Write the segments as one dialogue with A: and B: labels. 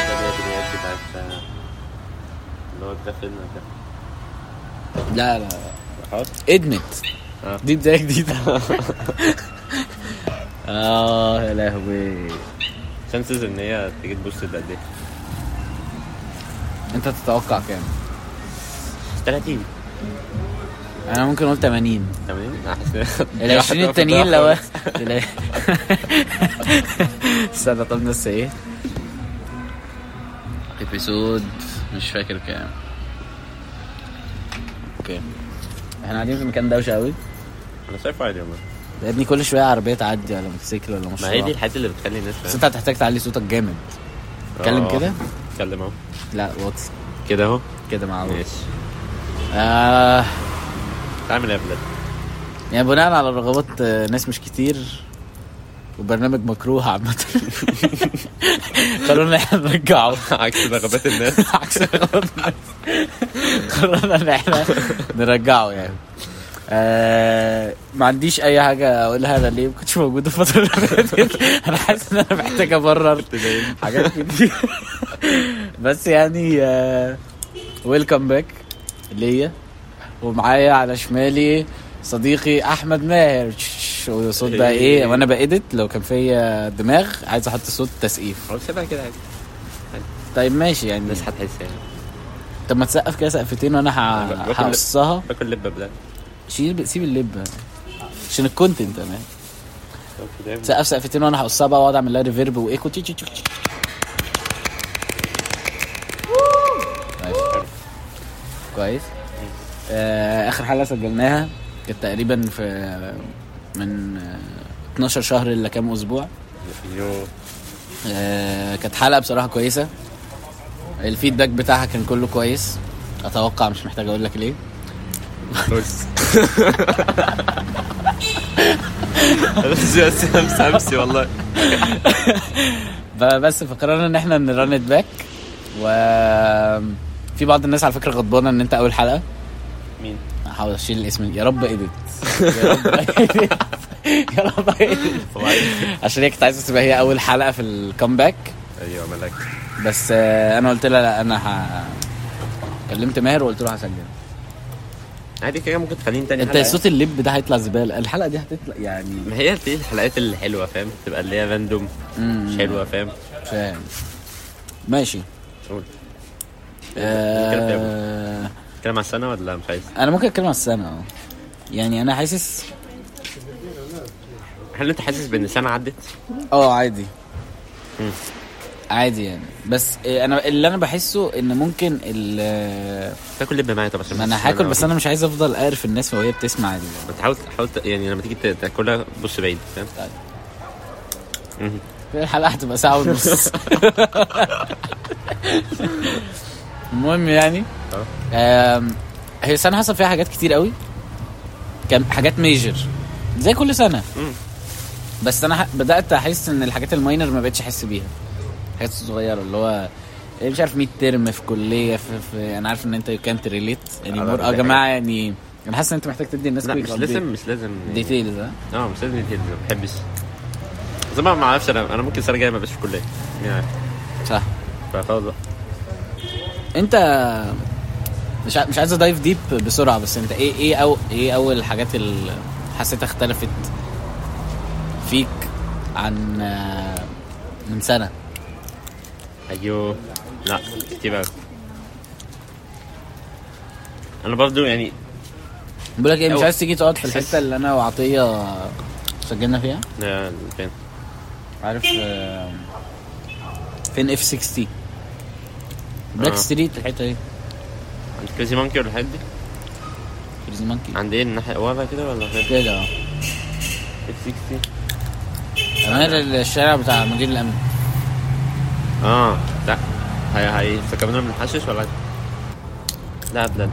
A: التدريبات اللي هي بتاعت آه، اللي هو بتاخدنا ده
B: لا لا لا.
A: حاضر
B: ادمت
A: آه.
B: دي بدايه جديده اه يا لهوي
A: شانسز ان هي تيجي تبص قد ايه
B: انت تتوقع كام
A: 30
B: انا ممكن اقول 80
A: 80
B: ال 20 التانيين لو ال- استنى طب نص ايه ابيسود مش فاكر كام اوكي احنا قاعدين في مكان دوشه قوي
A: انا شايفه عادي والله
B: يا ابني كل شويه عربيه تعدي ولا موتوسيكل ولا
A: ما هي دي
B: مشروع
A: الحاجات اللي بتخلي الناس
B: بس انت هتحتاج تعلي صوتك جامد اتكلم
A: آه.
B: كده؟
A: اتكلم اهو
B: لا واطي
A: كده اهو
B: كده معروف
A: ماشي
B: آه
A: تعمل ايه يا بلاد
B: يعني بناء على رغبات آه، ناس مش كتير وبرنامج مكروه عامة قررنا احنا نرجعه
A: عكس رغبات الناس
B: عكس رغبات الناس. قررنا ان احنا نرجعه يعني آه ما عنديش اي حاجه اقولها انا ليه ما كنتش موجود الفتره اللي فاتت انا حاسس ان انا محتاج ابرر حاجات كتير بس يعني ويلكم باك ليا ومعايا على شمالي صديقي احمد ماهر تش- وصوت بقى ايه وانا بأدت لو كان فيا دماغ عايز احط صوت تسقيف
A: هو شبه كده عادي
B: طيب ماشي يعني
A: الناس هتحس يعني
B: طب ما تسقف كده سقفتين وانا ه-
A: باكل-
B: هقصها
A: باكل لب بلاد
B: شيل سيب اللب عشان الكونتنت انا سقف سقفتين وانا هقصها بقى واقعد اعمل لها ريفيرب وايكو تي تي تي تي. طيب. كويس آه، اخر حلقه سجلناها كانت تقريبا في من آه، 12 شهر الا كام اسبوع
A: يو
B: آه، كانت حلقه بصراحه كويسه الفيدباك بتاعها كان كله كويس اتوقع مش محتاج اقول لك ليه
A: فلوس بس امس امسي والله
B: ب- بس فقررنا ان احنا نرن ات باك و في بعض الناس على فكره غضبانه ان انت اول حلقه
A: مين؟
B: هحاول اشيل الاسم يا رب ايديت يا رب ايديت يا رب ايديت عشان هي كانت عايزه تبقى هي اول حلقه في الكامباك
A: ايوه ملاك
B: بس آه، انا قلت لها لا انا ه... كلمت ماهر وقلت له هسجل
A: عادي كده ممكن تخليني تاني
B: انت
A: حلقة. إيه؟
B: صوت اللب ده هيطلع زباله الحلقه دي هتطلع يعني
A: ما هي دي الحلقات اللي حلوه فاهم تبقى اللي هي راندوم مش حلوه فاهم
B: فاهم ماشي
A: قول
B: آه...
A: كلام على السنه ولا مش عايز؟
B: انا ممكن اتكلم على السنه اه يعني انا حاسس
A: هل انت حاسس بان السنه عدت؟
B: اه عادي
A: مم.
B: عادي يعني بس آه، انا اللي انا بحسه ان ممكن ال آه،
A: تاكل لب معايا طب عشان
B: ما انا هاكل بس انا مش عايز افضل اقرف الناس وهي بتسمع دي
A: ما تحاول حاول ت- يعني لما تيجي ت- تاكلها بص بعيد فاهم؟
B: طيب.
A: مهم.
B: كل الحلقه هتبقى ساعه ونص المهم يعني
A: اه.
B: آم، هي السنه حصل فيها حاجات كتير قوي كان حاجات ميجر زي كل سنه
A: مم.
B: بس انا ح- بدات احس ان الحاجات الماينر ما بقتش احس بيها الحاجات الصغيره اللي هو إيه، مش عارف 100 ترم في كليه في, في انا عارف ان انت كان تريليت يعني
A: اه، ده
B: مور- اه يا
A: حقيقي.
B: جماعه يعني انا حاسس ان انت محتاج تدي الناس
A: لا
B: quick
A: مش
B: update. آه.
A: لازم مش لازم يعني-
B: ديتيلز ها
A: اه مش لازم ديتيلز ما بحبش زي ما ما اعرفش انا انا ممكن السنه الجايه ما ابقاش في الكليه مين عارف؟
B: صح
A: فخلاص بقى.
B: انت مش ع- مش عايز ادايف ديب بسرعه بس انت ايه ايه او ايه اول الحاجات اللي حسيتها اختلفت فيك عن آه، من سنه
A: ايوه لا كتير قوي انا برضو يعني
B: بقول لك ايه مش
A: أو-
B: عايز تيجي تقعد في
A: حاسس-
B: الحته اللي انا وعطيه سجلنا فيها
A: آه، فين
B: عارف آه، فين اف 60 بلاك
A: اه.
B: آه. ستريت الحته دي
A: كريزي مانكي ولا الحاجات دي
B: كريزي مانكي
A: عند ايه الناحيه ورا كده ولا فين؟
B: كده اه. اهو
A: اف 60
B: كمان الشارع بتاع مدير الامن
A: اه لا هي هي فكرنا من الحشيش ولا لا لا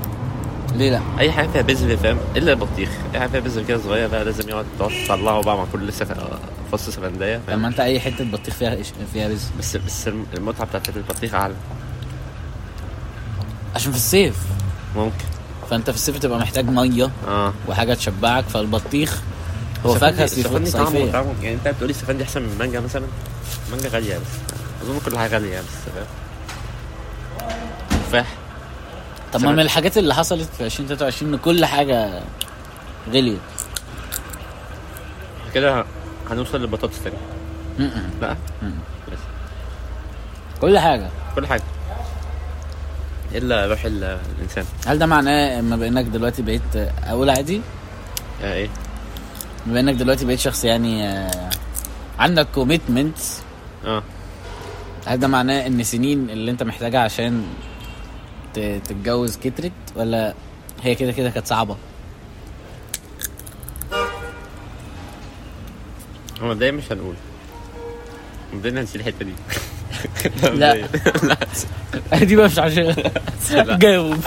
B: ليه لا؟
A: اي حاجه فيها بذر فاهم الا البطيخ اي حاجه فيها بذر كده صغير بقى لازم يقعد تقعد تطلعه بقى مع كل سف... فص سفنديه
B: طب
A: فاهم
B: ما انت اي حته بطيخ فيها إيش- فيها رز
A: بس بس الم- المتعه بتاعت البطيخ اعلى
B: عشان في الصيف
A: ممكن
B: فانت في الصيف تبقى محتاج ميه
A: اه
B: وحاجه تشبعك فالبطيخ هو فاكهه سي فود
A: السفندي طعمه
B: صيفيه
A: طعمه يعني انت بتقولي السفندي احسن من المانجا مثلا المانجا غاليه بس اظن كل حاجه غاليه بس فاهم تفاح
B: طب ما من الحاجات اللي حصلت في 2023 ان كل حاجه غليت
A: كده هنوصل للبطاطس تاني
B: م-م.
A: لا
B: مم.
A: بس
B: كل حاجه
A: كل حاجه الا روح ال- الانسان
B: هل ده معناه اما بانك دلوقتي بقيت اقول عادي
A: آه ايه
B: بما انك دلوقتي بقيت شخص يعني آه، عندك كوميتمنت
A: اه
B: هل ده معناه ان سنين اللي انت محتاجها عشان ت- تتجوز كترت ولا هي كده كده كانت صعبه
A: هو مبدئيا مش هنقول مبدئيا هنشيل الحته دي
B: لا. دي بقى مش عشان
A: لا.
B: جاوب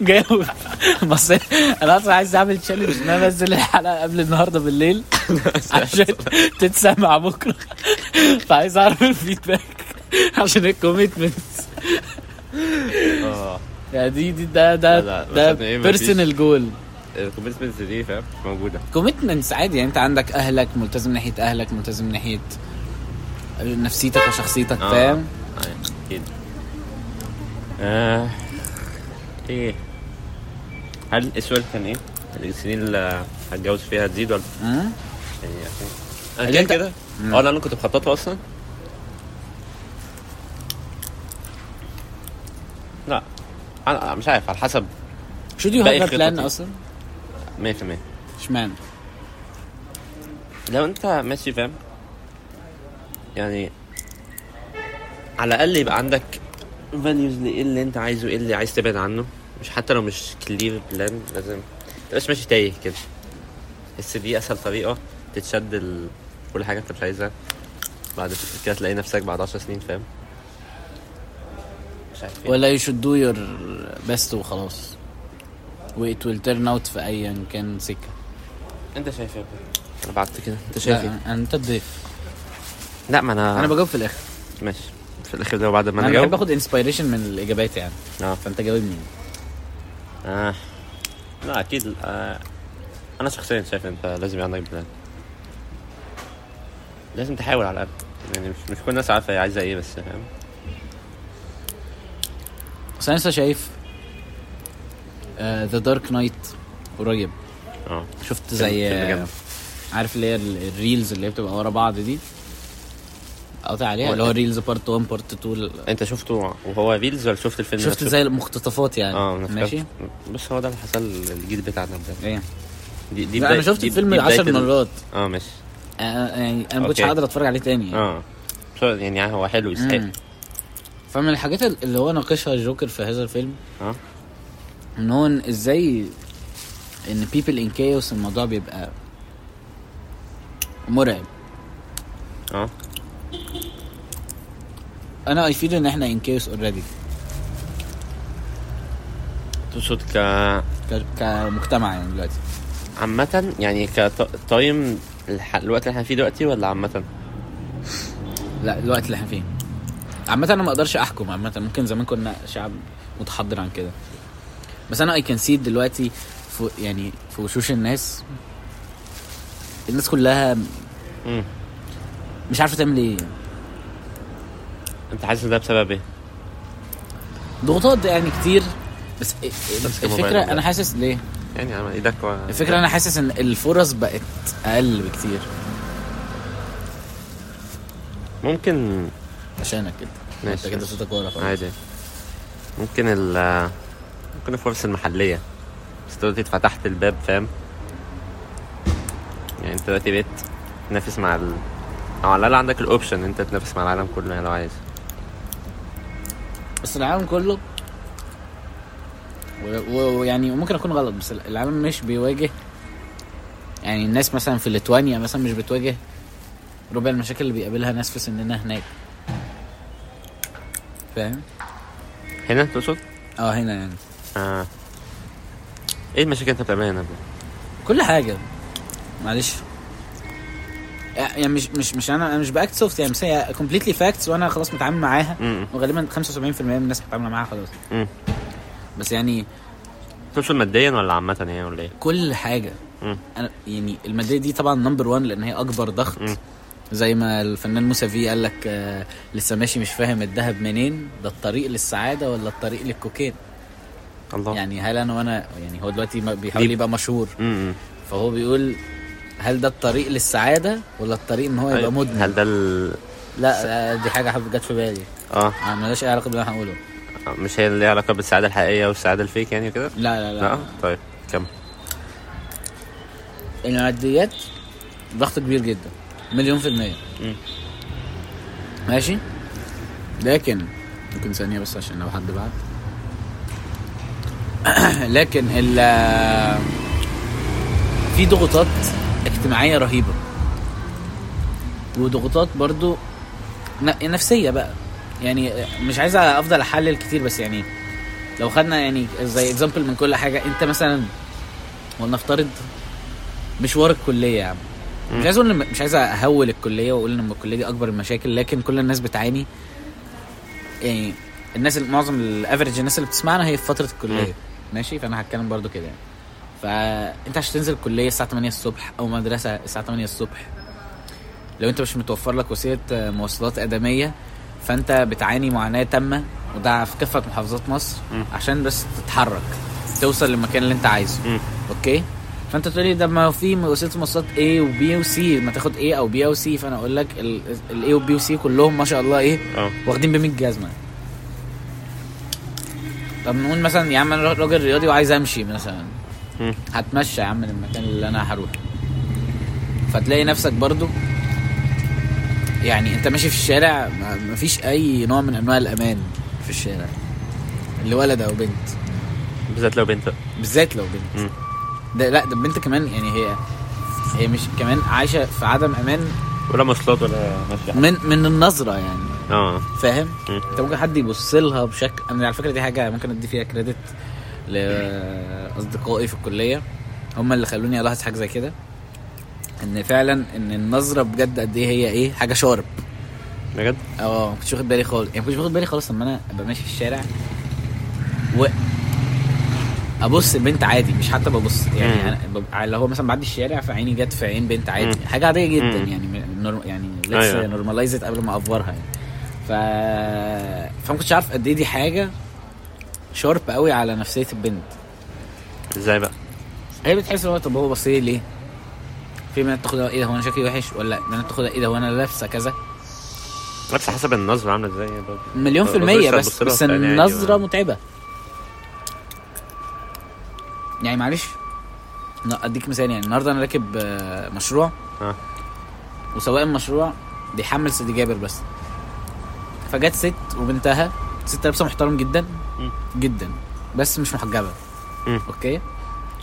B: جاوب بس انا اصلا عايز اعمل تشالنج ان انا انزل الحلقه قبل النهارده بالليل عشان تتسمع بكره فعايز اعرف الفيدباك عشان الكوميتمنت
A: اه
B: يعني دي دي ده
A: لا،
B: ده
A: لا،
B: ده
A: عشان إيه مفيش.
B: بيرسونال جول
A: الكوميتمنتس دي فاهم موجوده
B: كوميتمنتس عادي يعني انت عندك اهلك ملتزم ناحيه اهلك ملتزم ناحيه نفسيتك وشخصيتك
A: آه.
B: فاهم
A: آه، اكيد آه. ايه هل السؤال كان ايه؟ السنين اللي هتجوز فيها تزيد ولا
B: مم؟
A: يعني عشان-
B: اللي
A: انا كده
B: أنت-
A: كده اه لا انا كنت مخططه اصلا لا انا مش عارف على حسب
B: شو دي
A: باقي
B: هاف بلان
A: خططي.
B: اصلا
A: 100%
B: اشمعنى
A: لو انت ماشي فاهم يعني على الاقل يبقى عندك فاليوز ايه اللي انت عايزه ايه اللي عايز تبعد عنه مش حتى لو مش كلير بلان لازم متبقاش ماشي تايه كده بس دي اسهل طريقه تتشد ال... كل حاجه انت مش عايزها بعد فترة كده تلاقي نفسك بعد 10 سنين فاهم مش عارف ايه.
B: ولا يو شود دو يور بيست وخلاص وات ويل تيرن اوت في ايا كان سكه
A: انت شايف ايه انا بعت كده انت شايف
B: لا،
A: ايه
B: أنا- انت الضيف
A: لا ما انا,
B: انا بجاوب في الاخر
A: ماشي في الاخر ده وبعد ما
B: انا
A: انا
B: بحب
A: جاوب
B: اخد انسبيريشن من الاجابات يعني
A: اه
B: فانت جاوبني
A: آه. لا اكيد آه. انا شخصيا شايف انت لازم يبقى عندك بلان لازم تحاول على الاقل يعني مش مش كل الناس عارفه هي عايزه ايه بس فاهم
B: بس انا لسه شايف آه، ذا دارك نايت قريب
A: اه
B: شفت
A: فيلم-
B: زي
A: فيلم جامد.
B: آه، عارف اللي هي ال- الريلز اللي هي بتبقى ورا بعض دي قاطع عليها
A: هو
B: اللي هو
A: إيه؟
B: الريلز بارت 1 بارت 2
A: انت شفته وهو ريلز ولا شفت الفيلم
B: شفت
A: نفسه؟
B: زي المقتطفات يعني
A: اه أنا
B: ماشي
A: فاهم. بس هو ده اللي حصل للجيل بتاعنا ده
B: ايه
A: دي, دي
B: لا،
A: بداية-
B: انا شفت
A: دي-
B: الفيلم
A: دي بداية
B: 10
A: ال-
B: مرات
A: اه ماشي
B: آه، يعني انا ما كنتش
A: أوكي.
B: قادر اتفرج عليه تاني يعني.
A: اه بس هو- يعني هو حلو يستحق
B: مم. فمن الحاجات اللي هو ناقشها الجوكر في هذا الفيلم
A: اه
B: ان هو إن ازاي ان بيبل ان كاوس الموضوع بيبقى مرعب
A: اه
B: انا اي فيل ان احنا ان كاوس اوريدي
A: تقصد ك
B: كمجتمع يعني دلوقتي
A: عامة يعني كتايم الح... الوقت اللي احنا فيه دلوقتي ولا عامة؟
B: لا الوقت اللي احنا فيه عامة انا ما اقدرش احكم عامة ممكن زمان كنا شعب متحضر عن كده بس انا اي كان سي دلوقتي في يعني في وشوش الناس الناس كلها
A: مم.
B: مش عارفه تعمل ايه
A: انت حاسس ده بسبب ايه؟
B: ضغوطات يعني كتير بس ال-
A: تمسك الموبايل
B: الفكره
A: ولا
B: انا حاسس ليه
A: يعني عمل ايدك و...
B: الفكره انا حاسس ان الفرص بقت اقل بكتير
A: ممكن
B: عشانك كده انت
A: ماشي.
B: كده صوتك ورا خالص.
A: عادي ممكن ال ممكن الفرص المحلية بس أنت دلوقتي فتحت الباب فاهم يعني انت دلوقتي بقيت تنافس مع ال او على الاقل عندك الاوبشن انت تنافس مع العالم كله يعني لو عايز
B: بس العالم كله و- و- ويعني ممكن اكون غلط بس العالم مش بيواجه يعني الناس مثلا في ليتوانيا مثلا مش بتواجه ربع المشاكل اللي بيقابلها ناس في سننا هناك فاهم؟
A: هنا تقصد؟
B: اه هنا يعني
A: آه. ايه المشاكل انت بتعملها هنا؟
B: كل حاجه معلش يعني مش مش مش انا انا مش باكت سوفت يعني بس هي كومبليتلي فاكتس وانا خلاص متعامل معاها
A: امم
B: وغالبا 75% من الناس متعامله معاها خلاص
A: امم
B: بس يعني
A: تقصد ماديا ولا عامة يعني ولا ايه؟
B: كل حاجه
A: مم.
B: انا يعني الماديه دي طبعا نمبر 1 لان هي اكبر ضغط
A: مم.
B: زي ما الفنان موسى في قال لك آه، لسه ماشي مش فاهم الذهب منين ده الطريق للسعاده ولا الطريق للكوكين
A: الله يعني
B: يعني هل انا وانا يعني هو دلوقتي ما- بيحاول
A: ليه؟
B: يبقى مشهور
A: امم
B: فهو بيقول هل ده الطريق للسعاده ولا الطريق ان هو يبقى مدمن
A: أيوة. طيب، هل ده ال
B: لا آه، دي حاجه حب- جت في بالي
A: اه
B: آه، ملهاش اي علاقه باللي انا هقوله
A: مش هي اللي ليها علاقة بالسعادة الحقيقية والسعادة الفيك يعني كده؟
B: لا لا لا
A: لا طيب كمل
B: الماديات ضغط كبير جدا مليون في المية
A: مم.
B: ماشي لكن ممكن ثانية بس عشان لو حد بعت لكن ال في ضغوطات اجتماعية رهيبة وضغوطات برضو ن- نفسية بقى يعني مش عايز افضل احلل كتير بس يعني لو خدنا يعني زي اكزامبل من كل حاجة انت مثلا ولنفترض مشوار الكليه يا عم مش عايز اقول إن- مش عايز اهول الكليه واقول ان الكليه دي اكبر المشاكل لكن كل الناس بتعاني يعني الناس اللي- معظم الافرج الناس اللي بتسمعنا هي في فتره الكليه
A: مم.
B: ماشي فانا هتكلم برضو كده يعني فانت عشان تنزل الكليه الساعه 8 الصبح او مدرسه الساعه 8 الصبح لو انت مش متوفر لك وسيله آه، مواصلات ادميه فانت بتعاني معاناه تامه وده في كافه محافظات مصر
A: مم.
B: عشان بس تتحرك توصل للمكان اللي انت عايزه
A: مم.
B: اوكي فانت تقول لي ده ما في وسيله مواصلات A وبي وسي ما تاخد A او بي او سي فانا اقول لك الاي وبي وسي كلهم ما شاء الله ايه
A: اه
B: واخدين ب 100 جزمه طب نقول مثلا يا عم انا راجل رياضي وعايز امشي مثلا
A: مم.
B: هتمشى يا عم المكان اللي انا هروح فتلاقي نفسك برضو يعني انت ماشي في الشارع ما- مفيش اي نوع من انواع الامان في الشارع اللي ولد او بنت
A: بالذات لو بنت
B: بالذات لو بنت
A: مم.
B: ده لا ده البنت كمان يعني هي هي مش كمان عايشه في عدم امان
A: ولا مواصلات ولا ماشي
B: من من النظره يعني
A: اه
B: فاهم
A: مم.
B: انت ممكن حد يبص لها بشكل انا على فكره دي حاجه ممكن ادي فيها كريدت لاصدقائي في الكليه هم اللي خلوني الاحظ حاجه زي كده ان فعلا ان النظره بجد قد ايه هي ايه حاجه شارب
A: بجد؟
B: اه ما كنتش واخد بالي خالص يعني ما كنتش واخد بالي خالص لما انا ابقى ماشي في الشارع و ابص البنت عادي مش حتى ببص يعني
A: مم.
B: انا ببقى اللي هو مثلا بعدي الشارع فعيني جت في عين بنت عادي
A: مم.
B: حاجه عاديه جدا
A: مم.
B: يعني م- نور يعني ليتس
A: أيوة.
B: نورماليزت قبل ما افورها يعني ف فما كنتش عارف قد ايه دي حاجه شارب قوي على نفسيه البنت
A: ازاي بقى؟
B: هي بتحس ان هو طب هو بص لي ليه؟ في بنات تاخدها ايه ده هو انا شكلي وحش ولا بنات تاخدها ايه ده هو انا لابسه كذا
A: نفس حسب النظرة عاملة ازاي يعني برضه.
B: مليون في
A: ما
B: المية
A: أظنش
B: بس
A: هتبص لها
B: بس
A: في عينيها دي
B: النظرة
A: يعني.
B: متعبة يعني معلش ن- اديك مثال يعني النهارده انا راكب آه، مشروع
A: آه.
B: وسواق المشروع بيحمل سيدي جابر بس فجت ست وبنتها ست لابسه محترم جدا
A: مم.
B: جدا بس مش محجبه
A: مم.
B: اوكي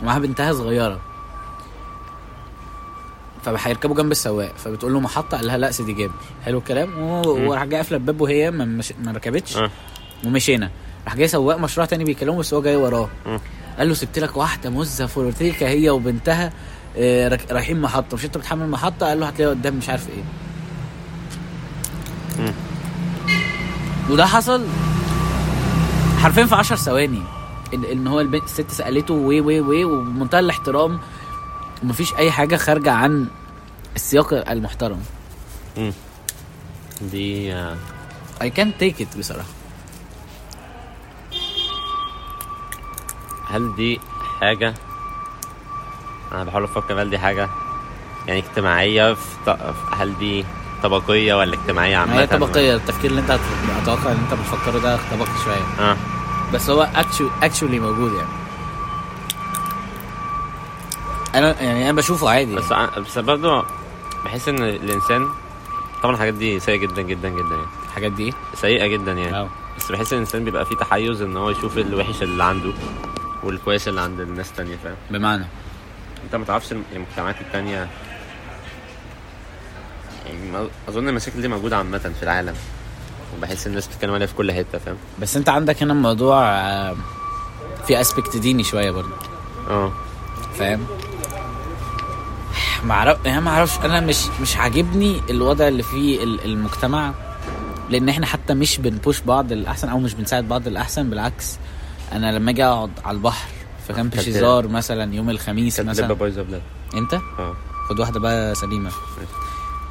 B: ومعاها بنتها صغيره فهيركبوا جنب السواق فبتقول له محطه قال لها لا سيدي جابر حلو الكلام
A: مم.
B: وراح جاي قافله الباب وهي ما, مش... ما ركبتش
A: آه.
B: ومشينا راح جاي سواق مشروع تاني بيكلمه بس هو جاي وراه
A: مم.
B: قال له سبت لك واحده مزه فورتيكا هي وبنتها آه، راك- رايحين محطه مش انت بتحمل محطه قال له هتلاقيها قدام مش عارف ايه
A: مم.
B: وده حصل حرفيا في 10 ثواني ان ان هو البنت الست سالته وي وي وي وبمنتهى الاحترام ومفيش اي حاجه خارجه عن السياق المحترم
A: مم. دي آه،
B: اي كان تيك ات بصراحه
A: هل دي حاجة أنا بحاول أفكر هل دي حاجة يعني اجتماعية في ط... في- هل دي طبقية ولا اجتماعية عامة؟
B: يعني هي طبقيه التفكير اللي انت هت- اتوقع ان انت بتفكره ده طبقي شويه
A: اه
B: بس هو اكشولي موجود يعني انا يعني انا بشوفه عادي
A: بس ع- بس برضه بحس إن الإنسان طبعا الحاجات دي سيئة جدا جدا جدا يعني
B: الحاجات دي
A: سيئة جدا يعني
B: اه
A: بس بحس الانسان بيبقى فيه تحيز ان هو يشوف الوحش اللي عنده والكويسه اللي عند الناس التانية فاهم
B: بمعنى
A: انت ما تعرفش الم- المجتمعات التانية يعني ما- اظن المشاكل دي موجوده عامه في العالم وبحس الناس بتتكلم عليها في كل حته فاهم
B: بس انت عندك هنا الموضوع آه، في اسبكت ديني شويه برضه
A: اه
B: فاهم يعني ما اعرف انا ما اعرفش انا مش مش عاجبني الوضع اللي فيه ال- المجتمع لان احنا حتى مش بنبوش بعض للاحسن او مش بنساعد بعض للاحسن بالعكس انا لما اجي اقعد على البحر في كامب
A: كانت-
B: شيزار مثلا يوم الخميس
A: كانت لبه
B: مثلا
A: بايظه بلاد
B: انت
A: اه
B: خد واحده بقى سليمه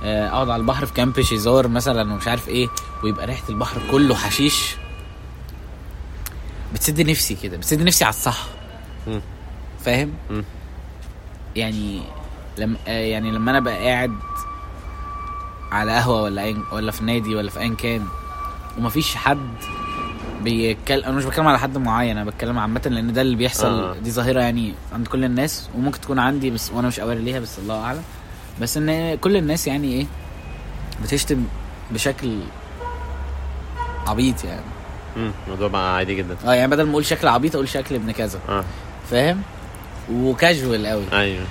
B: آه، اقعد على البحر في كامب شيزار مثلا ومش عارف ايه ويبقى ريحه البحر كله حشيش بتسد نفسي كده بتسد نفسي على الصح
A: مم.
B: فاهم
A: مم.
B: يعني لما آه، يعني لما انا بقى قاعد على قهوه ولا أين ولا في نادي ولا في ايا كان ومفيش حد بيتكلم انا مش بتكلم على حد معين انا بتكلم عامه لان ده اللي بيحصل
A: آه.
B: دي ظاهره يعني عند كل الناس وممكن تكون عندي بس وانا مش اواري ليها بس الله اعلم بس ان كل الناس يعني ايه بتشتم بشكل عبيط يعني
A: مم، الموضوع بقى عادي جدا
B: اه يعني بدل ما اقول شكل عبيط اقول شكل ابن كذا
A: اه
B: فاهم وكاجوال قوي
A: ايوه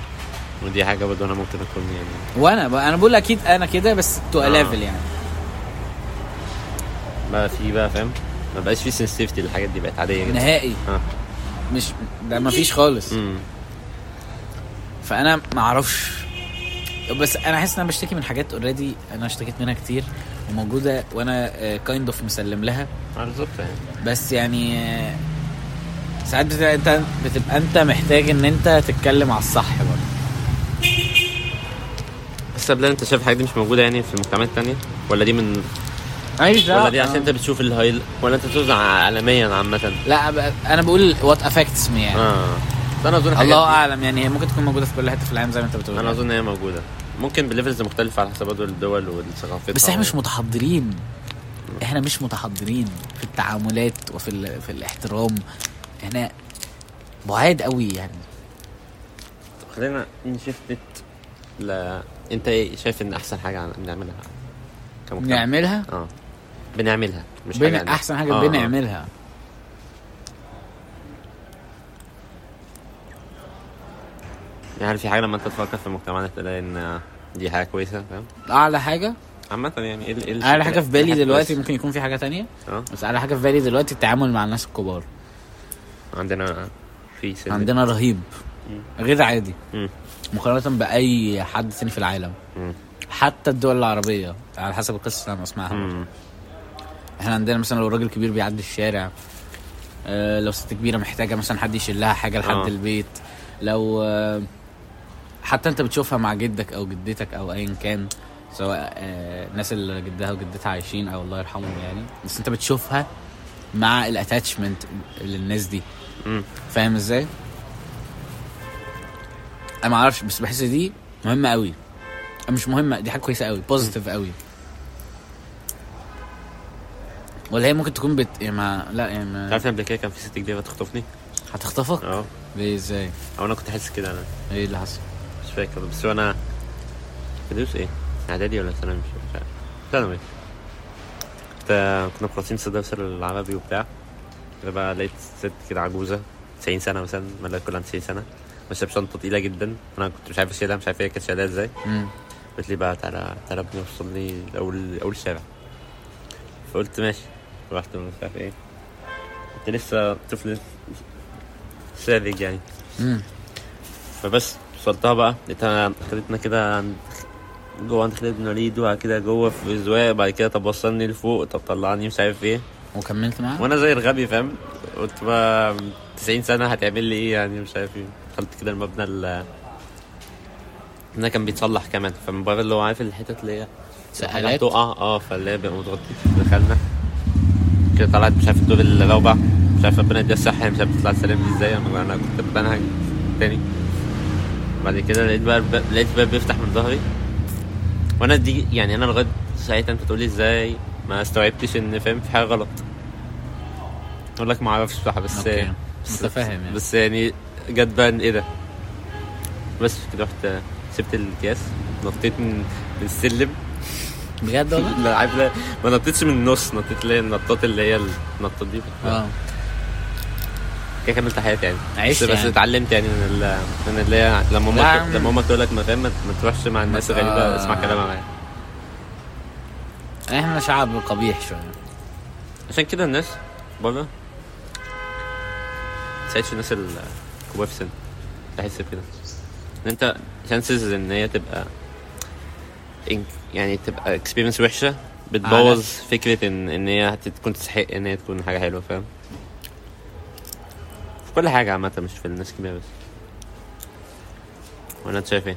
A: ودي حاجه برضه انا ممكن اكون يعني
B: وانا ب... انا بقول اكيد انا كده بس تو
A: آه.
B: ليفل يعني
A: بقى في بقى فاهم ما بقاش في سنسيفتي الحاجات دي بقت عاديه جدا
B: نهائي
A: اه
B: مش ده ما فيش خالص
A: امم
B: فانا ما اعرفش بس انا حاسس ان انا بشتكي من حاجات اوريدي انا اشتكيت منها كتير وموجوده وانا كايند اوف مسلم لها
A: آه، بالظبط يعني
B: بس يعني آه، ساعات بتبقى انت بتبقى انت محتاج ان انت تتكلم على الصح برضه
A: بس قبل انت شايف الحاجات دي مش موجوده يعني في المجتمعات التانية ولا دي من
B: ماليش دعوة.
A: ولا دي عشان
B: آه.
A: انت بتشوف الهايل ولا انت بتوزع عالميا عامه
B: لا أب- انا بقول وات افكتس مي يعني
A: اه بس انا اظن الحاجات
B: الله
A: دي-
B: اعلم يعني هي ممكن تكون موجوده في كل حته في العالم زي ما انت بتقول
A: انا اظن هي موجوده ممكن بليفلز مختلفه على حسب برضه الدول والثقافات
B: بس احنا مش متحضرين احنا مش متحضرين في التعاملات وفي ال... في الاحترام احنا بعاد قوي يعني
A: خلينا نشفت ل انت ايه شايف ان احسن حاجه عن- بنعملها كمجتمع
B: بنعملها
A: اه بنعملها مش
B: بن...
A: عن-
B: احسن حاجه
A: آه، آه.
B: بنعملها
A: يعني هل في حاجه لما انت تفكر في مجتمعنا تلاقي ان دي حاجه كويسه فاهم
B: اعلى حاجه
A: عامه يعني ايه ال- ايه
B: اعلى حاجه في بالي
A: الحاجات
B: دلوقتي
A: بس-
B: ممكن يكون في حاجه تانية
A: اه
B: بس اعلى حاجه في بالي دلوقتي التعامل مع الناس الكبار
A: عندنا في سن
B: عندنا رهيب غير عادي
A: مم.
B: مقارنه باي حد تاني في العالم
A: مم.
B: حتى الدول العربيه على حسب القصه اللي انا بسمعها
A: مم.
B: احنا عندنا مثلا لو راجل كبير بيعدي الشارع آه، لو ست كبيره محتاجه مثلا حد يشيلها حاجه لحد
A: آه.
B: البيت لو آه، حتى انت بتشوفها مع جدك او جدتك او ايا كان سواء آه، الناس اللي جدها وجدتها عايشين او الله يرحمهم يعني بس انت بتشوفها مع الاتاتشمنت للناس دي
A: مم.
B: فاهم ازاي؟ انا ما اعرفش بس بحس دي مهمه قوي مش مهمه دي حاجه كويسه قوي بوزيتيف قوي ولا هي ممكن تكون بت يعني ما لا يعني
A: انت
B: ما
A: عارف إن قبل كده كان في ست كبيره تخطفني
B: هتخطفك
A: اه
B: ليه ازاي؟
A: او انا كنت حاسس كده انا
B: ايه إيه، اللي حصل؟
A: مش فاكر بس وانا فلوس ايه؟ اعدادي ولا ثانوي مش مش عارف ثانوي كنت كنا مخلصين سداسر العربي وبتاع كده بقى لقيت ست كده عجوزه 90 سنه مثلا ولا كلها 90 سنه ماشيه بشنطه تقيله جدا انا كنت مش عارف اشيلها مش عارف هي كانت شايلها ازاي
B: مم.
A: قلت لي بقى تعالى تعالى ابني وصل لي اول اول شارع فقلت ماشي رحت مش عارف ايه كنت لسه طفل ساذج يعني
B: مم.
A: فبس وصلتها بقى لقيتها خدتنا كده عند جوه عند خالد بن وليد وبعد كده جوه في زوايا بعد كده طب وصلني لفوق طب طلعني مش عارف ايه
B: وكملت معاه؟
A: وانا زي الغبي فاهم قلت بقى 90 سنه هتعمل لي ايه يعني مش عارف ايه دخلت كده المبنى ال ده كان بيتصلح كمان فمن بره اللي هو عارف الحتت اللي هي حاجه
B: سقالات
A: تقع اه فاللي هي بقى متغطي دخلنا كده طلعت مش عارف الدور الرابع مش عارف ربنا يديها الصحة يعني، مش عارف تطلع سلام دي ازاي انا انا كنت بنهج تاني بعد كده لقيت بقى الباب- لقيت باب بيفتح من ظهري وانا دي يعني انا لغايه ساعتها انت تقولي ازاي ما استوعبتش ان فاهم في حاجه غلط اقول لك ما اعرفش بصراحه بس
B: أوكي.
A: بس-
B: متفاهم يعني.
A: بس يعني جت بقى إن ايه ده بس كده رحت سبت الكياس نطيت من من السلم
B: بجد والله؟
A: لا عارف لا ما
B: آه.
A: نطيتش من النص نطيت اللي هي النطات اللي هي النطات دي
B: اه
A: كده كملت حياتي يعني
B: عشت
A: بس, بس
B: يعني.
A: اتعلمت يعني من ال... من اللي هي لما
B: لا يا
A: امك
B: عم.
A: لما امك تقول لك ما فاهم ما ما تروحش مع الناس
B: بس-
A: الغريبه
B: آه.
A: اسمع كلامها معايا
B: احنا شعب قبيح شويه
A: عشان كده الناس بره ما تساعدش الناس الكبار في السن بحس بكده ان انت chances ان هي تبقى إن- يعني تبقى experience وحشه بتبوظ فكره ان ان هي هت- تكون تستحق ان هي تكون حاجه حلوه فاهم في كل حاجه عامه مش في الناس الكبيره بس ولا انت شايف ايه؟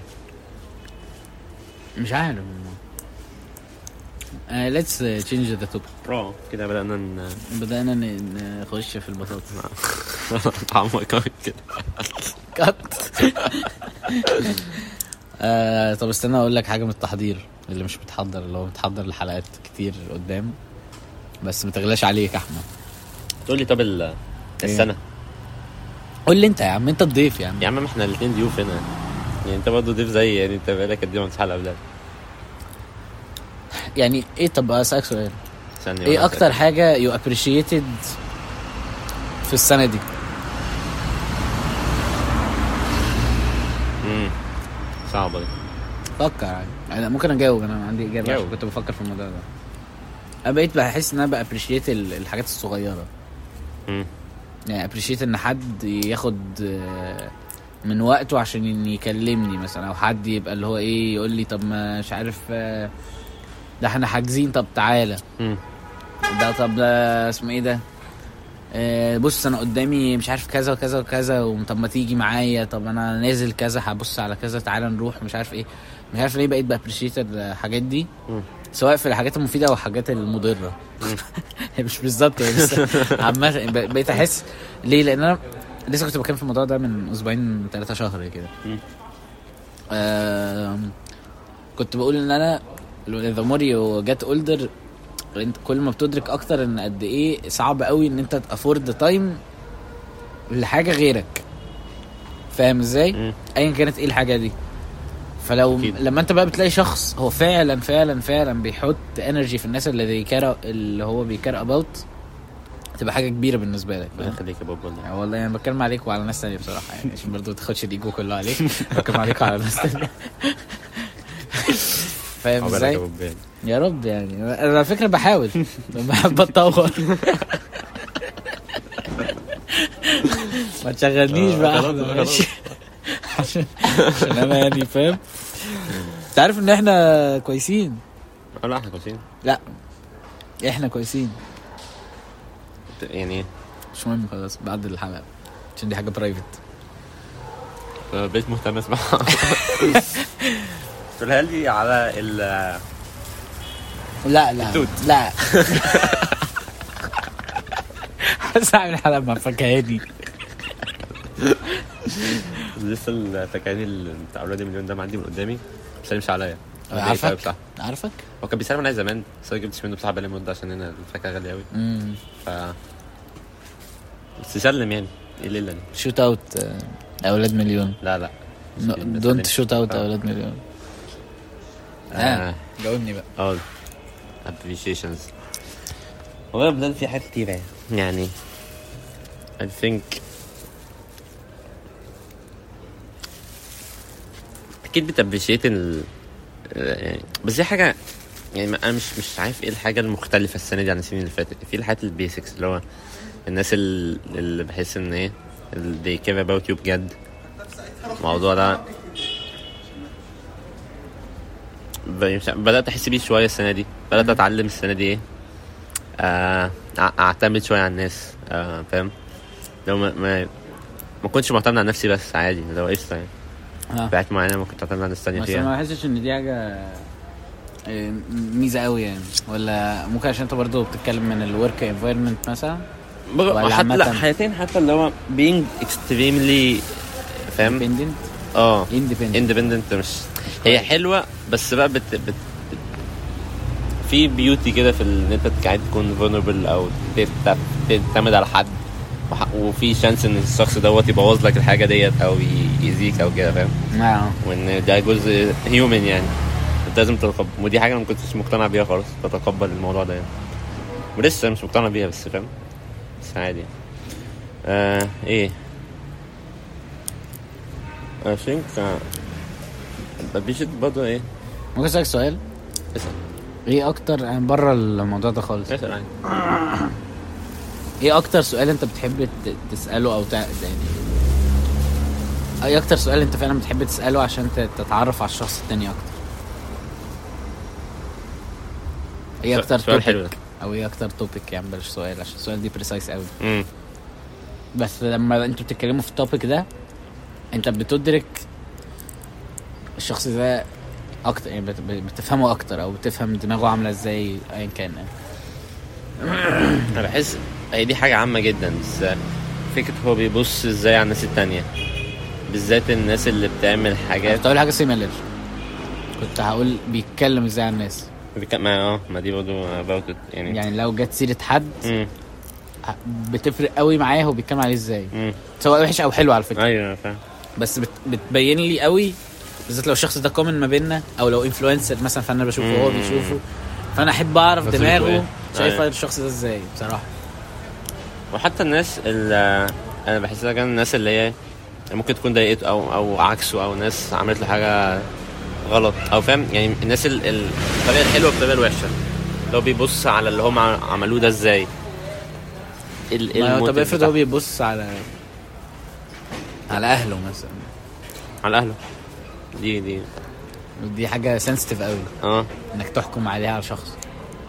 B: مش عارف والله. آه ليتس تشينج ذا توبيك
A: كده بدانا ن-
B: بدأنا ن- نخش في البطاطس
A: نتعمق أوي كده
B: كات آه طب استنى اقول لك حاجه من التحضير اللي مش بتحضر اللي هو بتحضر الحلقات كتير قدام بس ما تغلاش عليك يا احمد
A: تقول لي طب ال- السنه
B: قول لي انت يا عم انت الضيف يا عم
A: يا عم ما احنا الاثنين ضيوف هنا يعني انت برضه ضيف زي يعني انت بقالك قد ايه ما بتسحل قبلها
B: يعني ايه طب اسالك سؤال
A: استني
B: ايه
A: وأنا
B: اكتر حاجه يو ابريشيتد في السنه دي
A: أسأل. امم صعبه دي
B: فكر عادي انا ممكن اجاوب انا عندي اجابه
A: جاوب.
B: عشان كنت بفكر في الموضوع ده انا بقيت بحس ان انا بابريشيت الحاجات الصغيره
A: امم
B: يعني ابريشيت ان حد ياخد آه، من وقته عشان إن يكلمني مثلا او حد يبقى اللي هو ايه يقول لي طب ما مش عارف آه، ده احنا حاجزين طب تعالى
A: امم
B: ده طب ده اسمه ايه ده آه، بص انا قدامي مش عارف كذا وكذا وكذا وطب ما تيجي معايا طب انا نازل كذا هبص على كذا تعالى نروح مش عارف ايه مش عارف ليه بقيت بابريشيت الحاجات دي
A: مم.
B: سواء في الحاجات المفيده او الحاجات المضره مش بالظبط يعني بس عامه ب- بقيت احس ليه لان انا لسه كنت بتكلم في الموضوع ده من اسبوعين ثلاثة شهر كده
A: مم.
B: آم، كنت بقول ان انا ذا مور يو جت اولدر انت كل ما بتدرك اكتر ان قد ايه صعب قوي ان انت افورد تايم لحاجه غيرك فاهم ازاي
A: مم.
B: ايا كانت ايه الحاجه دي فلو
A: أكيد.
B: لما انت بقى بتلاقي شخص هو فعلا فعلا فعلا بيحط انرجي في الناس اللي بيكار اللي هو بيكار اباوت تبقى حاجه كبيره بالنسبه لك
A: ربنا يخليك يا بابا والله
B: يعني والله انا بتكلم عليك وعلى ناس تانية بصراحه يعني عشان برضه ما تاخدش الايجو كله عليك بتكلم عليك وعلى ناس تانية فاهم
A: عقبالك
B: ازاي؟
A: يا بابا يعني.
B: يا رب يعني انا على فكره بحاول بحب اتطور ما تشغلنيش
A: آه،
B: بقى
A: خلاص
B: أحمد،
A: بقى،
B: ماشي؟ عشان عشان انا يعني فاهم انت عارف ان احنا كويسين
A: اه لا احنا كويسين
B: لا احنا كويسين
A: بت- يعني ايه؟
B: مش مهم خلاص بعد الحلقه عشان دي حاجه برايفت
A: انا بقيت مهتم اسمعها قولها لي على ال
B: لا لا
A: التوت.
B: لا بس اعمل حلقه مع فكهاني
A: لسه التكاني اللي بتاع اولاد المليون ده معدي من قدامي ما بيسلمش عليا أنا ضايقت أوي
B: عارفك
A: بصراحة.
B: عارفك
A: هو كان بيسلم عليا زمان بس انا جبتش منه بصراحه بقالي مده عشان هنا الفاكهه غاليه قوي
B: امم
A: ف بس يسلم يعني ايه الليله دي؟
B: شوت اوت اولاد آه، مليون
A: لا لا
B: دونت شوت اوت اولاد مليون
A: آه.
B: جاوبني بقى
A: اه ابريشيشنز والله بلال في حاجات كتير يعني يعني I think اكيد بتابريشيت ال يعني- بس دي حاجه يعني ما- انا مش مش عارف ايه الحاجه المختلفه السنه دي عن السنين اللي فاتت في الحاجات البيسكس اللي هو الناس ال- اللي بحس ان ايه اللي they care about you بجد الموضوع ده ب- مش- بدات احس بيه شويه السنه دي بدات اتعلم السنه دي ايه آه، أع- اعتمد شويه على الناس آه، فاهم لو ما ما ما كنتش معتمد على نفسي بس عادي لو قشطه يعني
B: ها.
A: بعت معينه ممكن تعتمد على ناس تانية
B: آه. بس
A: فيها
B: ما بحسش ان دي حاجه آه، ميزه قوي يعني ولا ممكن عشان انت برضو بتتكلم من الورك انفايرمنت مثلا ولا
A: بغ- حتى لا
B: عامة؟
A: حياتين حتى اللي هو being extremely فاهم
B: اندبندنت
A: اه
B: اندبندنت
A: independent مش هي حلوه بس بقى بت, بت, بت في بيوتي كده في ال- ان انت قاعد تكون vulnerable او تت- تعتمد على حد وح- وفي شانس ان الشخص دوت يبوظ لك الحاجه ديت او ي- يأذيك او كده فاهم
B: آه.
A: وان ده جزء هيومن يعني انت لازم تتقبل ودي حاجه انا ما كنتش مقتنع بيها خالص تتقبل الموضوع ده يعني ولسه مش مقتنع بيها بس فاهم بس عادي آه ايه I think آه، we should برضه ايه
B: ممكن اسالك سؤال
A: اسأل
B: ايه اكتر يعني بره الموضوع ده خالص
A: اسأل عادي
B: ايه اكتر سؤال انت بتحب ت- تساله او تع- يعني ايه اكتر سؤال انت فعلا بتحب تساله عشان ت- تتعرف على الشخص التاني اكتر ايه
A: سؤال-
B: اكتر
A: سؤال حلو
B: توبيك او ايه اكتر توبيك يعني بلاش سؤال عشان السؤال دي بريسايس قوي
A: امم
B: بس لما انتوا بتتكلموا في التوبيك ده انت بتدرك الشخص ده اكتر يعني بت- بتفهمه اكتر او بتفهم دماغه عامله ازاي ايا كان يعني.
A: انا بحس هي دي حاجه عامه جدا بس فكره هو بيبص ازاي على الناس التانية بالذات الناس اللي بتعمل حاجات
B: كنت هقول حاجه سيميلر كنت هقول بيتكلم ازاي عن الناس
A: بك- ما اه ما دي برضه about it يعني
B: يعني لو جت سيره حد
A: امم
B: ه- بتفرق قوي معايا هو بيتكلم عليه ازاي
A: امم
B: سواء وحش او حلو على فكره
A: ايوه أنا فاهم
B: بس بت... بتبين لي قوي بالذات لو الشخص ده كومن ما بيننا او لو انفلونسر مثلا فانا بشوفه وهو
A: مم.
B: بيشوفه فانا احب اعرف
A: نظرته
B: دماغه
A: إيه؟
B: شايف
A: أيوة.
B: الشخص ده ازاي بصراحه
A: وحتى الناس اللي انا بحسها كان الناس اللي هي ممكن تكون ضايقته او او عكسه او ناس عملت له حاجه غلط او فاهم يعني الناس ال- ال- الطريقه الحلوه بالطريقه الوحشه لو بيبص على اللي هم عملوه ده ازاي ال-
B: ما هو
A: إيه الموتيف
B: طب افرض هو
A: بتاعهم.
B: بيبص على على اهله مثلا
A: على اهله دي دي
B: دي حاجه سنسيتيف قوي
A: اه
B: انك تحكم عليها على شخص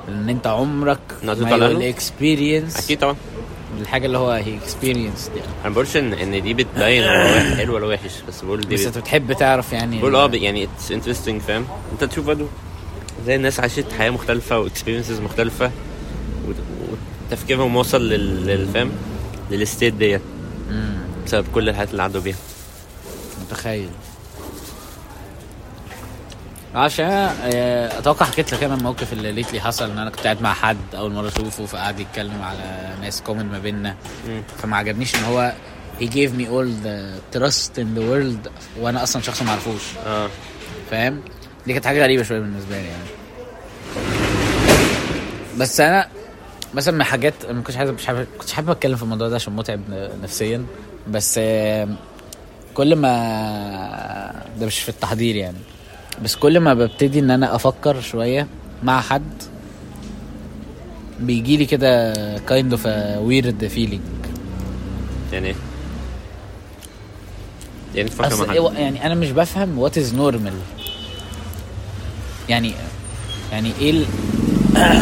B: لان انت عمرك
A: نقطة على أهله؟
B: الاكسبيرينس
A: اكيد طبعا
B: الحاجه اللي هو يعني. هي اكسبيرينس دي
A: انا ما بقولش ان ان دي بتبين هو واحد حلو ولا وحش بس بقول دي
B: بس
A: بت-
B: انت بتحب تعرف يعني
A: بقول اه ب- يعني اتس انترستنج فاهم انت تشوف برضه زي الناس عاشت حياه مختلفه واكسبيرينسز مختلفه وت- وتفكيرهم وصل لل- للفهم للستيت ديت
B: مم،
A: بسبب كل الحاجات اللي عدوا بيها
B: متخيل عشان آه، اتوقع حكيت لك انا الموقف اللي ليتلي حصل ان انا كنت قاعد مع حد اول مره اشوفه فقعد يتكلم على ناس كومن ما بيننا
A: مم.
B: فما عجبنيش ان هو he gave me all the trust in the world وانا اصلا شخص ما اعرفوش
A: اه
B: فاهم دي كانت حاجه غريبه شويه بالنسبه لي يعني بس انا مثلا من حاجات أنا ما كنتش عايز مش حابب كنتش حابب اتكلم في الموضوع ده عشان متعب نفسيا بس آم، كل ما ده مش في التحضير يعني بس كل ما ببتدي ان انا افكر شويه مع حد بيجي لي كده كايند اوف ويرد فيلينج
A: يعني ايه؟ يعني تفكر مع
B: اصل
A: حد
B: إيه يعني انا مش بفهم وات از نورمال يعني يعني ايه ال...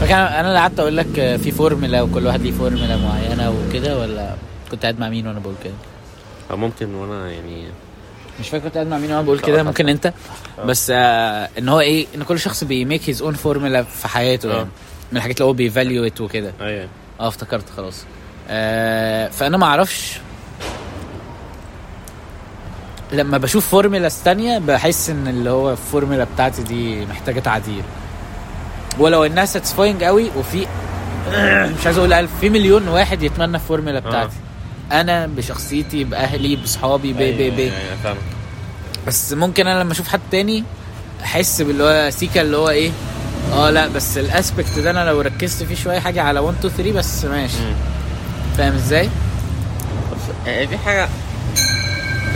B: فكان انا اللي قعدت اقول لك في فورمولا وكل واحد ليه فورمولا معينه وكده ولا كنت قاعد مع مين وانا بقول كده
A: او ممكن وانا يعني
B: مش فاكر كنت قاعد مع مين وانا بقول كده ممكن انت بس آه ان هو ايه ان كل شخص بيميك هيز اون فورمولا في حياته
A: آه.
B: يعني من الحاجات اللي هو بيفاليويت وكده
A: ايوه
B: اه افتكرت خلاص آه فانا ما اعرفش لما بشوف فورمولاز تانية بحس ان اللي هو الفورمولا بتاعتي دي محتاجة تعديل ولو انها ساتسفاينج قوي وفي مش عايز اقول الف في مليون واحد يتمنى الفورمولا بتاعتي انا بشخصيتي باهلي باصحابي ب ب ب
A: ايوه فاهم
B: بس ممكن انا لما اشوف حد تاني احس باللي هو سيكا اللي هو ايه اه لا بس الاسبكت ده انا لو ركزت فيه شويه حاجه على 1 2 3 بس ماشي
A: مم.
B: فاهم ازاي؟
A: بس هي دي حاجه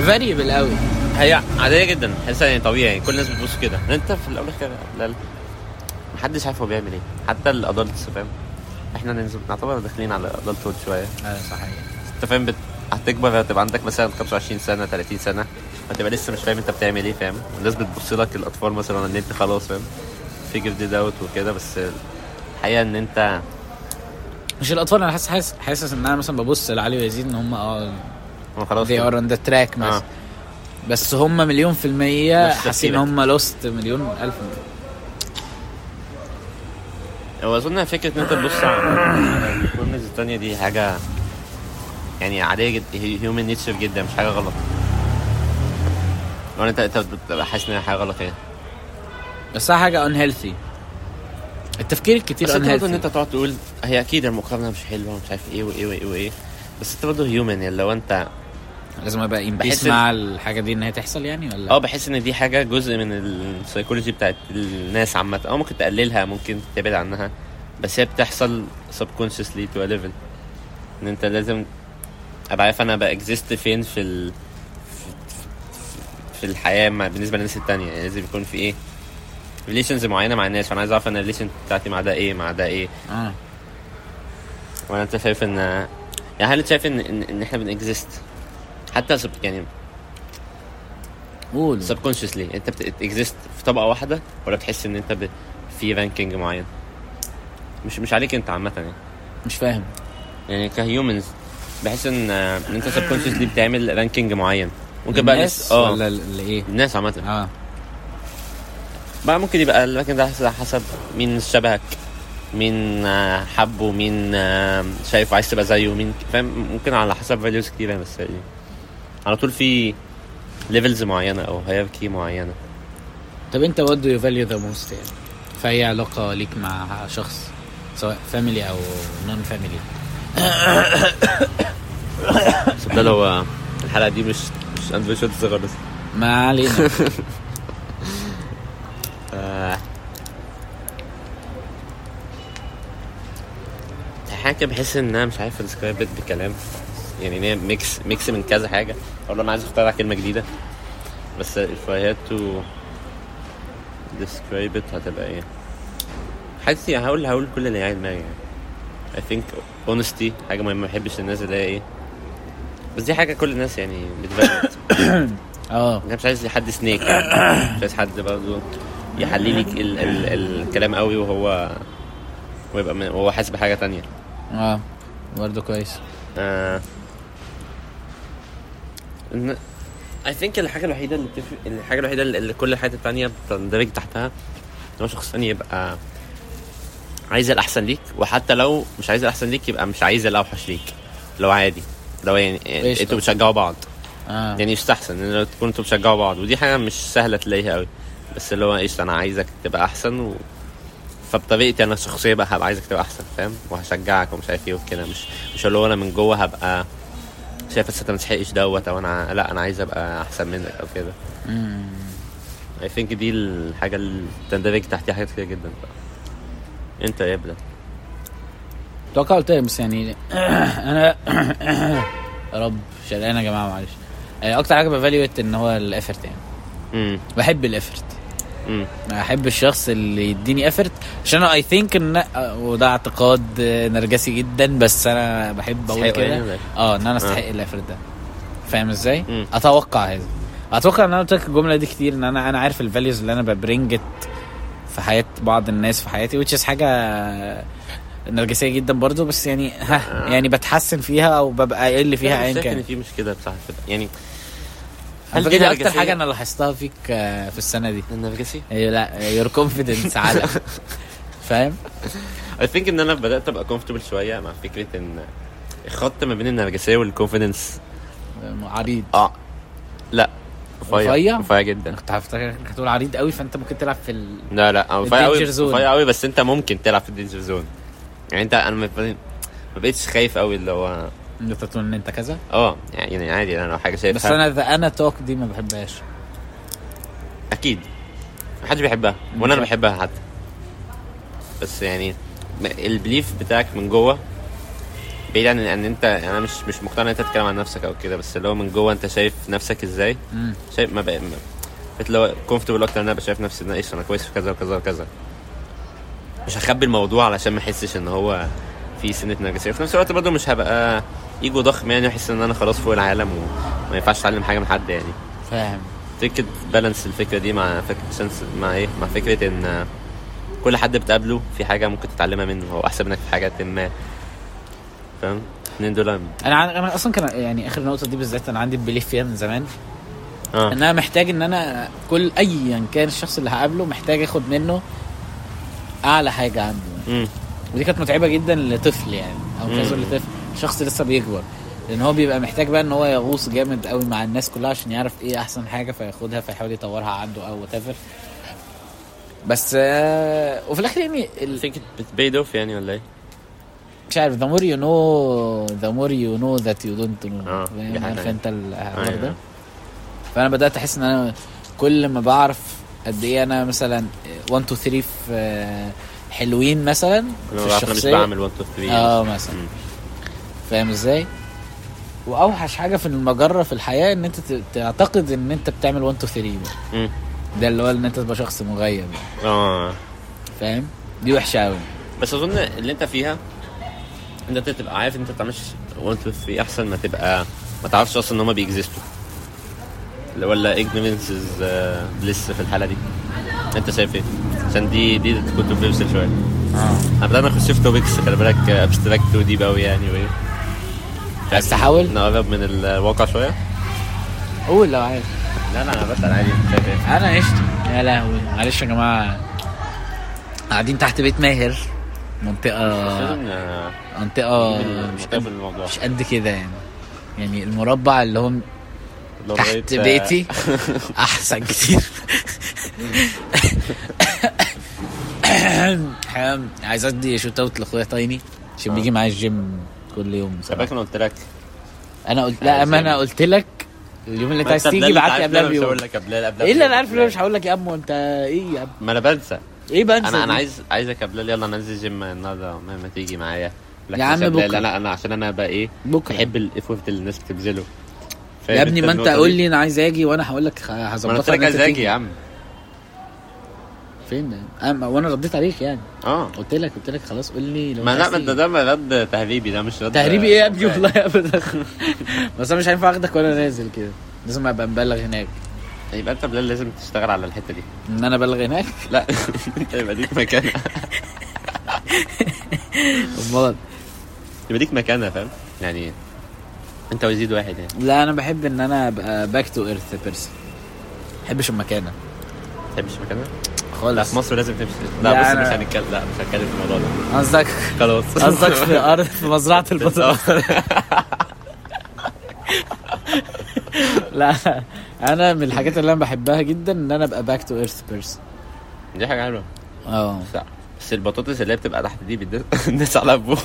B: فاريبل قوي
A: هي عاديه جدا حاسسها يعني طبيعي يعني كل الناس بتبص كده لأن انت في الاول كده لا لا محدش عارف هو بيعمل ايه حتى الادلتس فاهم احنا ننزل نعتبر داخلين على الادلتود شويه
B: اه صحيح
A: انت فاهم بت... هتكبر هتبقى عندك مثلا 25 سنه 30 سنه هتبقى لسه مش فاهم انت بتعمل ايه فاهم الناس بتبص لك الاطفال مثلا ان انت خلاص فاهم فيجر دي داوت وكده بس الحقيقه ان انت
B: مش الاطفال انا حاسس حاسس حاسس ان انا مثلا ببص لعلي ويزيد ان هم اه
A: هو خلاص
B: they
A: كده.
B: are on the track مثلا
A: آه.
B: بس هم مليون في المية
A: نفس
B: حاسين
A: تفكيرك.
B: هم لوست مليون ألف
A: هو اظن فكره ان انت تبص على على الكورنرز التانية دي حاجه يعني عاديه جدا هيومن نيتشر جدا مش حاجه غلط ولا انت انت بتبقى حاسس ان هي حاجه غلط ايه
B: بس هي حاجة unhealthy التفكير الكتير
A: بس انت برضه ان انت
B: unhealthy
A: تقعد تقول هي اكيد المقارنه مش حلوه ومش عارف ايه وايه وايه وايه بس انت برضه هيومن يعني لو انت
B: لازم ابقى in
A: بحس
B: peace
A: إن-
B: مع الحاجة دي ان هي تحصل يعني ولا
A: اه بحس ان دي حاجه جزء من السيكولوجي بتاعت الناس عامه اه ممكن تقللها ممكن تبعد عنها بس هي بتحصل subconsciously to a level ان انت لازم ابقى عارف انا باكزيست فين في ال... في الحياه مع بالنسبه للناس التانية يعني لازم يكون في ايه ريليشنز معينه مع الناس فانا عايز اعرف انا الريليشن بتاعتي مع ده ايه مع ده ايه
B: آه.
A: وانا انت شايف ان يعني هل انت شايف ان ان, إن احنا بنكزيست حتى sub- يعني
B: قول
A: سبكونشسلي انت بتكزيست في طبقه واحده ولا بتحس ان انت ب... في رانكينج معين مش مش عليك انت عامه يعني
B: مش فاهم
A: يعني كهيومنز بحس ان آه، ان انت سبكونشسلي بتعمل رانكينج معين ممكن بقى
B: الناس
A: ناس- اه
B: ولا ال- ال- ايه
A: الناس عامة
B: اه
A: بقى ممكن يبقى الرانكينج ده على حسب مين شبهك مين آه، حبه مين آه، شايف عايز تبقى زيه مين فاهم ممكن على حسب فاليوز كتير يعني بس يعني على طول في ليفلز معينة او هيراركي معينة
B: طب انت what do you value the most يعني في اي علاقه ليك مع شخص سواء فاميلي او نون فاميلي
A: بس ده لو آه، الحلقة دي مش مش اندرو شوتس خالص
B: ما علينا
A: آه. حاجة بحس ان انا مش عارف السكريبت بكلام يعني ان هي ميكس ميكس من كذا حاجة اقول انا عايز اخترع كلمة جديدة بس if I had to describe it هتبقى ايه حاسس يعني هقول هقول كل اللي قاعد دماغي يعني I think honesty حاجة مهمة ما بحبش الناس اللي هي ايه بس دي حاجة كل الناس يعني بتبقى
B: اه
A: انا مش عايز حد سنيك يعني. مش عايز حد برضه يحلي لي ال- ال- الكلام قوي وهو ويبقى من- وهو حاسس بحاجه تانية
B: اه برضه كويس
A: آه. إن- I think الحاجه الوحيده اللي بتفرق الحاجه الوحيده اللي اللي كل الحاجات التانية بتندرج تحتها ان هو شخص تاني يبقى عايز الاحسن ليك وحتى لو مش عايز الاحسن ليك يبقى مش عايز الاوحش ليك لو عادي لو يعني
B: قشطة.
A: انتوا بتشجعوا بعض
B: اه
A: يعني يستحسن ان لو تكونوا انتوا بتشجعوا بعض ودي حاجه مش سهله تلاقيها قوي بس اللي هو ايش انا عايزك تبقى احسن و... فبطريقتي انا الشخصيه بقى هبقى عايزك تبقى احسن فاهم وهشجعك ومش عارف ايه وكده مش مش اللي هو انا من جوه هبقى شايف بس انت ما تستحقش دوت او انا لا انا عايز ابقى احسن منك او كده
B: مم.
A: اي ثينك دي الحاجه اللي تندرج تحتها حاجات كتير جدا انت يا ابني
B: اتوقع قلت لك، بس يعني انا يا رب شرقان يا جماعه معلش آه، اكتر حاجه بفاليويت ان هو الافرت يعني
A: امم
B: بحب الافرت
A: امم
B: احب الشخص اللي يديني افرت عشان اي ثينك ان آه، وده اعتقاد آه، نرجسي جدا بس انا بحب اقول
A: تستحقه
B: كده
A: يعني؟
B: اه ان انا استحق الافرت ده فاهم ازاي
A: مم.
B: اتوقع هذا اتوقع ان انا قلت لك الجمله دي كتير ان انا انا عارف الفاليوز اللي انا ببرنجت في حياه بعض الناس في حياتي which is حاجه نرجسيه جدا برضو بس يعني
A: آه.
B: ها يعني بتحسن فيها او ببقى اقل فيها ايا
A: ان
B: كان
A: في مشكله بصراحه يعني
B: على
A: هل
B: فكرة
A: دي
B: دي اكتر
A: نرجسية؟
B: حاجه انا لاحظتها فيك آه، في السنه دي
A: النرجسي
B: أيوة، لا يور كونفيدنس على فاهم
A: اي ثينك ان انا بدات ابقى كومفورتبل شويه مع فكره ان الخط ما بين النرجسيه والكونفيدنس
B: عريض
A: اه لا
B: رفيع؟
A: رفيع رفيع جدا
B: كنت هفتكر انك هتقول عريض قوي فانت ممكن تلعب في ال...
A: لا لا أو رفيع قوي
B: الدينجر زون.
A: رفيع قوي بس انت ممكن تلعب في الدينجر زون يعني انت انا ما بقيت- ما بقتش خايف قوي اللي هو
B: انت تقول ان انت كذا
A: اه يعني عادي انا لو حاجه شايفها
B: بس انا ذا انا توك دي ما بحبهاش
A: اكيد محدش بيحبها وانا انا بحبها حتى بس يعني م- البليف بتاعك من جوه بعيد عن ان انت انا مش مش مقتنع ان انت تتكلم عن نفسك او كده بس اللي هو من جوه انت شايف نفسك ازاي
B: مم.
A: شايف ما بقى ما- بقيت اللي هو كومفورتبل اكتر ان انا بشايف نفسي ان أنا ايش انا كويس في كذا وكذا وكذا مش هخبي الموضوع علشان ما احسش ان هو في سنه نرجسيه وفي نفس الوقت برضه مش هبقى ايجو ضخم يعني احس ان انا خلاص فوق العالم وما ينفعش اتعلم حاجه من حد يعني
B: فاهم
A: فكرة بالانس الفكرة دي مع فكرة سنس مع ايه مع فكرة ان كل حد بتقابله في حاجة ممكن تتعلمها منه هو احسن منك في حاجات ما فاهم اتنين دولار
B: انا عن... انا اصلا كان يعني اخر نقطه دي بالذات انا عندي بليف فيها من زمان
A: اه
B: ان انا محتاج ان انا كل ايا كان الشخص اللي هقابله محتاج اخد منه اعلى حاجه عنده
A: امم
B: ودي كانت متعبه جدا لطفل يعني او
A: مم.
B: كذا لطفل شخص لسه بيكبر لان هو بيبقى محتاج بقى ان هو يغوص جامد قوي مع الناس كلها عشان يعرف ايه احسن حاجه فياخدها فيحاول يطورها عنده او whatever بس آه وفي الاخر يعني ال-
A: ثينك بتبيد اوف يعني ولا ايه؟
B: مش عارف the more you know the more you know that you don't know
A: آه،
B: فاهم؟
A: دي حاجة
B: عارف
A: يعني.
B: انت الحوار
A: أيوة.
B: ده فانا بدات احس ان انا كل ما بعرف قد ايه انا مثلا 1 2 3 في آه، حلوين مثلا
A: انا
B: في
A: بعرف انا مش
B: الشخصيه
A: بعمل 1 2 3
B: اه مثلا
A: مم.
B: آه، فاهم ازاي واوحش حاجه في المجره في الحياه ان انت ت- تعتقد ان انت بتعمل 1 2 3
A: مم.
B: ده اللي هو ان انت تبقى شخص مغيب يعني،
A: اه
B: فاهم دي وحشه قوي
A: بس اظن اللي انت فيها ان انت تبقى عارف ان انت بتعملش وانت في احسن ما تبقى ما تعرفش اصلا ان هما بيكزيستوا اللي ولا ignorance is uh, bliss في الحاله دي انت شايف ايه؟ عشان دي دي كنت بفصل شويه
B: آه.
A: انا بدأنا نخش في توبكس خلي بالك uh, ابستراكت وديب قوي يعني وايه
B: بس تحاول
A: نقرب من الواقع شويه
B: قول لو عايز
A: لا لا انا بسأل عادي انت شايف ايه؟
B: انا عشت يا لهوي معلش يا جماعه قاعدين تحت بيت ماهر منطقه
A: لازم، آه،
B: منطقه مش
A: المشكله
B: قد
A: بالموضوع
B: مش قد كده يعني يعني المربع اللي هو
A: لو
B: تحت
A: بقيت، آه،
B: بيتي احسن كتير حام، عايز ادي شوت اوت لاخويا تايني عشان بيجي معايا الجيم كل يوم
A: خلي بالك
B: بصراحه
A: انا قلت لك
B: انا قلت لا اما انا قلت لك اليوم اللي انت عايز تيجي بعت لي قبلها
A: مش
B: بيوم
A: هقول لك قبلها قبلها
B: ايه اللي
A: بيوم.
B: انا عارف ان انا مش هقول لك يا امو انت ايه يا اب
A: ما انا بنسى
B: ايه بنسى
A: انا انا
B: دي؟
A: عايز عايزك يا بلال يلا ننزل جيم النهارده ما, ما تيجي معايا لكن
B: يا عم
A: عشان بلال
B: بكرة.
A: انا انا عشان انا بقى ايه
B: بكره
A: بحب الافورت اللي الناس بتبذله فاهم
B: يا ابني
A: أنت
B: ما انت
A: النقطة
B: قول
A: دي؟
B: لي انا عايز اجي وانا هقول لك
A: ما انا
B: هظبطها
A: قلت لك
B: إن أنت
A: عايز اجي
B: تيجي.
A: يا عم
B: فين ده؟ أما- وانا رديت عليك يعني
A: اه
B: قلت لك قلت لك خلاص قول لي لو
A: ما
B: أنت
A: لا
B: عايز
A: ما انت
B: تيجي.
A: ده ما رد تهريبي ده مش رد
B: تهريبي ايه يا ابني والله ابدا بس انا مش هينفع اخدك وانا نازل كده لازم ابقى مبلغ هناك
A: يبقى انت بلال لازم تشتغل على الحته دي
B: ان انا ابلغ هناك
A: لا انت يبقى ليك مكانه
B: امال
A: يبقى ليك مكانه فاهم يعني انت وزيد واحد يعني
B: لا انا بحب ان انا ابقى باك تو ايرث بيرسون ما بحبش المكانه
A: ما تحبش مكانه؟ لا
B: خالص
A: في مصر لازم تمشي
B: لا،
A: لا بص
B: أنا-
A: مش هنتكلم لا مش هنتكلم في الموضوع ده
B: قصدك
A: خلاص
B: قصدك في ارض في مزرعه البطاطا لا انا من الحاجات اللي انا بحبها جدا ان انا ابقى باك تو ايرث بيرسون
A: دي حاجه حلوه
B: اه
A: بس- بس البطاطس اللي هي بتبقى تحت دي بتدس الناس على ابوها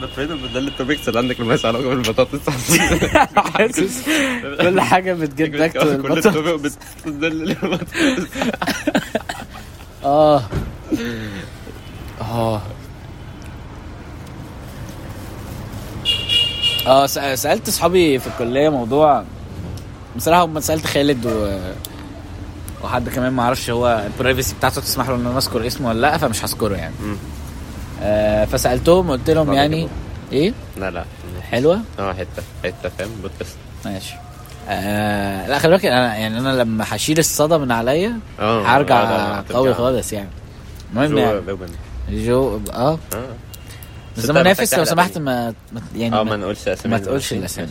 A: ده فين ده اللي التوبكس اللي عندك اللي مالهاش علاقه بالبطاطس
B: حاسس كل حاجه بتجيب باك تو
A: كل
B: البطاطا
A: التوبكس ده اللي
B: اه اه اه سأ- سالت اصحابي في الكليه موضوع بصراحه ما سالت خالد و وحد كمان ما اعرفش هو البرايفسي بتاعته تسمح له ان انا اذكر اسمه ولا لا فمش هذكره يعني
A: مم.
B: آه فسالتهم قلت لهم
A: طب
B: يعني
A: كده.
B: ايه
A: لا لا
B: حلوه
A: اه حته حته فاهم بودكاست
B: ماشي آه لا خلي بالك انا يعني انا لما هشيل الصدى من عليا
A: اه
B: هرجع قوي خالص يعني المهم يعني جو اه
A: اه
B: بس
A: بس انت
B: ده منافس
A: محتاج
B: لو
A: تعلق
B: سمحت
A: بيه.
B: ما ما- يعني
A: اه ما
B: ما,
A: نقولش اسامي
B: ما تقولش الاسامي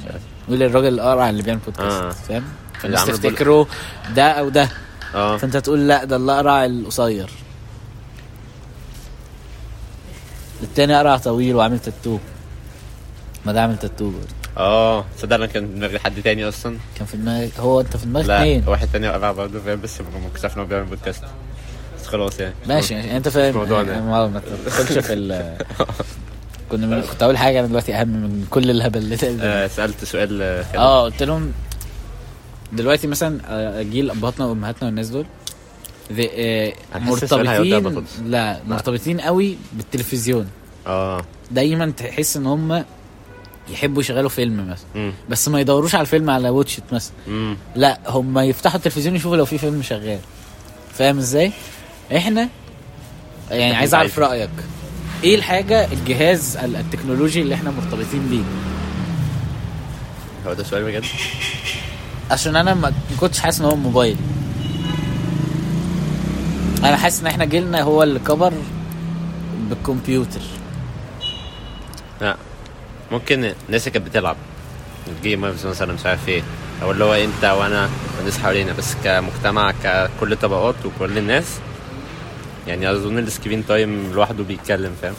B: قول الراجل القارع اللي بيعمل بودكاست
A: آه.
B: فاهم
A: اللي
B: الناس
A: عمل بول-
B: تفتكره ده او ده
A: اه
B: فانت تقول لا ده اللي قرع القصير التاني قرع طويل وعامل تاتو ما ده عامل تاتو برضه.
A: اه تصدق انا كان في دماغي حد تاني اصلا
B: كان في دماغك هو انت في دماغك
A: لا
B: اتنين
A: واحد تاني وقع برضه فاهم بس مكتشف ان هو بيعمل بودكاست بس خلاص يعني
B: ماشي ماشي انت فاهم
A: الموضوع ده.
B: آه، ما ما تدخلش في ال كنا من... كنت اقول حاجه انا دلوقتي اهم من كل الهبل اللي اتقال ده.
A: آه، سالت سؤال آه، كده.
B: اه قلت لهم دلوقتي مثلا آه، جيل ابهاتنا وامهاتنا والناس دول ذي- آه،
A: أنا حاسس السؤال هيوديها
B: مرتبطين
A: بطاطس.
B: لا مرتبطين قوي بالتلفزيون
A: اه
B: دايما تحس ان هم يحبوا يشغلوا فيلم مثلا
A: امم
B: بس ما يدوروش على الفيلم على واتشت مثلا
A: امم
B: لا هم يفتحوا التلفزيون يشوفوا لو في فيلم شغال فاهم ازاي احنا يعني عايز اعرف رايك ايه الحاجه الجهاز ال- التكنولوجي اللي احنا مرتبطين بيه
A: هو ده سؤال بجد
B: عشان انا ما كنتش حاسس ان هو موبايل انا حاسس ان احنا جيلنا هو اللي كبر بالكمبيوتر
A: لا ممكن الناس اللي كانت بتلعب الجيمرز مثلا مش عارف ايه او اللي هو انت وانا والناس حوالينا بس كمجتمع ككل طبقات وكل الناس يعني اظن السكرين تايم لوحده بيتكلم فاهم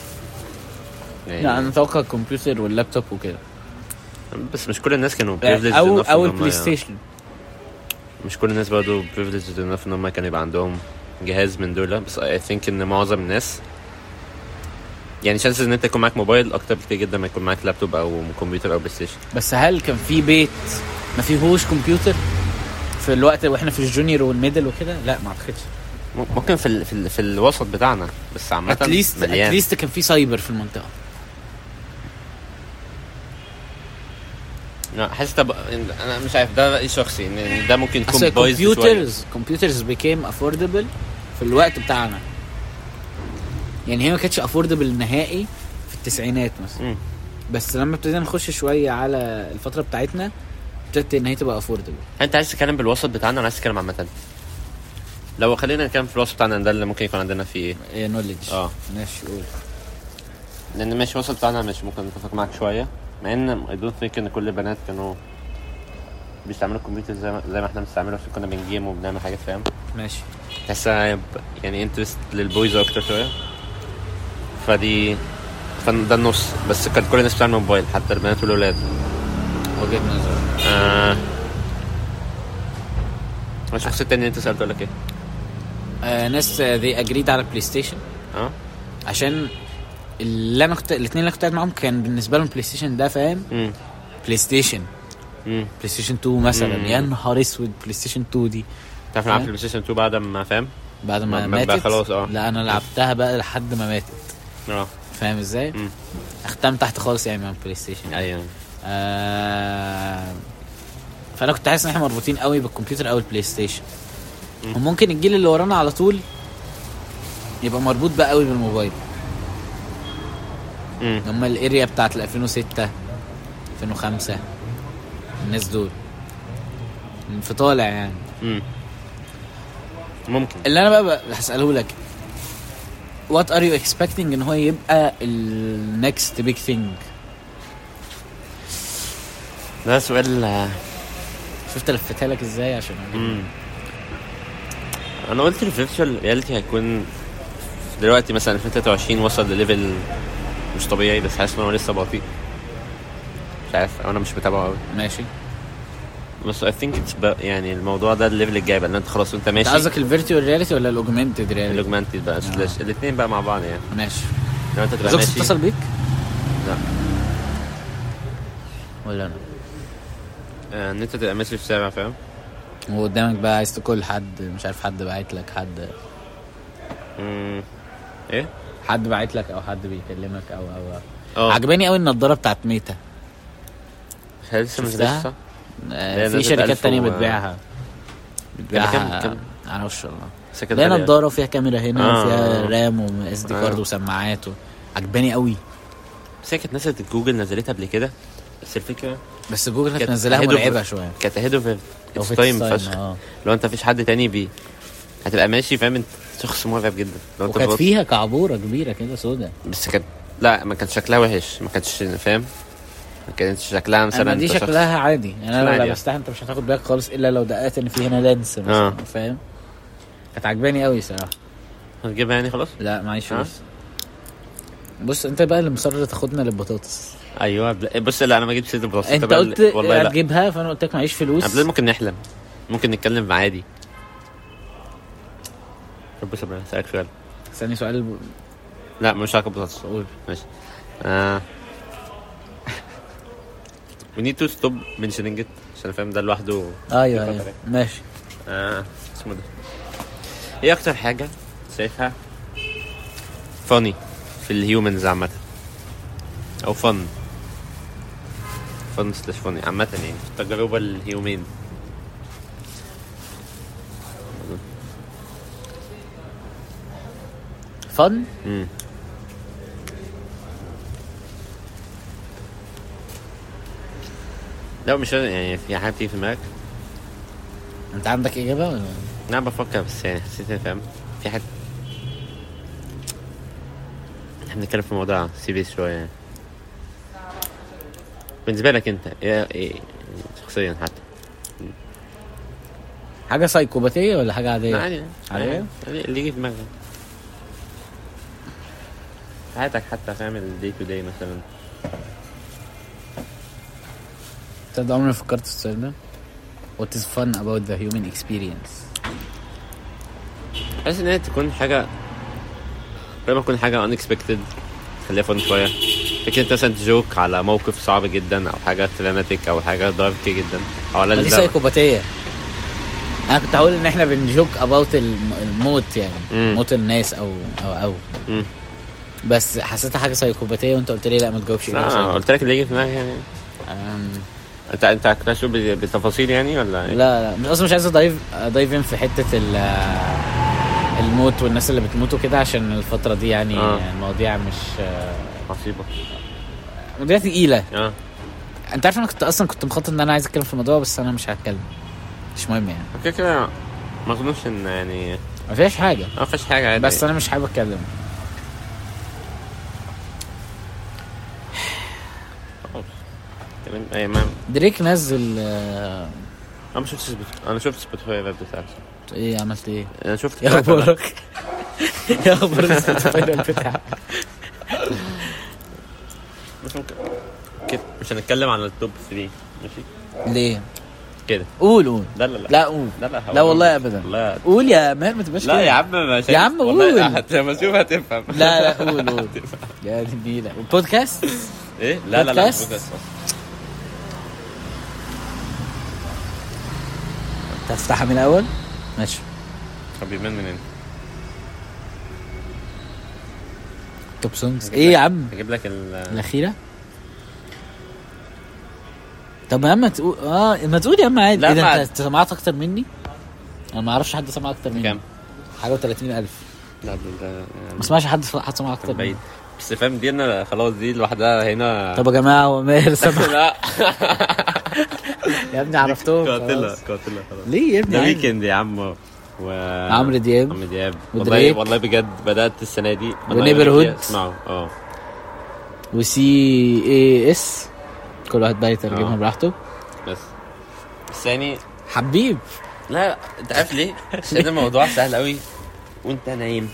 A: يعني
B: لا يعني انا اتوقع الكمبيوتر واللابتوب وكده
A: بس مش كل الناس كانوا privileged
B: او
A: enough إن
B: او
A: هم-
B: البلاي ستيشن
A: مش كل الناس برضه privileged enough ان هم كانوا يبقى عندهم جهاز من دول بس اي ثينك ان معظم الناس يعني شانسز ان انت يكون معاك موبايل اكتر بكتير جدا ما يكون معاك لابتوب او كمبيوتر او بلاي ستيشن
B: بس هل كان في بيت ما فيهوش كمبيوتر في الوقت واحنا في الجونيور والميدل وكده لا ما اعتقدش
A: م- ممكن في ال... في, ال... في الوسط بتاعنا بس عامة
B: اتليست
A: مليان
B: اتليست كان في سايبر في المنطقه
A: لا، حاسس طب انا مش عارف ده رأيي شخصي ان ده ممكن يكون
B: اصل
A: بايظ شوية.
B: الكمبيوترز كمبيوترز بيكيم افوردبل في الوقت بتاعنا يعني هي ما كانتش افوردبل نهائي في التسعينات مثلا
A: مم.
B: بس لما ابتدينا نخش شويه على الفتره بتاعتنا ابتدت ان هي تبقى افوردبل
A: انت عايز تتكلم بالوسط بتاعنا ولا عايز تتكلم عامة؟ لو خلينا نتكلم في الوسط بتاعنا ده اللي ممكن يكون عندنا فيه ايه؟
B: هي نولج
A: اه.
B: آه، ماشي قول
A: لان ماشي الوسط بتاعنا مش ممكن نتفق معاك شوية مع ان I don't think ان كل البنات كانوا بيستعملوا الكمبيوتر زي ما, زي ما احنا بنستعمله عشان كنا بنجيم وبنعمل حاجات فاهم؟
B: ماشي
A: تحسها يب- يعني انترست للبويز اكتر شوية فدي فده النص بس كان كل الناس بتعمل موبايل حتى البنات والولاد
B: وجهه نظر
A: آه. الشخص التاني اللي انت سألته قال لك ايه؟
B: آه ناس ذي اجريد على بلاي ستيشن
A: اه؟
B: عشان اللي انا كنت الاثنين اللي أنا كنت قاعد معاهم كان بالنسبه لهم بلاي ستيشن ده فاهم
A: امم
B: بلاي ستيشن
A: امم
B: بلاي ستيشن 2 مثلا
A: مم.
B: يا نهار اسود بلاي ستيشن 2 دي
A: تعرف
B: فاهم؟
A: لعبت البلاي ستيشن 2 بعد ما فاهم؟
B: بعد ما,
A: ما- ما-
B: ماتت
A: بقى خلاص، آه.
B: لا انا لعبتها بقى لحد ما ماتت
A: اه
B: فاهم ازاي؟
A: مم.
B: اختم تحت خالص يعني من بلاي ستيشن
A: ايوه
B: آه... فانا كنت حاسس ان احنا مربوطين قوي بالكمبيوتر او البلاي ستيشن وممكن الجيل اللي ورانا على طول يبقى مربوط بقى قوي بالموبايل
A: امم
B: هم الاريا بتاعت ال 2006 2005 الناس دول في طالع يعني
A: امم ممكن
B: اللي انا بقى, بقى هساله لك وات ار يو اكسبكتنج ان هو يبقى النكست بيج ثينج
A: ده سؤال آه،
B: شفت لفتها لك ازاي عشان
A: امم انا قلت الفيرتشوال رياليتي هيكون دلوقتي مثلا 2023 وصل لليفل مش طبيعي بس حاسس ان هو لسه بطيء مش عارف انا مش متابعه قوي
B: ماشي
A: بس اي ثينك يعني الموضوع ده الليفل الجاي بقى ان انت خلاص انت
B: انت
A: ماشي
B: قصدك الفيرتوال رياليتي ولا الاوجمانتد رياليتي
A: الاوجمانتد بقى سلاش الاثنين بقى مع بعض يعني
B: ماشي
A: لو انت تبقى
B: زوجك
A: ماشي
B: آه. اتصل بيك
A: لا
B: ولا انا
A: آه، ان انت تبقى ماشي في الشارع فاهم
B: وقدامك بقى عايز تكل حد مش عارف حد بعت لك حد
A: امم ايه
B: حد بعت لك او حد بيكلمك او او أو.
A: اه
B: عجباني قوي النضاره بتاعت ميتا
A: مش لسه مش
B: شفتها؟
A: لسه
B: آه
A: هي
B: في
A: نزلت
B: شركات
A: 1000
B: تانية
A: و-
B: بتبيعها
A: كام-
B: بتبيعها
A: كام؟
B: على وش الله
A: سكت
B: لا نضاره فيها كاميرا هنا
A: آه.
B: وفيها رام واس دي
A: آه.
B: كارد وسماعات و- عجباني قوي
A: بس هي كانت نزلت جوجل نزلتها قبل كده بس الفكره
B: بس جوجل كانت
A: كانت
B: نزلها
A: هيدو-
B: مرعبه شويه
A: كانت اهيد اوف
B: لو في
A: تايم
B: تايم،
A: فشخ
B: آه.
A: لو انت مفيش حد تاني بي هتبقى ماشي فاهم انت شخص مرعب جدا لو انت
B: وكانت
A: بط-
B: فيها كعبوره كبيره كده سودا
A: بس كانت لا ما كانش شكلها وحش ما كانتش فاهم ما كانتش شكلها مثلا
B: انا دي
A: انت شخص-
B: شكلها عادي يعني
A: شكلها
B: انا لو
A: عادي.
B: لبستها انت مش هتاخد بالك خالص الا لو دققت ان في هنا لينس مثلا
A: آه.
B: فاهم كانت عجباني قوي صراحه
A: هتجيبها يعني خلاص
B: لا معيش
A: آه.
B: فلوس بص انت بقى اللي مصر تاخدنا للبطاطس
A: ايوه بل- بص لا انا ما جبت سيره البلاستيك
B: انت
A: بقى
B: قلت
A: اللي- والله لا
B: هتجيبها فانا قلت لك معيش فلوس
A: قبل ممكن نحلم ممكن نتكلم عادي طب بص بقى اسالك سؤال
B: ثاني سؤال ب-
A: لا مش علاقه بالبطاطس
B: قول
A: ماشي آه. we need to stop mentioning it عشان فاهم ده لوحده
B: ايوه
A: فترة.
B: ايوه ماشي
A: آه. اسمه ده ايه اكتر حاجة شايفها funny في الهيومنز عامة او fun fun slash funny عامة يعني في التجربة الهيومين
B: فن
A: مم. لا مش أنا، يعني في حاجة بتيجي في دماغك
B: انت عندك اجابه ولا
A: انا بفكر بس يعني حسيت إن فاهم في حاجة احنا بنتكلم في موضوع سيريس شوية يعني. بالنسبة لك انت ايه ايه شخصيا حتى
B: حاجه سايكوباتيه ولا حاجه
A: لا،
B: عاديه
A: عادي
B: عادي؟
A: عادي، اللي يجي في دماغك في حياتك حتى فاهم الدي تو داي مثلا
B: تصدق عمري ما فكرت في السؤال ده What is fun about the human experience
A: بحس ان هي تكون حاجه لما تكون حاجه unexpected خليها فن شويه فكرة انت مثلا تجوك على موقف صعب جدا او حاجه دراماتيك او حاجه دارك جدا او على
B: ما دي
A: الاقل ده-
B: سايكوباتيه انا كنت هقول ان احنا بنجوك اباوت الموت يعني
A: مم.
B: موت الناس او او او
A: مم.
B: بس حسيتها حاجه سايكوباتيه وانت قلت لي لا ما تجاوبش
A: لا أنا آه، قلت لك اللي يجي في دماغي يعني
B: أم،
A: انت انت هتناقشه ب- بتفاصيل يعني ولا ايه؟
B: لا لا مش اصلا مش عايز ادايف دايفين في حته ال الموت والناس اللي بتموت وكده عشان الفتره دي يعني
A: آه.
B: المواضيع مش
A: مصيبه
B: مواضيع تقيله
A: اه
B: انت عارف انا كنت اصلا كنت مخطط ان انا عايز اتكلم في الموضوع بس انا مش هتكلم مش مهم يعني
A: كده كده ما اظنش ان يعني
B: ما فيهاش حاجه
A: ما فيش حاجه عادي
B: بس انا مش حابب اتكلم
A: تمام اي ما
B: دريك نزل آه،
A: انا ما شفتش سبوت- انا شفت سبوتيفاي راب بتاعته
B: ايه عملت ايه
A: انا شفت
B: يا اخبارك يا اخبار السبوتيفاي إيه بتاعك
A: مش ممكن كده مش هنتكلم عن التوب 3 ماشي
B: ليه
A: كده
B: قول قول
A: لا لا لا
B: لا قول
A: لا لا
B: لا
A: هو-
C: والله
B: والله
C: أبداً.
B: ابدا
A: لا
B: قول يا ماهر ما تبقاش
A: لا
B: كده.
A: يا عم مش
B: يا عم قول.
A: والله هت- لما اشوف هتفهم
B: لا لا قول قول يا دي النيلة البودكاست
A: ايه لا لا لا
B: بودكاست؟
A: بودكاست.
B: انت هتفتحها من الاول ماشي
A: طب يبان منين؟
B: توب سونجز ايه يا عم
A: هجيب لك ال
B: الاخيره طب يا عم تقول اه ما تقول يا عم عادي
A: لا،
B: ايه ده
A: ما-
B: انت سمعت اكتر مني انا ما اعرفش حد سمع اكتر مني
A: كام؟
B: حاجه و30000 الف
A: لا ده- ده-
B: ما اسمعش حد حد سمع اكتر
A: ده بعيد
B: مني
A: بس فاهم دي انا خلاص دي لوحدها هنا
B: طب يا جماعه هو ماهر سمع
A: لا
B: يا ابني عرفتهم
A: قاتله
B: خلاص.
A: قاتله خلاص
B: ليه يا ابني
A: ده
B: عادي؟
A: ويكند يا عم و
B: عمرو دياب
A: عمرو دياب والله
B: ودريك.
A: والله بجد بدات السنه دي والله
B: ونeighborhood.
A: بدأت اسمعه اه
B: وسي اي اس كل واحد بقى يترجمها
A: آه.
B: براحته
A: بس بس يعني
B: حبيب
A: لا لا، انت عارف ليه؟ عشان الموضوع سهل قوي وانت نايم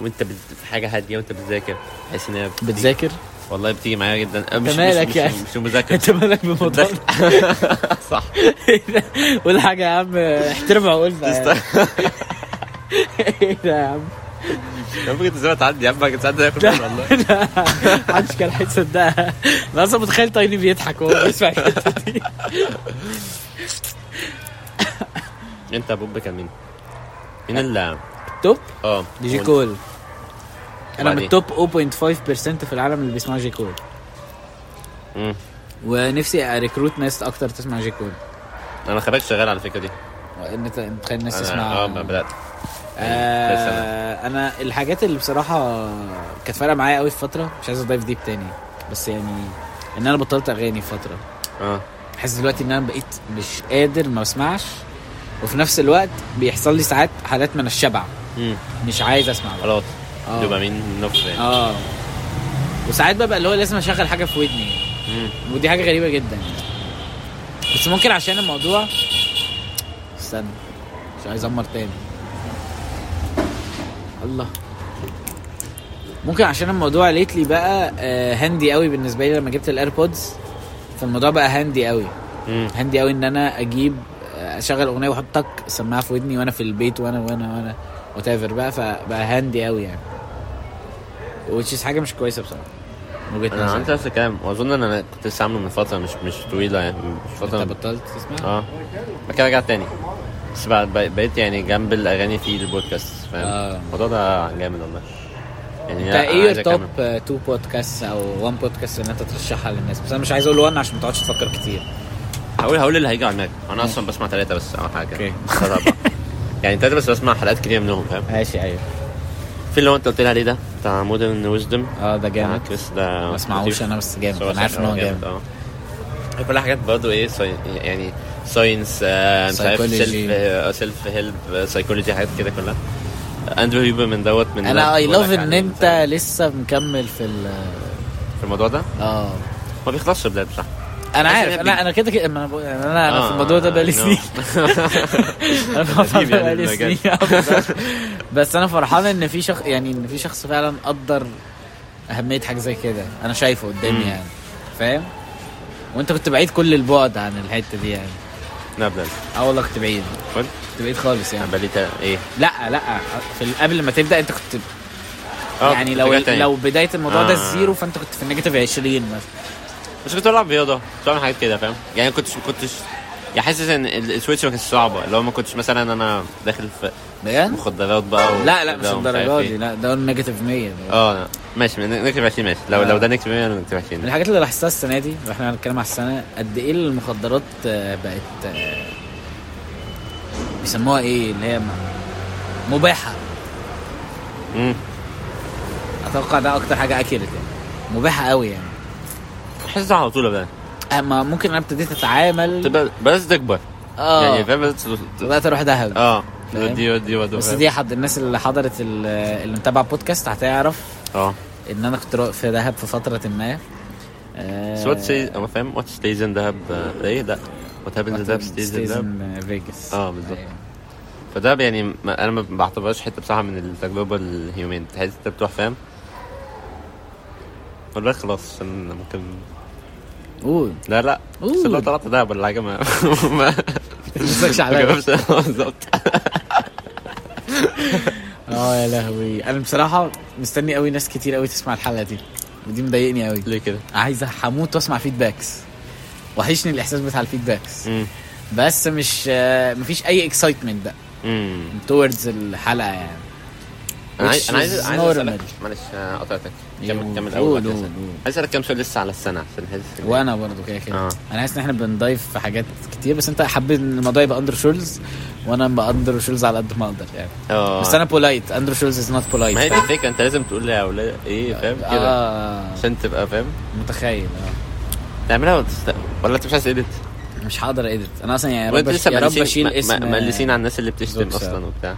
A: وانت بت- في حاجه هاديه وانت بتذاكر تحس ان هي بت-
B: بتذاكر
A: والله بتيجي معايا جدا أنا مش
B: انت مالك
A: مش
B: يعني؟
A: مش, مش مذاكره
B: انت مالك بالموضوع ده؟
A: صح
B: قول حاجه يا عم احترم عقولنا يعني. ايه ده يا عم
A: كان ممكن تسيبها تعدي يا عم كنت ساعات هياخد بالي والله
B: محدش كان هيصدقها انا اصلا متخيل تايني بيضحك وهو بيسمع الحته دي
A: انت يا بوب كان مين؟ مين اللي
B: توب
A: اه
B: دي جي
A: هو-
B: كول انا من
A: وبعدين؟
B: التوب 0.5% في العالم اللي بيسمعوا جي كول
A: مم.
B: ونفسي اريكروت ناس اكتر تسمع جي كول
A: انا خرجت شغال على الفكره دي
B: انت متخيل الناس
A: أنا-
B: تسمع
A: اه ما بدات
B: آه،
A: بس أنا-
B: انا الحاجات اللي بصراحه كانت فارقه معايا قوي في فتره مش عايز اضيف ديب تاني بس يعني ان انا بطلت اغاني في فتره
A: اه
B: حاسس دلوقتي ان انا بقيت مش قادر ما اسمعش وفي نفس الوقت بيحصل لي ساعات حالات من الشبع
A: مم.
B: مش عايز اسمع بقى
A: خلاص
B: آه.
A: دوبامين نفس يعني
B: اه وساعات ببقى اللي هو لازم اشغل حاجه في ودني
A: مم.
B: ودي حاجه غريبه جدا يعني. بس ممكن عشان الموضوع استنى مش عايز امر تاني الله ممكن عشان الموضوع ليتلي بقى آه، هاندي قوي بالنسبه لي لما جبت الايربودز فالموضوع بقى هاندي قوي
A: مم.
B: هاندي قوي ان انا اجيب آه، اشغل اغنيه واحط تك سماعه في ودني وانا في البيت وانا وانا وانا وات بقى فبقى هاندي قوي يعني which is حاجه مش كويسه بصراحه من وجهه
A: انا عملت
B: نظري
A: نفس الكلام واظن ان انا كنت لسه عامله من فتره مش مش طويله يعني مش فتره
B: انت بطلت تسمع؟
A: اه بعد كده رجعت تاني بس بعد بق- بقيت يعني جنب الاغاني في البودكاست فاهم
B: آه.
A: الموضوع ده جامد والله يعني
B: انت
A: أنا
B: ايه
A: عايز
B: التوب
A: أكمل.
B: 2 بودكاست او 1 بودكاست ان انت ترشحها للناس بس انا مش عايز اقول 1 عشان ما تقعدش تفكر كتير
A: هقول هقول اللي هيجي على دماغي انا اصلا بسمع ثلاثه بس او حاجه
B: أوكي.
A: ثلاثة أربعة. يعني ثلاثه بس بسمع حلقات كتير منهم فاهم
B: ماشي ايوه
A: في اللي هو انت قلت لي عليه ده بتاع مودرن ويزدم
B: اه ده جامد
A: كريس ده
B: ما اسمعهوش
A: لطيف.
B: انا بس جامد
A: هو
B: انا عارف ان هو جامد
A: اه كلها حاجات برضه ايه ساي... يعني ساينس آه مش عارف آه،
B: Psychology.
A: سيلف سيلف هيلب سايكولوجي حاجات كده كلها اندرو هيوبر من دوت من اللي
B: انا اي
A: بقول
B: لاف
A: لك
B: ان
A: عليه
B: انت لسه مكمل في ال
A: في الموضوع ده
B: اه
A: ما بيخلصش بلاد صح
B: انا
A: عشان
B: عارف
A: هي
B: انا
A: بي-
B: انا كده كده ما انا بقول- يعني انا انا في
A: آه،
B: الموضوع ده بقالي
A: I know.
B: سنين انا في الموضوع
A: قديم
B: ده
A: يعني
B: بقالي
A: المجال.
B: سنين آه، بس انا فرحان ان في شخص يعني ان في شخص فعلا قدر اهميه حاجه زي كده انا شايفه قدامي
A: مم.
B: يعني فاهم وانت كنت بعيد كل البعد عن الحته دي يعني
A: لا بلاد
B: اه والله كنت بعيد
A: قول
B: كنت بعيد خالص يعني
A: بقالي تا- ايه
B: لا لا في ال- قبل ما تبدا انت كنت
A: آه،
B: يعني لو
A: رجعت تاني.
B: لو بدايه الموضوع ده
A: آه.
B: الزيرو فانت كنت في النيجاتيف 20 مثلا
A: بس كنت بلعب رياضه كنت بعمل حاجات كده فاهم يعني كنتش ما كنتش يعني حاسس ان ال- السويتش ما كانتش صعبه لو ما كنتش مثلا انا داخل في
B: بجد؟
A: مخدرات بقى و-
B: لا لا مش
A: ده ومش عارف
B: الدرجات
A: إيه.
B: دي لا ده نيجاتيف 100 ده.
A: اه ماشي من- نكتب 20 ماشي لو
B: آه.
A: لو ده نكتب 100 انا نكتب
B: من
A: 20
B: الحاجات اللي لاحظتها السنه دي واحنا هنتكلم على السنه قد ايه المخدرات آه، بقت آه، بيسموها ايه اللي هي م- مباحه
A: امم
B: اتوقع ده اكتر حاجه اكيرت يعني مباحه قوي يعني
A: حاسس على طول بقى
B: اما ممكن انا ابتديت اتعامل
A: تبقى بس تكبر يعني
B: اه
A: فاهم بس ت-
B: بدات اروح دهب
A: اه
B: فاهم؟
A: ودي ودي ودي
B: بس
A: فاهم؟
B: دي حد الناس اللي حضرت ال- اللي متابعه البودكاست هتعرف
A: اه
B: ان انا كنت را- في دهب في فتره ما آه،
A: بس وات سيز انا فاهم وات ستيز ان دهب ايه لا وات هابنز ان دهب ستيز ان دهب
B: فيجاس أيوة.
A: اه بالظبط فده يعني ما انا ما بعتبرهاش حته بصراحه من التجربه الهيومين تحس انت بتروح فاهم والله خلاص عشان ممكن
B: قول
A: لا لا بس لو
B: قول.
A: طلعت دهب ولا حاجه ما ما
B: متمسكش
A: ما
B: عليا
A: جربش. بالظبط
B: اه يا لهوي انا بصراحه مستني قوي ناس كتير قوي تسمع الحلقه دي ودي مضايقني قوي
A: ليه كده؟
B: عايز هموت واسمع فيدباكس وحشني الاحساس بتاع الفيدباكس
A: امم
B: بس مش آه، مفيش اي اكسايتمنت بقى
A: امم
B: توردز الحلقه يعني
A: انا
B: Which
A: عايز انا عايز
B: is
A: عايز اسالك
B: normal.
A: معلش آه، قطعتك كمل
B: يو-
A: كمل
B: قول-
A: اول واحد
B: قول-
A: أسأل.
B: قول.
A: عايز اسالك كام سؤال لسه على السنه عشان حاسس إن-
B: وانا برضو كده كده
A: آه.
B: انا حاسس ان احنا بنضيف في حاجات كتير بس انت حبيت ان الموضوع يبقى اندر شولز وانا باندر شولز على قد ما اقدر يعني
A: اه
B: بس انا بولايت اندر شولز از نوت بولايت
A: ما هي دي الفكره انت لازم تقول لاولاد ايه فاهم كده
B: اه
A: عشان تبقى فاهم
B: متخيل آه.
A: تعملها ولا تست- ولا انت مش عايز اديت
B: مش هقدر اديت انا اصلا يعني يا
A: وانت
B: رب أش-
A: لسه
B: يا رب
A: مقلسين-
B: اشيل
A: م- م-
B: اسم
A: مقلسين على الناس اللي بتشتم
B: زوكس،
A: اصلا
B: آه.
A: وبتاع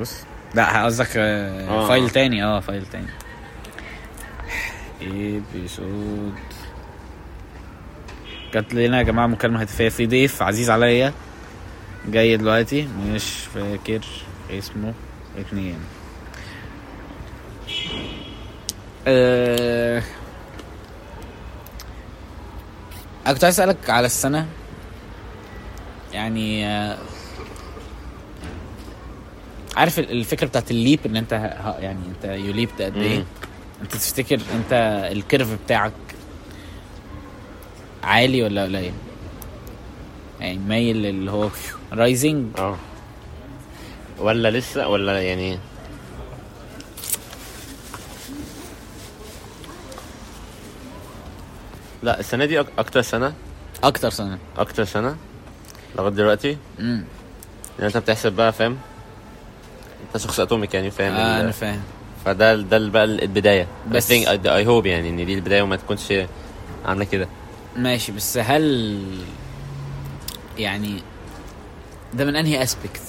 B: بص لا قصدك آه،
A: آه.
B: فايل تاني اه فايل تاني ايبيسود جات لنا يا جماعه مكالمه هاتفيه في ضيف عزيز عليا جاي دلوقتي مش فاكر اسمه اتنين أه... انا كنت عايز اسالك على السنه يعني آه، عارف ال- الفكره بتاعت الليب ان انت ه- ه- يعني انت يليب ده قد ايه
A: مم.
B: انت تفتكر انت الكيرف بتاعك عالي ولا قليل يعني مايل اللي هو رايزنج
A: اه ولا لسه ولا يعني لا السنه دي أك- اكتر سنه
B: اكتر سنه
A: اكتر سنه لغايه دلوقتي
B: امم
A: لان انت بتحسب بقى فاهم انت شخص اتوميك يعني فاهم
B: آه
A: ال-
B: انا فاهم
A: فده ده ال- بقى البدايه
B: بس-
A: بس اي هوب يعني ان دي البدايه وما تكونش عامله كده
B: ماشي بس هل يعني ده من انهي اسبكت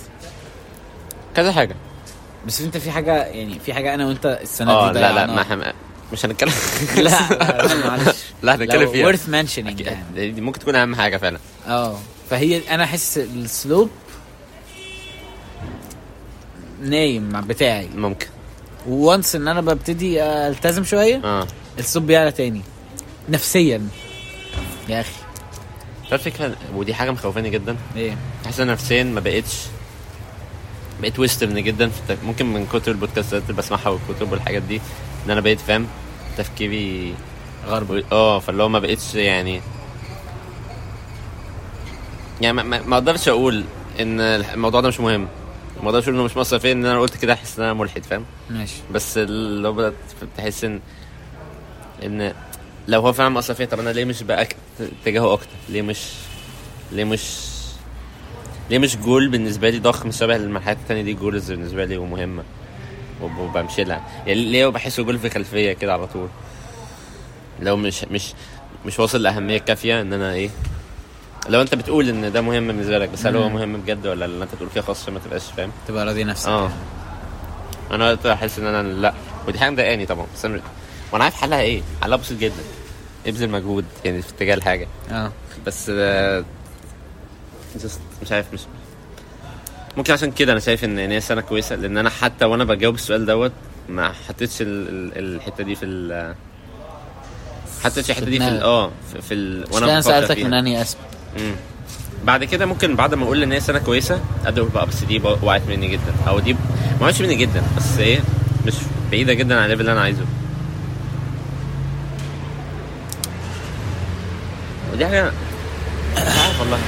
A: كذا حاجه
B: بس انت في حاجه يعني في حاجه انا وانت السنه
A: اه
B: دي
A: لا لا
B: ضيعناها.
A: ما حم... مش هنتكلم
B: لا معلش
A: لا هنتكلم فيها
B: ورث منشنينج يعني
A: دي ممكن تكون اهم حاجه فعلا
B: اه فهي انا حاسس السلوب نايم بتاعي
A: ممكن
B: وانس ان انا ببتدي التزم شويه
A: اه
B: السلوب بيعلى تاني نفسيا يا اخي
A: تعرف الفكره ودي حاجه مخوفاني جدا
B: ايه
A: حاسس انا نفسيا ما بقتش بقيت ويسترن جدا في التف... ممكن من كتر البودكاستات اللي بسمعها والكتب والحاجات دي ان انا بقيت فاهم تفكيري
B: غرب
A: اه فاللي هو ما بقتش يعني يعني ما- ما ما اقدرش اقول ان الموضوع ده مش مهم ما اقدرش اقول انه مش مصرفي ان انا قلت كده احس ان انا ملحد فاهم
B: ماشي
A: بس لو بدات تحس ان ان لو هو فعلا مقصر فيا طب انا ليه مش بأكت اتجاهه اكتر ليه مش ليه مش ليه مش جول بالنسبه لي ضخم شبه المرحلات التانية دي جولز بالنسبه لي ومهمه وب- وبمشي لها يعني ليه بحسه جول في خلفيه كده على طول لو مش مش مش واصل الاهميه الكافيه ان انا ايه لو انت بتقول ان ده مهم بالنسبه لك بس هل هو مهم بجد ولا اللي انت بتقول فيه خاص ما تبقاش فاهم
B: تبقى راضي نفسك
A: اه انا وقت احس ان انا لا ودي حاجه مضايقاني طبعا بس انا وانا عارف حلها ايه حلها بسيط جدا ابذل مجهود يعني في اتجاه الحاجه
B: اه
A: بس آه، just مش عارف مش ممكن عشان كده انا شايف ان إن هي سنه كويسه لان انا حتى وانا بجاوب السؤال دوت ما حطيتش ال- ال- الحته دي في ال حطيتش الحته دي في ال-
B: دماغك.
A: اه في, في ال...
B: وانا انا
A: بفكر
B: سالتك
A: فيها.
B: من انهي اسب
A: مم. بعد كده ممكن بعد ما اقول ان هي سنه كويسه ابدا أقول بقى بس دي بق- وقعت مني جدا او دي ب- ما وقعتش مني جدا بس ايه مش بعيده جدا عن الليفل اللي انا عايزه ودي حاجه عارف والله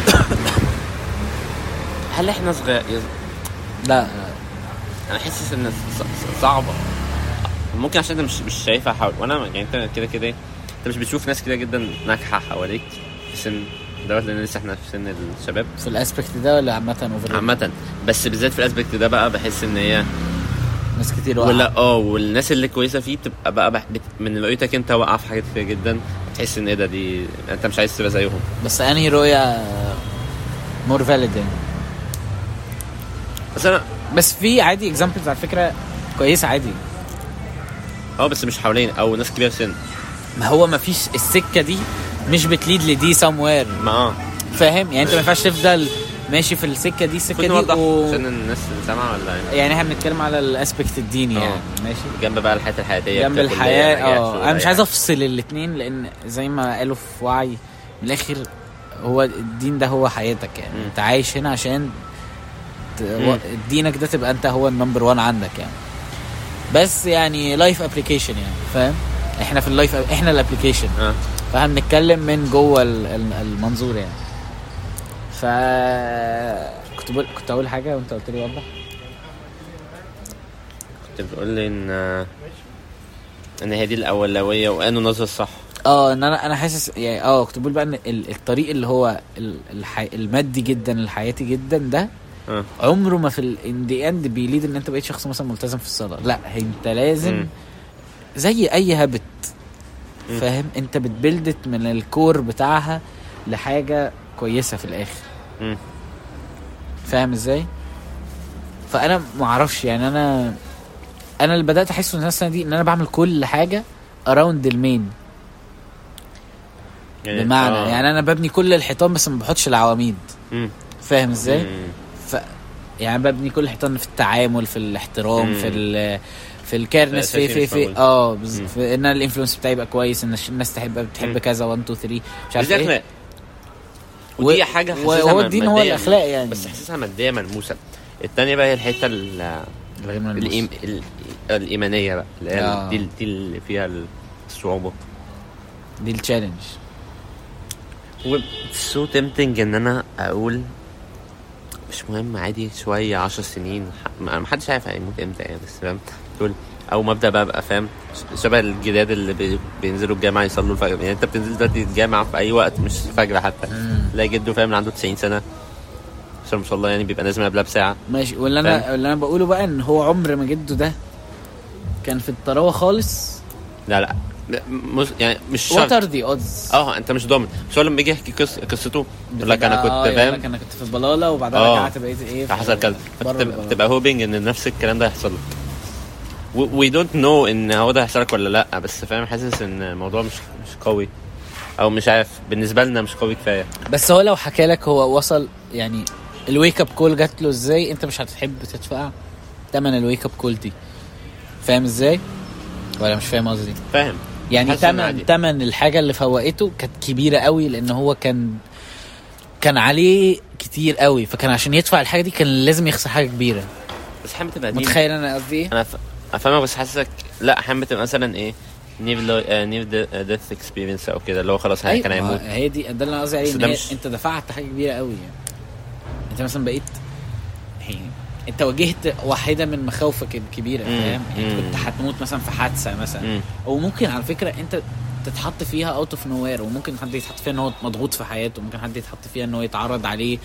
A: هل احنا صغير يز-
B: لا
A: انا حاسس ان ص- ص- صعبه ممكن عشان انت مش مش شايفها حول وانا يعني انت كده كده انت مش بتشوف ناس كده جدا ناجحه حواليك في سن دوت لان لسه احنا في سن الشباب
B: في الاسبكت ده ولا عامه اوفر
A: عامه بس بالذات في الاسبكت ده بقى بحس ان هي
B: ناس كتير واقعة.
A: ولا اه والناس اللي كويسه فيه بتبقى بقى بح... بت... من رؤيتك انت واقعه في حاجات كتير جدا تحس ان ايه ده دي انت مش عايز تبقى زيهم
B: بس انهي رؤيه مور فاليد يعني
A: بس انا
B: بس في عادي اكزامبلز على فكره كويسه عادي
A: اه بس مش حوالين او ناس كبيره في سن
B: ما هو ما فيش السكه دي مش بتليد لدي سموير
A: ما اه
B: فاهم يعني انت ما ينفعش تفضل ماشي في السكه دي السكه
A: كنت
B: دي
A: نوضح
B: و...
A: عشان الناس اللي سامعه ولا يعني
B: يعني احنا بنتكلم على الاسبكت الديني
A: اه.
B: يعني ماشي
A: جنب بقى الحياه الحياتيه
B: جنب
A: ككلية،
B: الحياه
A: نجاح،
B: اه
A: شغل،
B: انا
A: أي
B: مش عايز
A: حاجة.
B: افصل الاثنين لان زي ما قالوا في وعي من الاخر هو الدين ده هو حياتك يعني
A: مم.
B: انت عايش هنا عشان ت...
A: مم.
B: و... دينك ده تبقى انت هو النمبر 1 عندك يعني بس يعني لايف ابلكيشن يعني فاهم احنا في اللايف احنا الابلكيشن
A: اه
B: فاحنا بنتكلم من جوه ال- ال- المنظور يعني ف كنت بقول كنت اقول حاجه وانت قلت لي وضح
A: كنت بتقول لي ان ان هي دي الاولويه وانه نظر صح
B: اه ان انا انا حاسس يعني اه كنت بقول بقى ان ال- الطريق اللي هو ال- الحي... المادي جدا الحياتي جدا ده
A: اه
B: عمره ما في الاندي اند بيليد ان انت بقيت شخص مثلا ملتزم في الصلاه لا انت لازم
A: مم.
B: زي اي هابت
A: مم.
B: فاهم انت بتبلدت من الكور بتاعها لحاجه كويسه في الاخر
A: مم.
B: فاهم ازاي فانا ما اعرفش يعني انا انا اللي بدات احسه إن السنه دي ان انا بعمل كل حاجه اراوند المين
A: يعني
B: بمعنى يعني انا ببني كل الحيطان بس ما بحطش العواميد
A: مم.
B: فاهم ازاي
A: مم.
B: ف... يعني ببني كل الحيطان في التعامل في الاحترام
A: مم.
B: في ال... في الكيرنس في في
A: الأساسي مش
B: في
A: موجود.
B: اه بز...
A: مم.
B: في ان أنا الانفلونس بتاعي يبقى كويس ان الش- الناس تحب بتحب
A: مم.
B: كذا 1 2 3 مش
A: بس
B: عارف
A: دي
B: ايه
A: اخلاق ودي حاجه حاسسها
B: وهو
A: م-
B: الدين هو
A: مادية-
B: الاخلاق يعني
A: بس حاسسها ماديه ملموسه التانية بقى هي الحته ال-
B: الغير ملموس.
A: الإيم... ال- الايمانيه بقى اللي هي
B: آه.
A: ال- دي ال- دي اللي فيها الصعوبه
B: دي التشالنج
A: سو تمتنج ان انا اقول مش مهم عادي شويه 10 سنين ح- ما ما حدش عارف هيموت امتى يعني بس فاهم تقول او مبدا بقى بقى فاهم ش- شبه الجداد اللي بي- بينزلوا الجامعه يصلوا الفجر يعني انت بتنزل دلوقتي الجامعه في اي وقت مش الفجر حتى تلاقي جده فاهم اللي عنده 90 سنه عشان ما شاء الله يعني بيبقى نازل قبلها بساعه
B: ماشي واللي انا
A: فاهم؟
B: واللي انا بقوله بقى ان هو عمر ما جده ده كان في الطراوه خالص
A: لا لا م- مش يعني مش
B: وات
A: شرط
B: ار ذا اودز
A: اه انت مش ضامن بس هو لما يجي يحكي قص- قصته آه، يقول لك انا
B: آه،
A: كنت فاهم
B: انا كنت في البلاله وبعدها
A: آه.
B: رجعت بقيت ايه في-
A: حصل كذا
B: بره
A: فأنت بتبقى-
B: البلاله.
A: بتبقى هوبنج ان نفس الكلام ده يحصل لك وي دونت نو ان هو ده هيحصل لك ولا لا بس فاهم حاسس ان الموضوع مش مش قوي او مش عارف بالنسبه لنا مش قوي كفايه
B: بس هو لو حكى لك هو وصل يعني الويك اب كول جات له ازاي انت مش هتحب تدفع تمن الويك اب كول دي فاهم ازاي ولا مش فاهم قصدي
A: فاهم
B: يعني
A: حاسس إن
B: تمن
A: عادي.
B: تمن الحاجه اللي فوقته كانت كبيره قوي لان هو كان كان عليه كتير قوي فكان عشان يدفع الحاجه دي كان لازم يخسر حاجه كبيره
A: بس احيانا بتبقى دي-
B: متخيل انا قصدي ايه
A: انا ف- أنا فاهمك بس حاسسك لا احيانا بتبقى مثلا ايه نير نير ديث اكسبيرينس او كده اللي هو خلاص يعني
B: أيوة،
A: كان هيموت
B: ما هي دي ده اللي انا قصدي عليه
A: بس
B: ان
A: ده
B: هي-
A: مش-
B: انت دفعت حاجه كبيره قوي يعني انت مثلا بقيت يعني انت واجهت واحده من مخاوفك الكبيره
A: مم،
B: فاهم يعني
A: مم.
B: كنت هتموت مثلا في حادثه مثلا
A: مم.
B: او ممكن على فكره انت تتحط فيها اوت اوف نوير وممكن حد يتحط فيها ان هو مضغوط في حياته وممكن حد يتحط فيها ان هو يتعرض عليه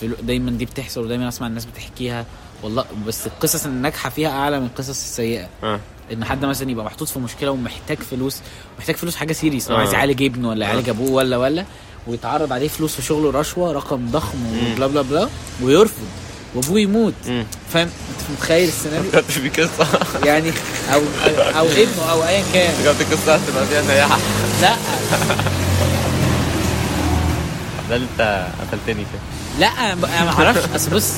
B: فلو- دايما دي بتحصل ودايما اسمع الناس بتحكيها والله بس القصص الناجحه فيها اعلى من القصص السيئه
A: آه.
B: ان حد مثلا يبقى محطوط في مشكله ومحتاج فلوس محتاج فلوس حاجه سيريس لو
A: آه.
B: عايز يعالج ابنه ولا
A: آه.
B: يعالج ابوه ولا ولا ويتعرض عليه فلوس في شغله رشوه رقم ضخم
A: مم.
B: وبلا بلا بلا ويرفض وابوه يموت
A: مم.
B: فاهم انت متخيل السيناريو
A: فكرت في قصه
B: يعني او او ابنه او ايا كان
A: فكرت قصه هتبقى فيها سياحه
B: لا
A: ده اللي انت قتلتني فيه
B: لا انا ب- أنا ما اعرفش اصل بص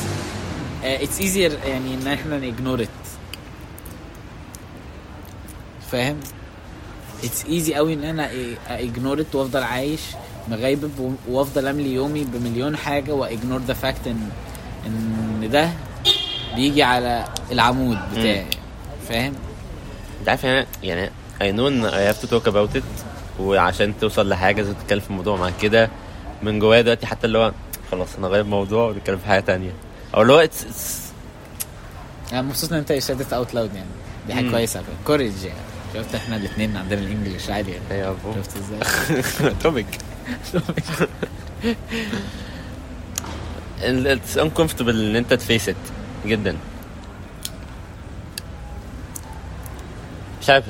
B: اتس ايزير يعني ان احنا نجنور ات فاهم اتس ايزي قوي ان انا اجنور ات وافضل عايش مغيبب و- وافضل املي يومي بمليون حاجه واجنور ذا فاكت ان ان ده بيجي على العمود بتاعي فاهم
A: انت عارف يعني يعني I know ان I have to talk about it وعشان توصل لحاجة لازم تتكلم في الموضوع مع كده من جوايا دلوقتي حتى اللي هو خلاص انا غير موضوع ونتكلم في حاجه تانية او اللي هو it's- it's-
B: انا مبسوط ان انت شدت اوت لاود يعني دي حاجه
A: مم.
B: كويسه على فكرة. كوريج يعني شفت احنا الاثنين عندنا الانجليش عادي يعني
A: إيه يا ابو
B: شفت ازاي
A: توبيك اتس uncomfortable ان انت تفيس ات جدا مش عارف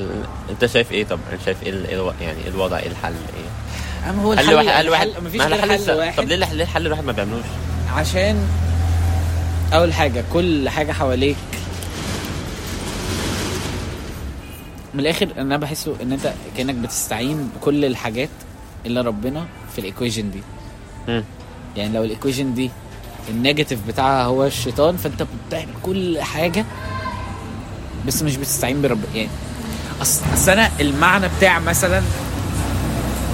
A: انت شايف ايه طب انا شايف ايه ال- إيه الو- يعني إيه الوضع ايه الحل ايه
B: عم هو
A: هل واحد
B: الحل
A: هل واحد
B: الحل- مفيش
A: ما
B: غير
A: الحل
B: حل
A: لسه- طب
B: واحد
A: ليه الح- ليه الحل الواحد ما بيعملوش
B: عشان اول حاجه كل حاجه حواليك من الاخر انا بحسه ان انت كانك بتستعين بكل الحاجات اللي ربنا في الايكويجن دي
A: مم.
B: يعني لو الايكويجن دي النيجاتيف بتاعها هو الشيطان فانت بتعمل كل حاجه بس مش بتستعين برب يعني اصل أصل انا المعنى بتاع مثلا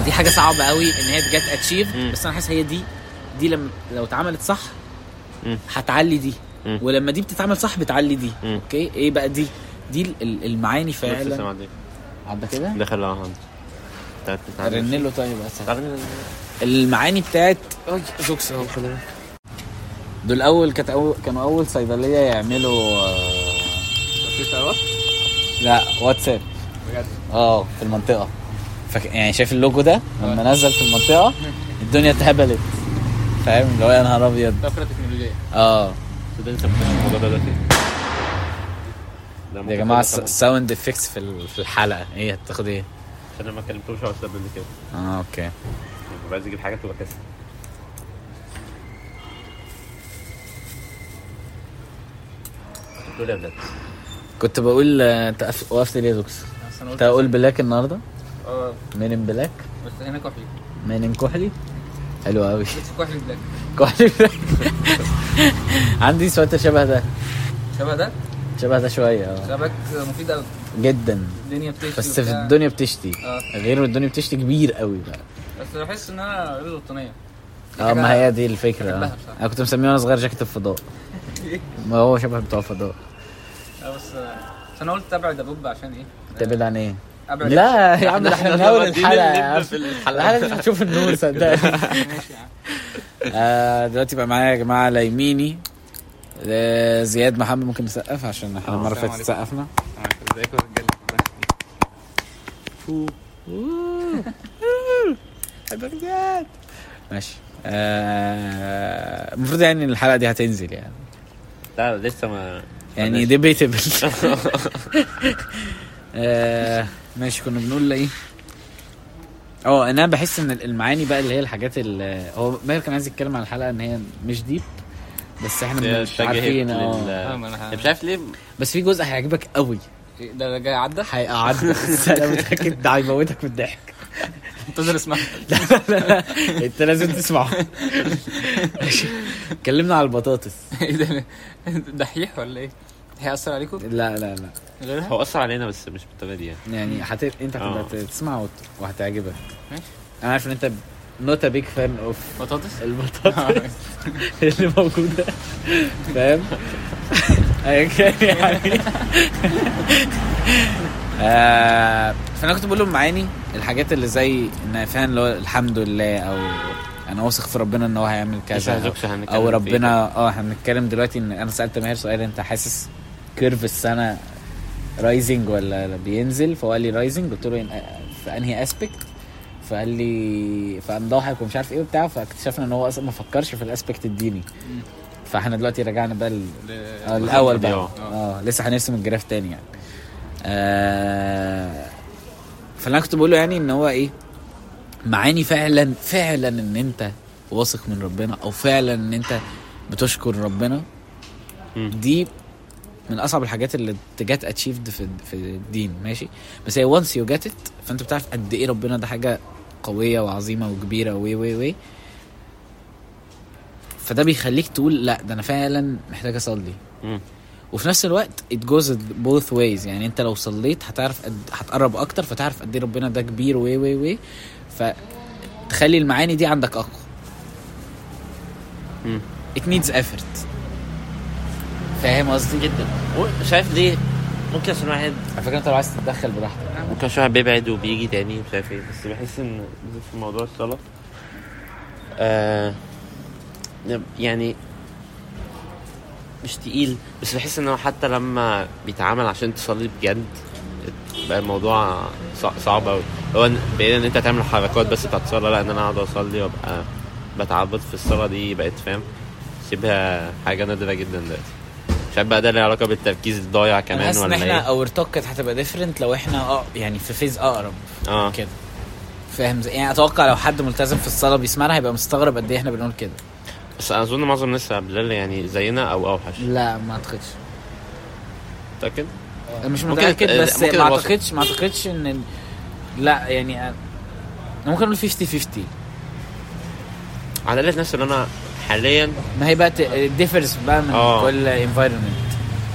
B: ودي حاجه صعبه قوي ان هي جت اتشيف
A: مم.
B: بس انا حاسس هي دي دي لما لو اتعملت صح
A: مم.
B: هتعلي دي
A: مم.
B: ولما دي بتتعمل صح بتعلي دي
A: مم.
B: اوكي ايه بقى دي دي ال- ال- المعاني فعلا عبى كده
A: دخل على هاند
B: رن له طيب أسهل.
A: تعال-
B: المعاني بتاعت أوي، زوكس اهو خلي بالك. دول اول كانت اول كانوا اول صيدليه يعملوا آه، لا واتساب
D: بجد؟
B: اه في المنطقه فك... يعني شايف اللوجو ده لما نزل في المنطقه الدنيا اتهبلت فاهم اللي هو يا نهار ابيض
D: طفره تكنولوجيه
B: اه
A: ده لسه مكمل الموضوع ده دلوقتي
B: يا جماعه الساوند افكتس في ال- في الحلقه ايه هتاخد ايه؟
A: انا ما كلمتوش على السبب قبل كده
B: اه اوكي
A: يبقى عايز اجيب حاجه تبقى كسر بتقول إيه يا بلاد
B: كنت بقول آه، انت قف- وقفت ليه يا زوكس؟
D: بس
B: كنت
D: انا قلت
B: هقول بلاك النهارده
D: اه
B: مين إن بلاك
D: بس هنا كحلي
B: مين إن كحلي حلو قوي
D: بس كحلي بلاك
B: كحلي بلاك عندي سويتر شبه ده
D: شبه ده
B: شبه ده شويه اه
D: شبك مفيد قوي
B: جدا
D: الدنيا بتشتي
B: بس في
D: وبتاع.
B: الدنيا بتشتي
D: اه.
B: غير الدنيا بتشتي كبير قوي بقى
D: بس بحس ان انا غير وطنيه دي
B: اه
D: حاجة-
B: ما هي دي الفكره
D: بحبها
B: اه
D: بصراحة.
B: انا كنت مسميه وانا صغير جاكيت الفضاء ما هو شبه بتوع الفضاء
D: اه بس بس انا قلت ابعد ابوب عشان ايه
B: تبعد عن ايه؟
D: ابعد
B: لا يا عم ده احنا من اول
A: مودين
B: الحلقه يا
A: اللب
B: عم.
A: في الحلقة.
B: الحلقه مش هتشوف النور صدقني
D: ماشي يا عم
B: آه، دلوقتي بقى معايا يا جماعه على يميني آه، زياد محمد ممكن نسقف عشان
D: آه،
B: احنا المره اللي فاتت سقفنا
D: ازيكم يا رجاله
B: حبك زياد ماشي آه، المفروض يعني إن الحلقه دي هتنزل يعني
A: لا لسه ما
B: يعني ديبيتبل آه، ماشي كنا بنقول ايه اه انا بحس ان المعاني بقى اللي هي الحاجات اللي هو ماهر كان عايز يتكلم عن الحلقه ان هي مش ديب بس احنا مش عارفين اه
D: آه، ما أنا ه-
A: مش عارف ليه
B: بس في جزء هيعجبك قوي
D: إيه ده ده جاي عدى
B: هيقعدك انا متاكد ده هيموتك من الضحك
D: انتظر اسمعها
B: لا لا لا انت لازم تسمعه ماشي. اتكلمنا على البطاطس
D: ايه ده دحيح ولا ايه؟ هيأثر عليكم
B: لا لا لا
D: غيرها؟
A: هو اثر علينا بس مش بالطريقه دي يعني
B: يعني حت... انت
A: آه.
B: هتبقى تسمع وت... وهتعجبك
D: ماشي.
B: انا عارف ان انت نوت بيج فان اوف
D: بطاطس؟ اه.
B: البطاطا اللي موجوده فاهم ايا كان يعني آه، فانا كنت بقول لهم معاني الحاجات اللي زي ان فاهم اللي هو الحمد لله او انا واثق في ربنا ان هو هيعمل
A: مش
B: كذا
A: هزوجش هنتكلم إيه؟
B: او
A: فيه.
B: ربنا اه احنا بنتكلم دلوقتي ان انا سالت ماهر سؤال انت حاسس كيرف السنه رايزنج ولا بينزل فهو قال لي رايزنج قلت له إن- في انهي اسبكت فقال لي فقام ضاحك ومش عارف ايه وبتاع فاكتشفنا ان هو اصلا ما فكرش في الاسبكت الديني فاحنا دلوقتي رجعنا بقى ال- آه، الاول بقى
A: آه.
B: اه لسه هنرسم الجراف تاني يعني آه فاللي انا كنت بقوله يعني ان هو ايه معاني فعلا فعلا ان انت واثق من ربنا او فعلا ان انت بتشكر ربنا
A: مم.
B: دي من اصعب الحاجات اللي جت اتشيفد في في الدين ماشي بس هي وانس يو جت ات فانت بتعرف قد ايه ربنا ده حاجه قويه وعظيمه وكبيره وي وي وي فده بيخليك تقول لا ده انا فعلا محتاج اصلي
A: مم.
B: وفي نفس الوقت it goes both ways يعني انت لو صليت هتعرف قد هتقرب اكتر فتعرف قد ايه ربنا ده كبير وي وي وي فتخلي المعاني دي عندك اقوى
A: مم.
B: it needs effort فاهم قصدي جدا
A: مش عارف ليه ممكن عشان واحد
B: على فكره انت لو عايز تتدخل براحتك
A: ممكن عشان واحد بيبعد وبيجي تاني مش عارف ايه بس بحس ان في موضوع الصلاه آه يعني مش تقيل بس بحس ان هو حتى لما بيتعامل عشان تصلي بجد بقى الموضوع صع- صعب قوي هو إن- بعيد ان انت تعمل حركات بس بتاعت الصلاه لا ان انا اقعد اصلي وابقى بتعبط في الصلاه دي بقت فاهم شبه حاجه نادره جدا دلوقتي مش عارف بقى ده ليه علاقه بالتركيز الضايع
B: انا
A: كمان
B: حاسس ان
A: ولا
B: احنا
A: ايه
B: اور توك كانت هتبقى ديفرنت لو احنا اه يعني في فيز اقرب
A: اه
B: كده فاهم زي يعني اتوقع لو حد ملتزم في الصلاه بيسمعنا هيبقى مستغرب قد ايه احنا بنقول كده
A: بس اظن معظم الناس قبل يعني زينا او اوحش
B: لا ما اعتقدش
A: متاكد
B: مش
A: ممكن-
B: متاكد
A: آه،
B: بس
A: ممكن
B: ما
A: الوسط.
B: اعتقدش ما اعتقدش ان لا يعني أنا ممكن اقول 50 50
A: على الاقل الناس اللي انا حاليا
B: ما هي بقى ديفرز بقى من
A: آه.
B: كل انفايرمنت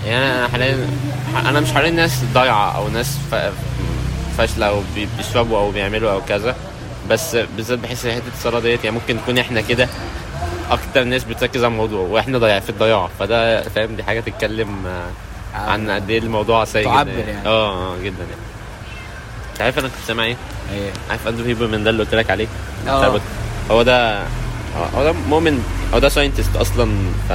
A: يعني انا حاليا انا مش حاليا ناس ضايعه او ناس ف- فاشله او بي- بيشربوا او بيعملوا او كذا بس بالذات بحس ان حته الصلاه ديت يعني ممكن تكون احنا كده اكتر ناس بتركز على الموضوع واحنا ضايع في الضياع فده فاهم دي حاجه تتكلم آه، عن قد ايه الموضوع سيء
B: تعبر
A: جدا
B: يعني.
A: اه آه، جدا يعني انت عارف انا كنت سامع ايه؟
B: ايه
A: عارف اندرو هيبرمان ده اللي قلت لك عليه
B: آه.
A: بتاع البوت- هو ده هو ده مؤمن هو ده ساينتست اصلا ف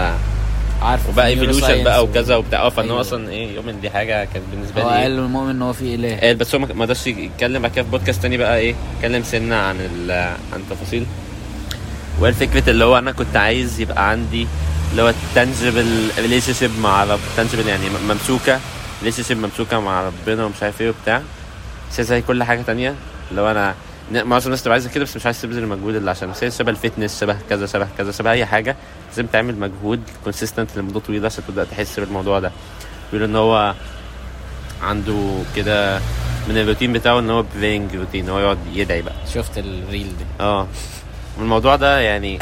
B: عارف
A: وبقى ايفولوشن بقى
B: neuroscience
A: وكذا وبتاع اه فان هو
B: أيوة.
A: اصلا ايه يؤمن دي حاجه كانت بالنسبه
B: هو
A: لي إيه؟
B: قال المؤمن ان هو في اله
A: قال آه، بس هو ما ما قدرش يتكلم بعد كده في بودكاست تاني بقى ايه اتكلم سنه عن ال- عن تفاصيل وقال فكره اللي هو انا كنت عايز يبقى عندي اللي هو تنجبل ريليشن شيب مع رب تنجبل يعني م- ممسوكه ريليشن شيب ممسوكه مع ربنا ومش عارف ايه وبتاع بس هي زي كل حاجه تانية اللي هو انا ن- معظم الناس تبقى عايزه كده بس مش عايز تبذل المجهود اللي عشان بس هي شبه الفتنس شبه كذا شبه كذا شبه اي حاجه لازم تعمل مجهود كونسيستنت لمده طويله عشان تبدا تحس بالموضوع ده بيقول ان هو عنده كده من الروتين بتاعه ان هو برينج روتين هو يقعد يدعي بقى
B: شفت الريل دي
A: اه والموضوع ده يعني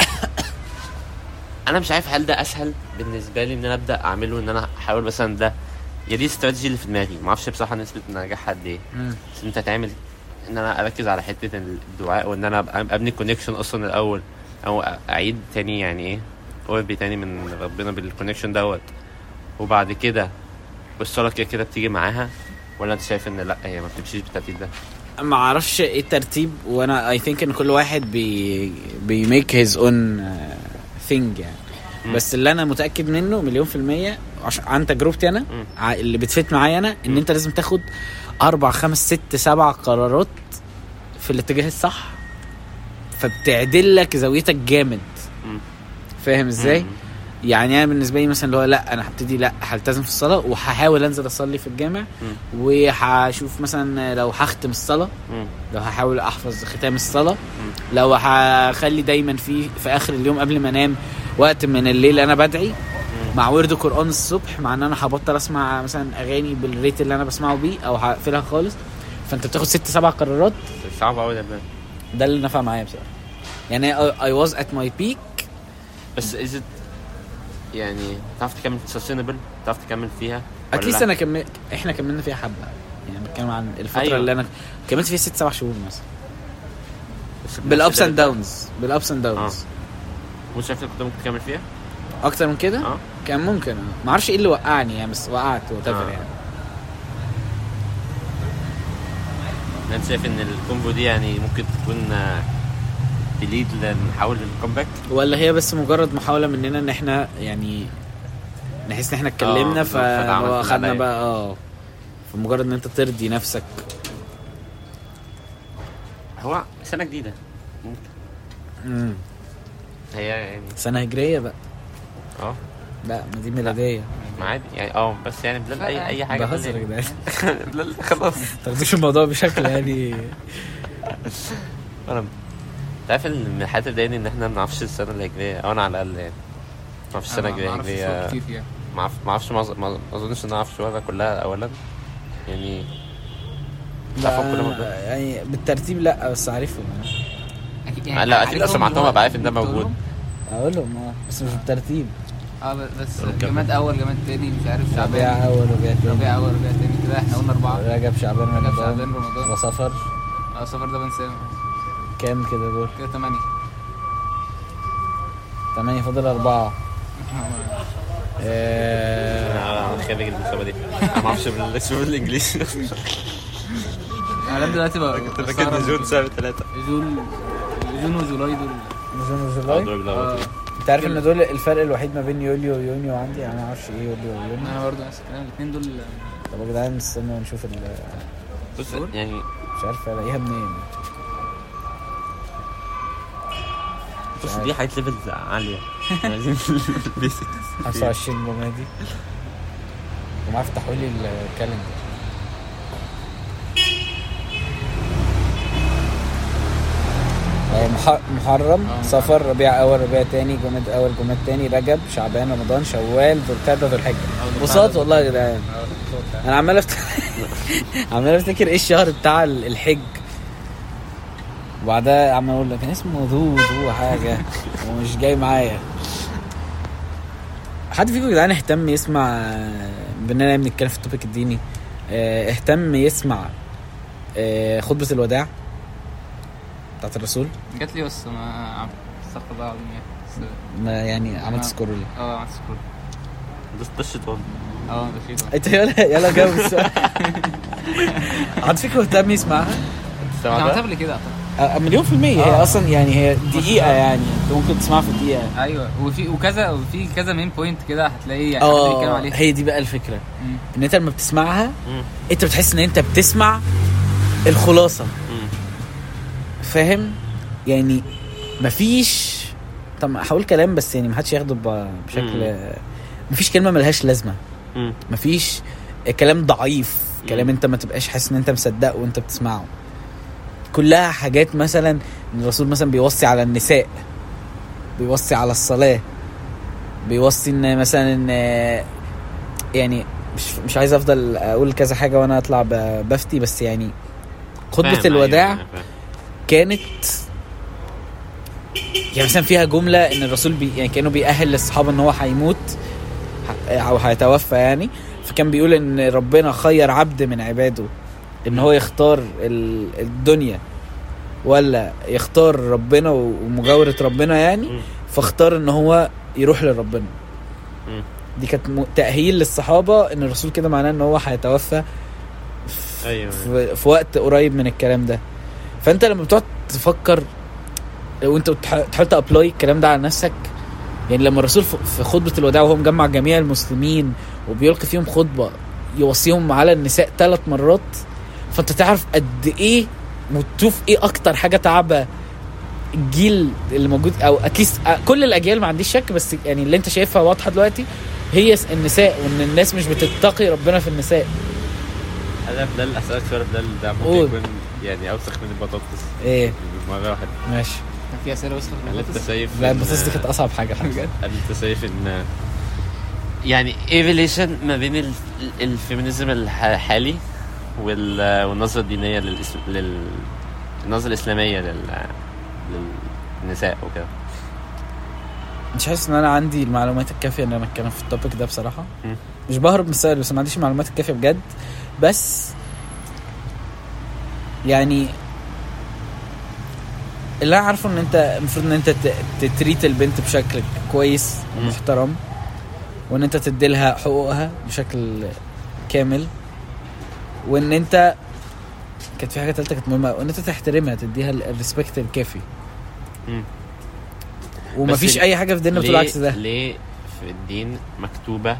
A: انا مش عارف هل ده اسهل بالنسبه لي ان انا ابدا اعمله ان انا احاول مثلا ده يا دي الاستراتيجي اللي في دماغي ما اعرفش بصراحه نسبه نجاحها قد ايه
B: مم.
A: بس انت تعمل ان انا اركز على حته الدعاء وان انا أبقى- ابني كونكشن اصلا الاول او أ- اعيد تاني يعني ايه قربي تاني من ربنا بالكونكشن دوت وبعد كده والصلاه كده كده بتيجي معاها ولا انت شايف ان لا هي ما بتمشيش بالترتيب ده
B: ما اعرفش ايه الترتيب وانا اي ثينك ان كل واحد بي بيميك هيز اون ثينج uh, يعني
A: مم.
B: بس اللي انا متاكد منه مليون في الميه عش- عن تجربتي انا
A: مم.
B: ع- اللي بتفيد معايا انا ان انت لازم تاخد اربع خمس ست سبع قرارات في الاتجاه الصح فبتعدل لك زاويتك جامد
A: مم.
B: فاهم ازاي؟
A: مم.
B: يعني انا بالنسبه لي مثلا اللي هو لا انا هبتدي لا هلتزم في الصلاه وهحاول انزل اصلي في الجامع وهشوف مثلا لو هختم الصلاه
A: مم.
B: لو هحاول احفظ ختام الصلاه لو هخلي دايما في في اخر اليوم قبل ما انام وقت من الليل انا بدعي مع ورد قران الصبح مع ان انا هبطل اسمع مثلا اغاني بالريت اللي انا بسمعه بيه او هقفلها خالص فانت بتاخد ست سبع قرارات
A: صعب قوي ده بجد.
B: ده اللي نفع معايا بصراحه يعني اي واز ات ماي بيك
A: بس از يعني تعرف تكمل سستينبل تعرف تكمل فيها ولا
B: اتليست
A: لا؟
B: انا كملت احنا كملنا فيها حبه يعني بتكلم عن الفتره
A: أيوة.
B: أيوة. اللي انا كملت فيها ست سبع شهور مثلا
A: بس
B: بالابس
A: كنت
B: اند داونز بالابس اند
A: آه.
B: داونز
A: مش شايف إنك كنت ممكن تكمل فيها
B: اكتر من كده
A: آه.
B: كان ممكن آه. ما اعرفش ايه اللي وقعني يعني بس وقعت وات
A: آه.
B: يعني
A: إن انت يعني شايف ان الكومبو دي يعني ممكن تكون تليد لنحاول للكومباك
B: ولا هي بس مجرد محاوله مننا ان احنا يعني نحس ان احنا اتكلمنا
A: آه،
B: ف
A: فدعمت اللي
B: فاخدنا
A: عليا.
B: بقى اه فمجرد ان انت ترضي نفسك
A: هو سنه جديده
B: مم.
A: هي يعني
B: سنه هجريه بقى
A: اه
B: لا ما دي ميلاديه
A: ما عادي يعني اه بس يعني بلال اي اي حاجه
B: بهزر يا
A: بلال-
B: جدعان
A: بلال خلاص
B: ما تاخدوش الموضوع بشكل يعني
A: انا انت عارف ان من الحاجات اللي ضايقني ان احنا ما بنعرفش السنه الهجريه او انا على الاقل يعني ما اعرفش السنه الجايه هجريه
D: كتير فيها
A: ما اعرف- ما اعرفش معظ- ما ما اظنش ان أنا اعرف شويه كلها اولا يعني مش عارف أقول كل مرة.
B: يعني بالترتيب لا بس عارفهم يعني.
D: أكيد
A: لا، أكيد لو
D: عارفهم
A: سمعتهم
D: اللي هو
A: هبقى عارف إن ده
D: دكتورهم.
A: موجود.
B: اقول لهم اه بس مش بالترتيب
D: اه بس
A: كمل.
D: جماد اول جماد تاني مش عارف
B: ربيع
D: شعبان
B: اول ربيع تاني
D: ربيع اول ربيع تاني كده احنا قلنا اربعه
B: رجب شعبان
D: رجب
B: رمضان
D: شعبان رمضان
B: وسفر
D: اه صفر ده بنساه
B: كام كده دول
D: كده ثمانيه
B: تمانية فاضل أربعة آه،
A: انا أنا خارج المسابقه دي انا ما اعرفش بالاسم بالانجليزي
D: انا لحد دلوقتي بقى
A: كنت فاكر ان جون سبب ثلاثه
D: جون جون وجولاي دول آه،
B: جون
A: أو
B: وجولاي
A: دراج لخبط يعني.
B: انت عارف ان دول الفرق الوحيد ما بين يوليو ويونيو عندي انا ما اعرفش ايه يوليو ويونيو
D: انا برضه نفس الكلام الاثنين دول آه،
B: طب يا جدعان استنوا نشوف ال-
A: بص يعني
B: مش عارف الاقيها منين
A: بص دي حاجات ليفلز عاليه إحنا
B: يعني
A: عايزين basics.
B: 25 جمادي ومعاه افتحوا لي الكالندر آه، مح- محرم صفر ربيع اول ربيع تاني جماد اول جماد تاني رجب شعبان رمضان شوال ذو القعده ذو الحجه بساط والله يا جدعان انا عمال افتكر عمال افتكر ايه الشهر بتاع ال- الحج وبعدها عمال اقول لك كان اسمه ذو ذو حاجه ومش جاي معايا حد فيكم يا جدعان اهتم يسمع آه، بما اننا بنتكلم في التوبيك الديني آه، اهتم يسمع آه، خطبة الوداع بتاعت الرسول
D: جات لي بس ما عم- استغفر الله العظيم يعني بس
B: ما يعني عملت
D: آه.
B: سكرول
D: اه عن سكول
A: بس دش طول
D: اه ده شيء
B: انت يلا يلا جاوب السؤال حد فيكم مهتم يسمعها؟
D: انا عملتها قبل كده أعتقد.
B: آه، مليون في المية هي اصلا يعني هي دقيقة يعني انت ممكن تسمعها في دقيقة
D: ايوه وفي وكذا وفي كذا مين بوينت كده هتلاقيه يعني حد بيتكلم
B: اه
D: عليه
B: هي دي بقى الفكرة
D: مم.
B: ان انت لما بتسمعها
A: مم.
B: انت بتحس ان انت بتسمع الخلاصة فاهم يعني مفيش طب هقول كلام بس يعني محدش ياخده ب- بشكل مفيش كلمه ملهاش لازمه
A: مم.
B: مفيش كلام ضعيف كلام
A: مم.
B: انت ما تبقاش حاسس ان انت مصدقه وانت بتسمعه كلها حاجات مثلا ان الرسول مثلا بيوصي على النساء بيوصي على الصلاه بيوصي ان مثلا ان يعني مش مش عايز افضل اقول كذا حاجه وانا اطلع ب- بفتي بس يعني خطبه
A: أيوة،
B: الوداع كانت يعني مثلا فيها جمله ان الرسول بي يعني كانه بيأهل للصحابه ان هو هيموت ه- او هيتوفى يعني فكان بيقول ان ربنا خير عبد من عباده ان هو يختار ال- الدنيا ولا يختار ربنا و- ومجاورة ربنا يعني
A: مم.
B: فاختار ان هو يروح لربنا
A: مم.
B: دي كانت م- تأهيل للصحابة ان الرسول كده معناه ان هو هيتوفى في-
A: أيوة.
B: في, في وقت قريب من الكلام ده فانت لما بتقعد تفكر وانت بتح- بتحاول تابلاي الكلام ده على نفسك يعني لما الرسول في- في خطبة الوداع وهو مجمع جميع المسلمين وبيلقي فيهم خطبة يوصيهم على النساء ثلاث مرات فانت تعرف قد ايه وتشوف ايه اكتر حاجة تعبة الجيل اللي موجود او اتليست كل الاجيال ما عنديش شك بس يعني اللي انت شايفها واضحة دلوقتي هي النساء وان الناس مش بتتقي ربنا في النساء
A: انا بدل اسالك سؤال بدل ده ممكن
B: قول.
A: يكون يعني اوسخ من البطاطس
B: ايه
A: مره واحد
B: ماشي
D: كان في اسئله وصلت
A: هل انت شايف
B: لا
A: إن-
B: البطاطس دي كانت اصعب حاجة
D: بجد
A: هل انت شايف ان يعني ايه ريليشن ما بين ال- ال- الفيمينيزم الحالي وال- والنظره الدينيه للإس- لل النظره الاسلاميه لل للنساء وكده
B: مش حاسس ان انا عندي المعلومات الكافيه ان انا اتكلم في التوبيك ده بصراحه
A: مم.
B: مش بهرب من السؤال بس ما عنديش المعلومات الكافيه بجد بس يعني اللي انا عارفه ان انت المفروض ان انت ت- تتريت البنت بشكل كويس
A: مم.
B: ومحترم وان انت تديلها حقوقها بشكل كامل وان انت كانت في حاجه تالته كانت مهمه وان انت تحترمها تديها ال- الريسبكت الكافي
A: مم. بس
B: ومفيش
A: ال-
B: اي حاجه في ديننا بتقول
A: ليه-
B: عكس ده
A: ليه في الدين مكتوبه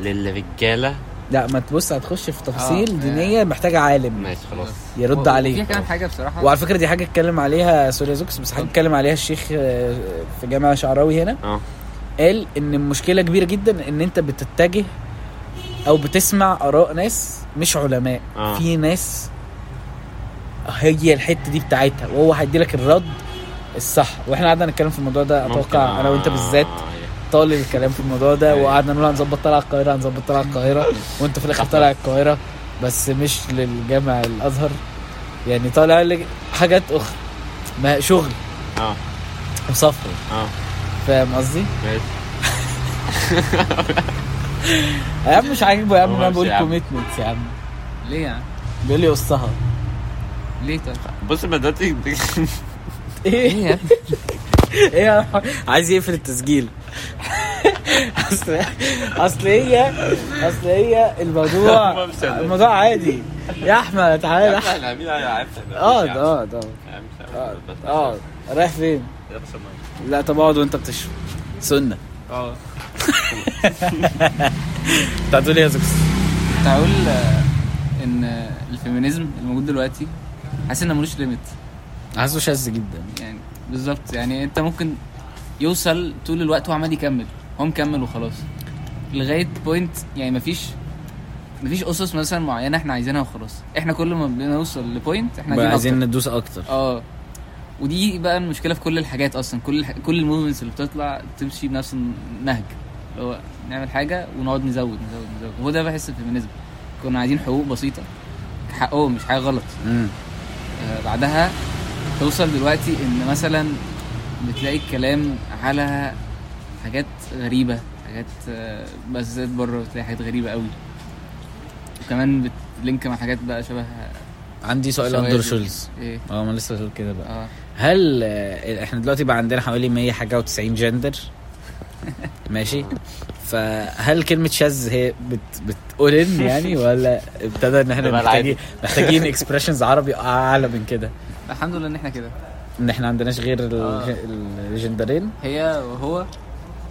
A: للرجاله
B: لا ما تبص هتخش في تفاصيل
D: آه.
B: دينيه محتاجه عالم
A: ماشي خلاص
B: يرد
D: و-
B: عليك
D: وفيها كمان حاجه بصراحه
B: وعلى فكره دي حاجه اتكلم عليها سوريا زوكس بس حاجه اتكلم عليها الشيخ آه، في جامعه شعراوي هنا
A: اه
B: قال ان المشكله كبيره جدا ان انت بتتجه او بتسمع اراء ناس مش علماء
A: آه.
B: في ناس هي الحته دي بتاعتها وهو هيدي لك الرد الصح واحنا قعدنا نتكلم في الموضوع ده
A: ممكن،
B: اتوقع انا وانت
A: آه،
B: بالذات طال الكلام في الموضوع ده
A: أيوة.
B: وقعدنا نقول هنظبط طلع القاهره هنظبط طلع القاهره وانت في الاخر طالع القاهره بس مش للجامع الازهر يعني طالع لك حاجات اخرى ما شغل
A: اه
B: وسفر
A: اه
B: فاهم قصدي؟
A: ماشي
B: يا عم مش عاجبه يا عم
A: هو
B: انا
A: مش يا
B: بقول
A: عم.
B: كوميتمنت يا عم
D: ليه يعني
B: بيقول لي قصها
D: ليه طيب
A: بص ما دلوقتي
B: ايه
D: يا
B: ايه يا عم؟ عايز يقفل التسجيل اصل اصل هي اصل هي الموضوع
A: هما مش قادرين.
B: الموضوع عادي يا احمد تعالى
A: احنا عاملين على عفن
B: اه ده- اه ده. اه رايح فين؟ لا طب اقعد وانت بتشرب سنه
D: اه
B: انت هتقول ايه يا زكس؟
D: كنت هقول آه، ان آه، الفيمينيزم الموجود دلوقتي حاسس انه ملوش ليميت
B: حاسه شاذ جدا
D: يعني بالظبط يعني انت ممكن يوصل طول الوقت هو عمال يكمل هو مكمل وخلاص لغايه بوينت يعني مفيش مفيش اسس مثلا معينه احنا عايزينها وخلاص احنا كل ما بنوصل لبوينت احنا
B: بقى
D: عايزين
B: عايزين
D: أكتر.
B: ندوس اكتر
D: اه ودي بقى المشكله في كل الحاجات اصلا كل الح... كل الموفمنتس اللي بتطلع تمشي بنفس النهج اللي هو نعمل حاجه ونقعد نزود نزود نزود وهو ده بحس الفيمينيزم كنا عايزين حقوق بسيطه حقهم مش حاجه غلط
B: امم
D: آه، بعدها توصل دلوقتي ان مثلا بتلاقي الكلام على حاجات غريبه حاجات آه، بس زاد بره بتلاقي حاجات غريبه قوي وكمان بتلينك مع حاجات بقى شبه
B: عندي سؤال إيه؟
D: شواذ.
B: اندر شولز
D: ايه
B: اه ما لسه بقول كده بقى
D: اه
B: هل آه، احنا دلوقتي بقى عندنا حوالي 100 حاجه و90 جندر ماشي فهل كلمة شاذ هي بت بتقول ان يعني ولا ابتدى ان احنا
E: ده بقى
B: محتاجين محتاجين اكسبريشنز عربي اعلى من كده
D: الحمد لله ان احنا كده
B: ان احنا عندناش غير ال-
D: آه.
B: الجندرين
D: هي وهو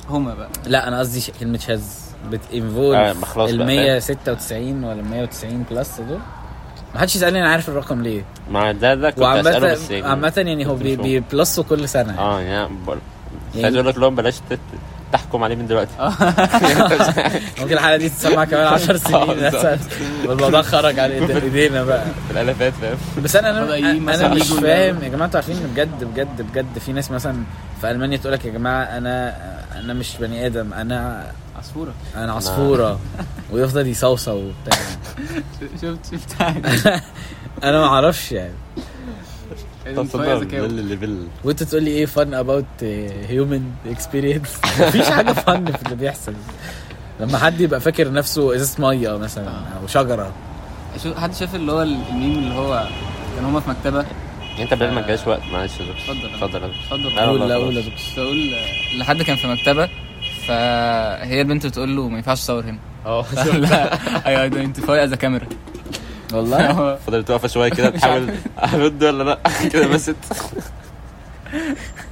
D: هما بقى
B: لا انا قصدي ش- كلمة شاذ
E: آه،
B: بتنفولف
E: ما خلاص
B: ال
E: بقى،
B: 196 ولا 190 بلس دول ما حدش يسالني انا عارف الرقم ليه
E: ما ده ده كنت اساله
B: وعامة
E: بس
B: عامة يعني هو
E: كنت
B: بي
E: مش مهم.
B: بيبلصوا كل سنة يعني.
E: اه يعني بقول-
B: يعني- آه.
E: كنت عايز اقول لك لو بلاش تت- تحكم عليه من دلوقتي
B: ممكن الحلقه دي تتسمع كمان 10 سنين مثلا والموضوع خرج على إيد- ايدينا بقى
E: الالفات فاهم
B: بس انا انا,
D: بدأ يجي
B: أنا
D: مثلا
B: مش
D: يجوا
B: فاهم يا جماعه انتوا عارفين إن بجد بجد بجد في ناس مثلا في المانيا تقول لك يا جماعه انا انا مش بني ادم انا
D: عصفوره
B: انا عصفوره ويفضل يصوصو وبتاع
D: شفت شفت حاجه
B: انا ما اعرفش يعني
D: المفايزة كده.
E: الليفل
B: وانت تقول لي ايه فن اباوت هيومن اكسبيرينس آه، مفيش حاجه فن في اللي بيحصل لما حد يبقى فاكر نفسه ازازه ميه مثلا او شجره
D: شو- حد شاف اللي هو الميم اللي هو كان هما في مكتبه
E: انت بدل
B: آه.
E: ما تجاش وقت معلش يا زوز. اتفضل
D: اتفضل.
E: يا زوز.
D: اتفضل
E: لا، لا،
B: قول لا
E: لا،
B: قول يا
E: خلاص.
B: دكتور.
D: كنت بقول آه، لحد كان في مكتبه فهي البنت بتقول له ما ينفعش تصور هنا
B: اه
D: اي ايدنتيفاي از كاميرا
B: والله
E: فضلت واقفه شويه كده تحاول ارد ولا لا كده بس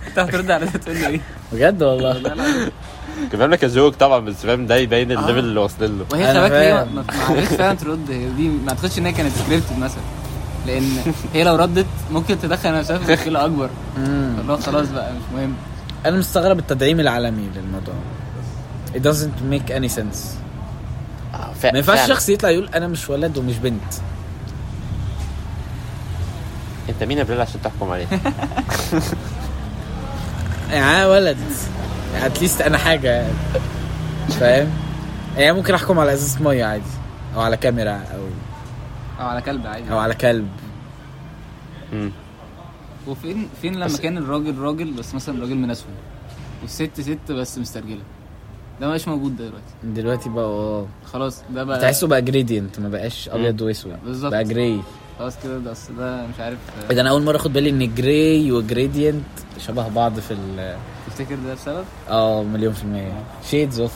D: انت هترد على ده تقول له ايه
B: بجد والله
E: كنت بقول لك يا زوج طبعا بس فاهم ده يبين
B: آه.
E: الليفل اللي واصلين له
D: وهي
B: أنا
D: خلاك ليه ما-
B: فاهم.
D: ما ما عرفتش فعلا ترد هي دي ما اعتقدش ان هي كانت سكريبتد مثلا لان هي لو ردت ممكن تدخل نفسها في مشكله اكبر
B: امم
D: اللي هو خلاص بقى مش مهم
B: انا مستغرب التدعيم العالمي للموضوع it doesn't make any sense ما ينفعش شخص يطلع يقول انا مش ولد ومش بنت
E: انت مين يا بلال عشان تحكم عليه
B: يعني انا ولد اتليست انا حاجه يعني. فاهم يعني ممكن احكم على ازازه ميه عادي او على كاميرا او
D: او على كلب عادي
B: او على كلب
E: مم.
D: وفين فين لما كان الراجل راجل بس مثلا راجل منسوب والست ست بس مسترجله ده مش موجود ده دلوقتي
B: دلوقتي بقى اه
D: خلاص ده بقى
B: تحسه بقى جريدينت ما بقاش ابيض واسود
D: بالظبط.
B: بقى جراي
D: خلاص كده ده اصل ده مش عارف آه،
B: ده انا اول مره اخد بالي ان جراي وجريدينت شبه بعض في ال
D: تفتكر ده بسبب
B: اه مليون في المية شيدز اوف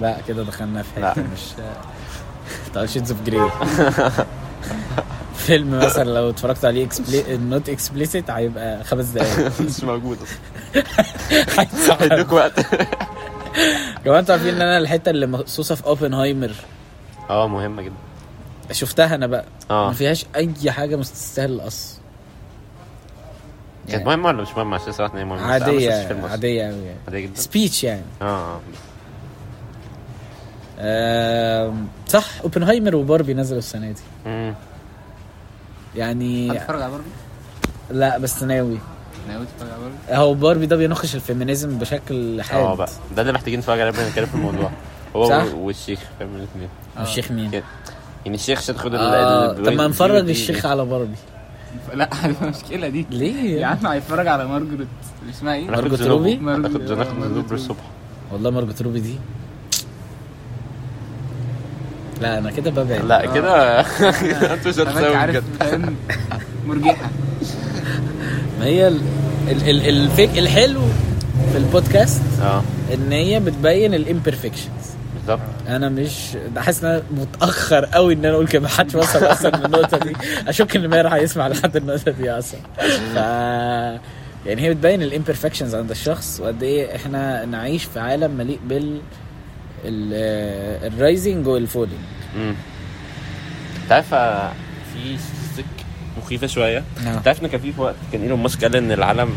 B: لا كده دخلنا في حته مش طيب، طب شيدز اوف جراي فيلم مثلا لو اتفرجت عليه اكسبلي نوت اكسبليسيت هيبقى خمس دقايق
E: مش موجود اصلا
B: هيتصعب.
E: هيدوك وقت
B: كمان انتوا عارفين ان انا الحته اللي مخصوصه في اوبنهايمر
E: اه مهمه جدا
B: شفتها انا بقى ما
A: آه.
E: اه
B: فيهاش اي حاجه مستستاهل القص
E: كانت مهمه ولا مش مهمه عشان صراحه إن هي مهمه بس أنا ما
B: عاديه
E: شفتش فيلم أصلاً.
B: عاديه قوي يعني
E: عاديه جدا
B: سبيتش يعني
E: اه آه.
B: آم، صح اوبنهايمر وباربي نزلوا السنه دي
E: مم.
B: يعني
D: هتتفرج على باربي
B: لا بس ناوي
D: ناوي تتفرج على باربي
B: هو باربي ده بيناقش الفيمينيزم بشكل حاد
E: اه بقى ده اللي محتاجين نتفرج عليه قبل ما نتكلم في الموضوع هو
B: صح؟
E: والشيخ فاهم الاثنين
B: الشيخ مين
E: كده. يعني الشيخ عشان تاخد ال-
B: آه،
E: ال-
B: طب ما نفرج
E: دي-
B: الشيخ على باربي يعني؟
D: لا هتبقى مشكله دي
B: ليه
D: يا عم هيتفرج على مارجريت اسمها ايه؟
E: هناخد
B: مارجوت
E: زنوبو.
B: روبي؟
D: مارجوت-
E: هناخد
D: آه،
E: هناخد
D: مارجوت
E: زنوب
D: روبي.
E: الصبح
B: والله مارجوت روبي دي لا انا كده ببعد
E: لا كده انتوا مش
D: انت
E: هتساوي
D: عارف
E: بجد
D: فاهم مرجحه
B: ما هي ال... ال... ال... الفيك الحلو في البودكاست
E: اه
B: ان هي بتبين الامبرفكشنز
A: بالظبط
B: انا مش ده حاسس ان انا متاخر قوي ان انا اقول كده محدش وصل اصلا من النقطه دي اشك ان ماهر هيسمع لحد النقطه دي اصلا ف يعني هي بتبين الامبرفكشنز عند الشخص وقد ايه احنا نعيش في عالم مليء بال الرايزنج والفولينج
A: امم تعرف آه، في ستاتستيك مخيفه شويه
B: نعم.
A: انت عارف ان كان في في وقت كان ايلون ماسك قال ان العالم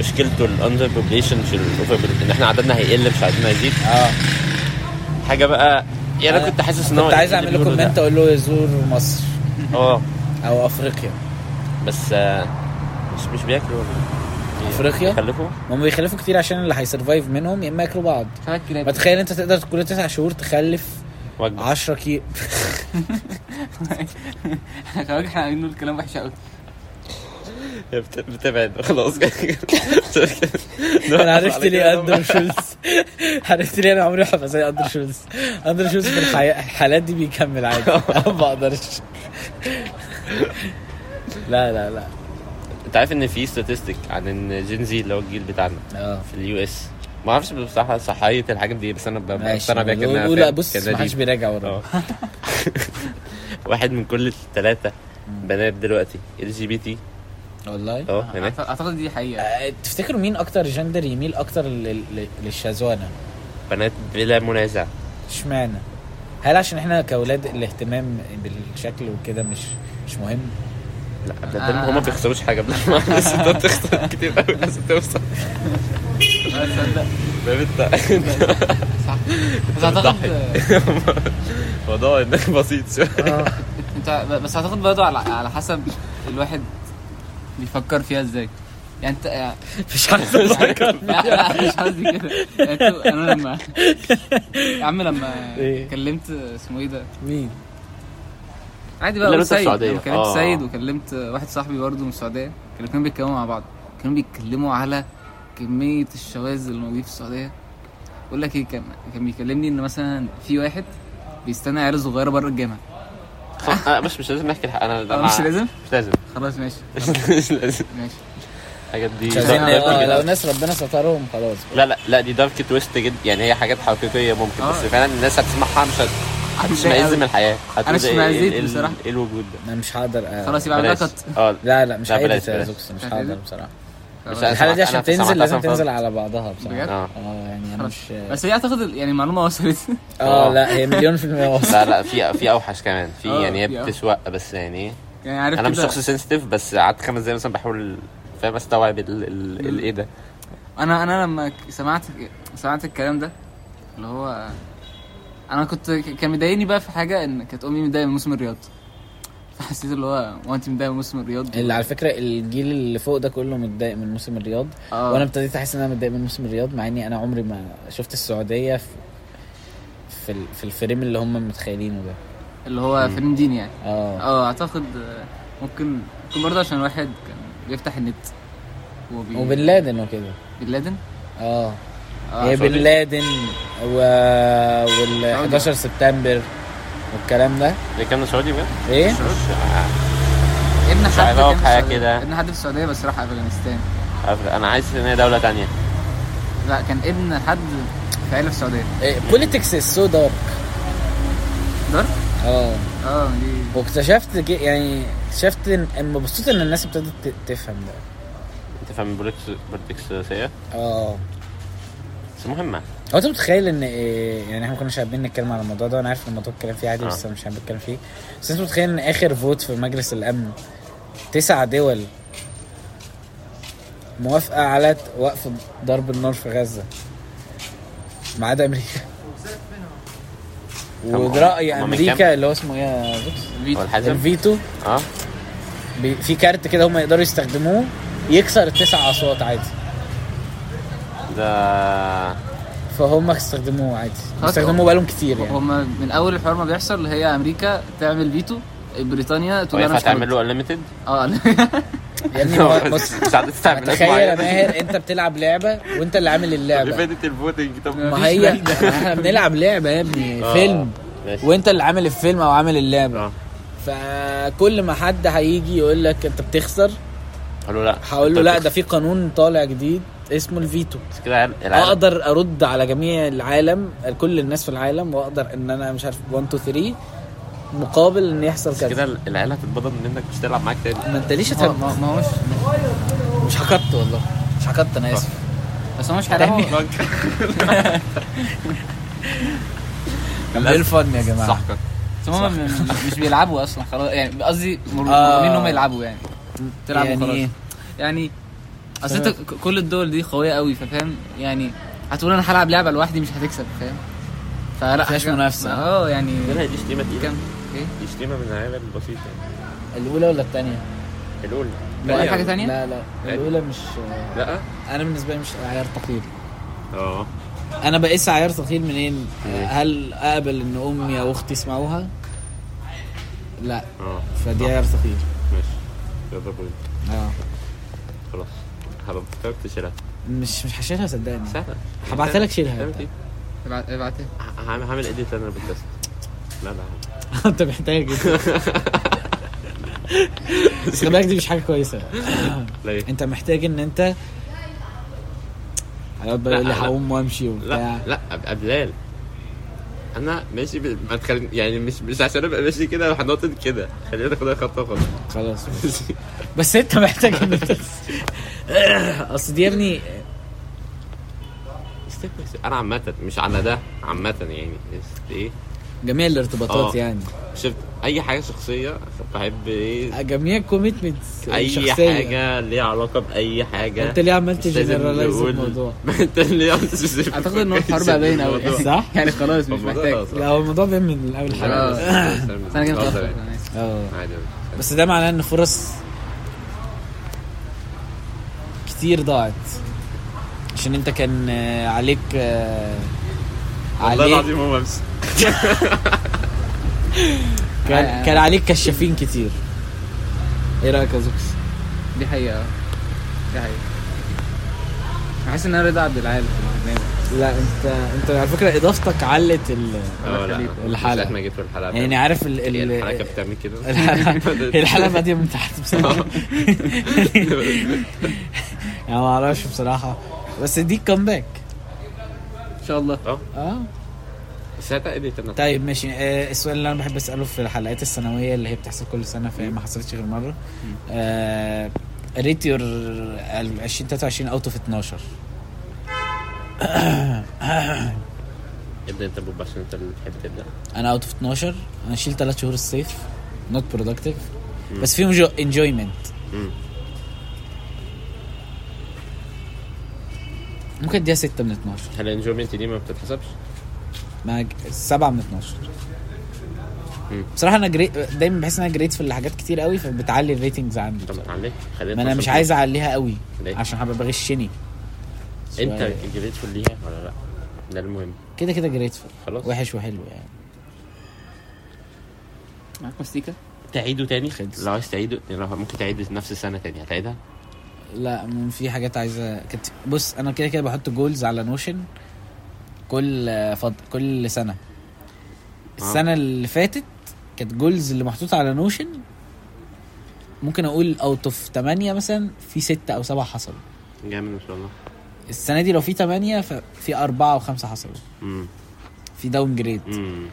A: مشكلته الاندر بوبليشن مش الاوفر ان احنا عددنا هيقل مش عددنا هيزيد
B: اه
A: حاجه بقى يعني انا
B: أنا
A: كنت حاسس ان هو
B: آه، كنت عايز
A: اللي
B: اعمل له
A: بيقوله ده.
B: كومنت اقول له زور مصر
A: اه
B: او افريقيا
A: بس آه، مش مش بياكلوا إيه؟
B: افريقيا
A: خلفوا
B: هم بيخلفوا كتير عشان اللي هيسرفايف منهم يا اما ياكلوا بعض
D: خلاك كلاب
B: ما تخيل انت تقدر كل تسع شهور تخلف
A: وجبه
B: 10 كيلو
D: خلاك احنا قايلين الكلام وحش قوي
A: بت- بتبعد خلاص
B: انا عرفت ليه اندرو شولز عرفت ليه انا عمري ما هبقى زي اندرو شولز اندرو شولز في الحي- الحالات دي بيكمل عادي انا ما بقدرش لا لا لا
A: انت عارف ان في ستاتستيك عن ان جين زي اللي هو الجيل بتاعنا
B: اه
A: في اليو اس ما اعرفش بصراحه صحيه الحاجات دي بس انا ب-
B: ماشي
A: بقتنع بيها كانها
B: لا
A: فاهم،
B: بص
A: كانها
B: ما حدش
A: دي.
B: بيراجع ورا
A: اه واحد من كل ثلاثه بنات دلوقتي ال جي بي تي
B: والله
A: اه هناك
D: أعتقد- اعتقد دي حقيقه
B: آه، تفتكروا مين اكتر جندر يميل اكتر لل- لل- للشاذوانه
A: بنات بلا منازع
B: اشمعنى هل عشان احنا كاولاد الاهتمام بالشكل وكده مش مش مهم
A: لا بنات
B: آه.
A: هما ما بيخسروش حاجه بلا منازع الستات بتخسر كتير قوي الناس بتوصل
D: آه، تصدق
A: فاهم انت
D: صح بس
A: بتضحك.
D: اعتقد
A: الموضوع هناك بسيط شويه
D: انت بس هتاخد برضه على على حسب الواحد بيفكر فيها ازاي يعني انت يعني
B: مش عارف افكر
D: لا لا مش قصدي كده يعني انتوا- انا لما يا عم لما
A: إيه.
B: ايه؟
D: كلمت اسمه ايه ده
B: مين
D: عادي بقى
A: اللي انت
D: أقول
A: في
D: سيد
A: السعودية.
D: لما كلمت
A: اه.
D: سيد وكلمت واحد صاحبي برضه من السعوديه كانوا كانوا بيتكلموا مع بعض كانوا بيتكلموا على كميه الشواذ اللي موجوده في السعوديه بقول لك ايه كان كان بيكلمني ان مثلا في واحد بيستنى عيال صغيره بره الجامعه
A: خلاص، آه، مش مش لازم نحكي الحق انا
D: آه،
A: لا،
D: مش
A: مع-
D: لازم
A: مش لازم
D: خلاص ماشي
A: مش لازم
D: ماشي
A: الحاجات دي
D: شاذوانة،
B: شاذوانة، آه، لو ناس ربنا سترهم خلاص
A: لا لا لا دي دارك تويست جدا يعني هي حاجات حقيقيه ممكن بس
D: اه.
A: فعلا الناس هتسمعها مش هت-
D: هتضايق
A: هتشمئز
D: أوي.
A: من الحياه هتقول
D: مش
A: ايه-
D: اشمئزيت
A: ايه- ايه-
D: بصراحة.
A: ايه الوجود ده
B: انا مش هقدر آه،
D: خلاص يبقى عندها
A: بلاش.
D: كت
A: اه
B: لا لا مش
A: لا،
B: هقدر
A: بلاش،
B: يا
A: بلاش.
B: زوكس مش
D: مش عايز.
B: هقدر بصراحه
A: مش عايز-
B: الحلقه دي
A: أنا
B: عشان
A: سمعتها
B: تنزل لازم
A: أصلاً
B: تنزل
A: فرد.
B: على بعضها بصراحه
D: بجد؟
A: اه
B: اه يعني انا
D: خلاص.
B: مش
D: بس هي اعتقد ال- يعني معلومه وصلت
B: اه
A: آه.
B: لا هي مليون في المية وصل
A: لا لا في في اوحش كمان في
D: اه،
A: يعني هي
D: في اوحش.
A: بتسوق بس يعني
D: يعني عارف
A: انا مش
D: كده
A: شخص سنسيتيف بس قعدت خمس دقايق مثلا بحاول فاهم استوعب ال- ال- ال- ايه ده
D: انا انا لما ك- سمعت سمعت الكلام ده اللي هو انا كنت ك- كان مضايقني بقى في حاجه ان كانت امي مضايقه من موسم الرياض فحسيت اللي هو هو انت مضايقه من موسم الرياض
B: اللي على فكره الجيل اللي فوق ده كله متضايق من موسم الرياض
D: اه
B: وانا ابتديت احس ان انا متضايق من موسم الرياض مع اني انا عمري ما شفت السعوديه في في, ال- في الفريم اللي هم متخيلينه ده
D: اللي هو
A: مم.
D: فيلم ديني يعني
B: اه
D: اه اعتقد آه، ممكن ممكن برضه عشان الواحد كان بيفتح النت وبي...
B: وبن لادن وكده
D: بن لادن
B: اه
D: اه
B: هي بن
A: سعودية.
B: لادن و... وال 11 سبتمبر والكلام ده
A: ده كان سعودي بجد
B: ايه
A: مش
D: ابن
A: مش
D: حد
A: علاقة
D: كان في
A: حاجة
D: السعودية.
A: كده.
D: ابن حد في السعوديه بس راح افغانستان
A: عارف، انا عايز ان هي دوله تانية
D: لا كان ابن حد في عيله في السعوديه
B: إيه، بوليتكس از سو دارك
D: دار
B: اه
D: اه دي
B: واكتشفت جي- يعني اكتشفت ان أما مبسوط ان الناس ابتدت ت- تفهم ده
A: انت فاهم بوليتكس بوليتكس سيئه
B: اه
A: بس مهمه
B: هو انت متخيل ان إيه- يعني احنا ما كناش حابين نتكلم على الموضوع ده وانا عارف ان الموضوع اتكلم فيه عادي بس
A: آه.
B: انا مش حابب اتكلم فيه بس انت متخيل ان اخر فوت في مجلس الامن تسع دول موافقه على ت- وقف ضرب النار في غزه ما عدا امريكا
A: هم-
B: ورأي
A: هم من
B: امريكا اللي هو اسمه ايه يا زوكس؟
A: هو
D: فيتو
A: الحزم
B: الفيتو
A: اه
B: بي- في كارت كده هم يقدروا يستخدموه يكسر التسع اصوات عادي
A: ده
B: فهم استخدموه عادي
D: خلاص.
B: استخدموه بقالهم كتير يعني
D: هما من اول الحوار ما بيحصل اللي هي امريكا تعمل فيتو بريطانيا
A: هو
D: تقول انا
A: ينفع
D: مش
A: تعمل
D: هرد.
A: له انليمتد
D: اه
B: يا ابني هو- بص
A: مش عارف تستعمل
B: تخيل يا ماهر انت بتلعب لعبه وانت اللي عامل اللعبه
A: لفيدت الفوتنج طب
B: ما هي احنا بنلعب لعبه يا ابني
A: آه.
B: فيلم
A: ماشي.
B: وانت اللي عامل الفيلم او عامل اللعبه
A: آه.
B: فكل ما حد هيجي يقول لك انت بتخسر
A: قالوا لا
B: هقول له لا ده في قانون طالع جديد اسمه الفيتو
F: بس كده عل- العالم-
B: اقدر ارد على جميع العالم كل الناس في العالم واقدر ان انا مش عارف 1 2 3 مقابل ان يحصل
A: بس كده
B: كذا
A: العيله هتتبضن من انك مش تلعب معاك تاني
B: ما انت ليش
D: ما
B: هتهب-
D: ما- ما هوش
B: آه. مش حكت والله مش حكت انا اسف
D: بس هو مش حرام
B: كان ايه الفن يا جماعه
A: صحكك
D: بس هم م- م- مش بيلعبوا اصلا خلاص يعني قصدي مر-
B: آه.
D: مرغوبين ان هم يلعبوا يعني تلعبوا
B: يعني
D: خلاص
B: إيه؟
D: يعني اصل انت ك- كل الدول دي قويه قوي ففاهم يعني هتقول انا هلعب لعبه لوحدي مش هتكسب فاهم فلا
B: مفيهاش
D: حاجة-
B: منافسة.
D: اه يعني
A: هنا دي شتيمه تقيله
D: كام ايه
A: دي شتيمه من العيله البسيطه
B: الاولى ولا الثانيه
A: الاولى
D: لا،
A: لا،
D: أي حاجة تانية؟
B: لا لا
A: إيه؟
B: الاولى مش
A: لا
B: انا بالنسبه لي مش عيار ثقيل
A: اه
B: انا بقيس عيار ثقيل منين
A: إيه؟
B: هل اقبل ان امي او اختي يسمعوها لا
A: اه
B: فدي عيار ثقيل
A: ماشي يلا بوينت
B: اه
A: خلاص هبقى فكرت شيلها
B: مش مش هشيلها صدقني
A: سهله
B: هبعتها لك شيلها
A: تعمل إيه؟
D: ابعت ابعتها
A: ه- هعمل هعمل اديت انا بالتست لا لا
B: انت محتاج بس خلي بالك دي مش حاجه كويسه
A: لا إيه؟
B: انت محتاج ان انت هيقعد بقى يقول لي
A: لا، لا.
B: هقوم وامشي
A: لا
B: وبتاع
A: لا أبقى بلال انا ماشي ب... ما تخل... يعني مش مش عشان ابقى ماشي كده هنقطن كده خلينا ناخدها خطوه خطوه
B: خلاص بس انت محتاج ان انت اصل دي يا ابني
A: step by step. انا عامه مش على ده عامه يعني است- ايه
B: جميع الارتباطات
A: آه.
B: يعني
A: شفت اي حاجه شخصيه بحب ايه
B: جميع كوميتمنتس
A: اي
B: الشخصيه
A: حاجه ليها علاقه باي حاجه
B: انت ليه عملت
A: مش لازم
B: جنرالايز
A: نقول-
B: الموضوع
A: انت ليه specific
D: اعتقد ان هو الحوار
A: في
D: بقى باين
A: الموضوع.
D: قوي
B: صح؟
D: يعني خلاص مش
A: الموضوع
D: محتاج
A: ده
B: لا هو الموضوع بيعمل من اول حاجه
A: اه.
D: خلاص.
A: خلاص
D: بس انا جاي
A: اتفضل.
D: متاخر أنا آسف.
B: اه
A: عادي
B: بس ده معناه ان فرص كتير ضاعت عشان انت كان آه، عليك آه،
A: والله
B: عليك
A: العظيم هو بس
B: كان, كان عليك كشافين كتير ايه رايك يا زوكس
D: دي حقيقه دي حقيقه بحس ان انا رضا عبد العال دايما
B: لا انت انت على فكره اضافتك علت ال...
A: اه لا
B: الحلقة.
A: الحلقه ما جيت في الحلقه
B: يعني عارف ال...
A: هي
B: ال...
A: الحلقه كانت بتعمل كده
B: الحلقه هي الحلقه باديه من تحت
A: آه.
B: بصراحه يعني ما اعرفش بصراحه بس دي كومباك
D: ان شاء الله
A: اه
B: اه
A: بس هتأديت انا
B: طيب ماشي آه السؤال اللي انا بحب اساله في الحلقات السنويه اللي هي بتحصل كل سنه فهي ما حصلتش غير مره آه ريت يور 2023 اوت اوف 12
A: ابدا انت بوب عشان انت اللي بتحب تبدا
B: انا اوت اوف 12 انا شيل ثلاث شهور الصيف نوت برودكتيف بس فيهم انجويمنت
A: مم.
B: ممكن اديها 6 من 12
A: هل الانجويمنت دي ما بتتحسبش؟
B: مع 7 من 12
A: مم.
B: بصراحه انا جري... دايما بحس ان انا جريت في حاجات كتير قوي فبتعلي الريتنجز عندي
A: طب عليك خلينا
B: ما انا مش
A: نتواصل.
B: عايز اعليها قوي
A: ليه؟
B: عشان هبقى بغشني
A: انت
B: شوية.
A: جريتفول ليها ولا لا؟ ده المهم
B: كده كده جريتفول
A: خلاص
B: وحش وحلو يعني
D: معاك مستيكه
A: تعيده تاني
B: خلص.
A: لو عايز تعيده يعني لو ممكن تعيده نفس السنه تاني هتعيدها؟
B: لا من في حاجات عايزه كنت بص انا كده كده بحط جولز على نوشن كل فض... كل سنه السنه اللي فاتت كانت جولز اللي محطوطه على نوشن ممكن اقول اوت اوف 8 مثلا في 6 او 7 حصلوا
A: جامد ان شاء الله
B: السنه دي لو في 8 ففي 4 او 5 حصلوا
A: امم
B: في داون جريد
A: امم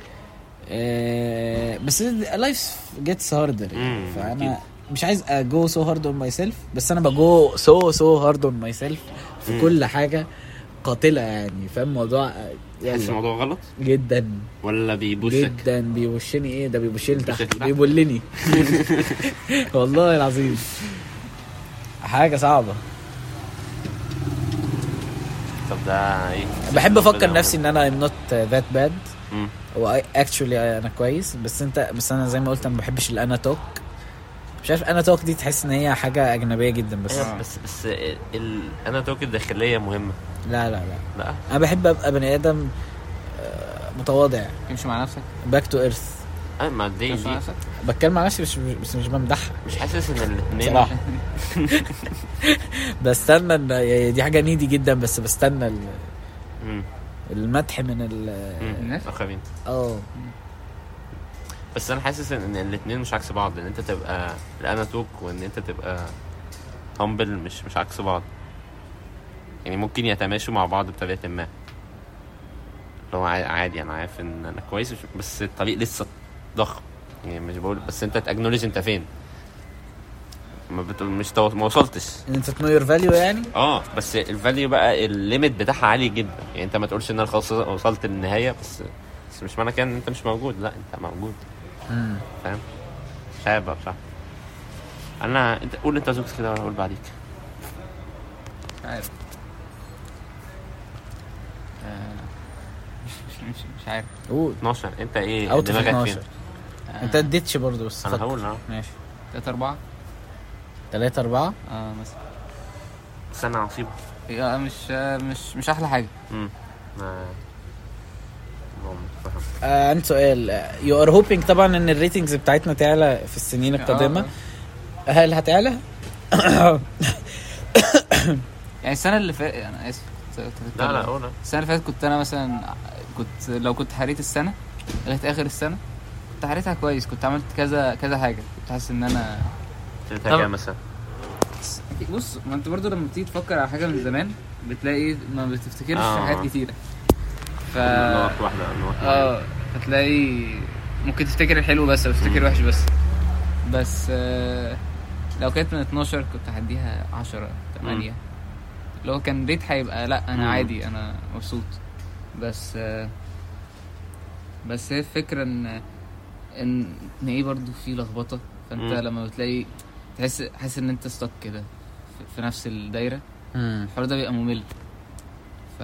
B: آه، بس لايف جيتس هاردر يعني
A: مم،
B: فانا
A: أكيد.
B: مش عايز اجو سو هارد اون ماي سيلف بس انا بجو سو سو هارد اون ماي سيلف في
A: مم.
B: كل حاجه قاتله يعني فاهم الموضوع آه،
A: تحس
B: يلا
A: الموضوع غلط
B: جدا
A: ولا بيبوشك؟
B: جدا بيوشني ايه ده بيوشني
A: بيبوشك
B: تحت
A: تحت.
B: بيبلني والله العظيم حاجه صعبه
A: طب ده ايه؟
B: بحب افكر نفسي ان انا ام نوت ذات باد
A: مم.
B: uh, هو اكشولي انا كويس بس انت بس انا زي ما قلت انا ما بحبش الانا توك مش عارف انا توك دي تحس ان هي حاجه اجنبيه جدا بس
A: أيوة، بس بس ال... انا توك الداخليه مهمه
B: لا لا لا
A: لا
B: انا بحب ابقى بني ادم آه، متواضع
D: تمشي مع نفسك
B: باك تو ايرث
A: انا ما دي
D: تمشي مع
A: دي
D: نفسك
B: بتكلم على نفسي بس بس مش بمدحها
A: مش حاسس ان الاثنين
B: بصراحه بستنى ان يعني دي حاجه نيدي جدا بس بستنى ال- المدح من ال
D: الناس؟
A: اخرين
B: اه
A: بس انا حاسس ان الاثنين مش عكس بعض ان انت تبقى الانا توك وان انت تبقى هامبل مش مش عكس بعض يعني ممكن يتماشوا مع بعض بطريقه ما اللي هو عا- عادي انا عارف ان انا كويس مش- بس الطريق لسه ضخم يعني مش بقول بس انت تاكنولج انت فين ما بت... مش تو... ما وصلتش
B: ان انت تنو يور فاليو يعني
A: اه بس الفاليو بقى الليميت بتاعها عالي جدا يعني انت ما تقولش ان انا خلاص وصلت للنهايه بس بس مش معنى كده ان انت مش موجود لا انت موجود فاهم مش عارف بقى بصراحه انا انت قول انت زوجك كده وانا اقول بعديك
D: مش عارف آه، مش مش مش عارف آه،
B: قول
A: 12 انت ايه
B: اوت اوف
A: دماغك فين؟
B: 12 انت اديتش برضه بس
A: انا
B: اتفضل.
A: هقول اه
B: ماشي
D: تلاتة أربعة
B: ثلاثة أربعة
D: اه مثلا
A: استنى عصيبه
D: آه، مش آه، مش مش أحلى حاجة
A: امم ما- ما متفهم.
B: آه عندي سؤال يو ار هوبينج طبعا ان الريتنجز بتاعتنا تعلى في السنين القادمة
D: آه.
B: هل هتعلى؟
D: يعني السنة اللي فاتت أنا آسف
A: لا لا قول
D: السنة اللي فاتت كنت أنا مثلا كنت لو كنت حريت السنة لغاية آخر السنة كنت حريتها كويس كنت عملت كذا كذا حاجة كنت حاسس إن أنا
A: تلاتة
D: طب-
A: كام مثلا
D: بص ما انت برضو لما بتيجي تفكر على حاجه من زمان بتلاقي ما بتفتكرش
A: آه.
D: حاجات كتيره ف
A: نقط واحدة نقط واحدة.
D: اه هتلاقي ممكن تفتكر الحلو بس او تفتكر
A: مم.
D: الوحش بس بس آه، لو كانت من 12 كنت هديها 10 8 لو كان ريت هيبقى لا
A: مم.
D: انا عادي انا مبسوط بس آه، بس هي الفكره ان ان ان ايه برضو في لخبطه فانت
A: مم.
D: لما بتلاقي تحس حاسس ان انت ستك كده في- في نفس الدايره الحوار ده بيبقى ممل ف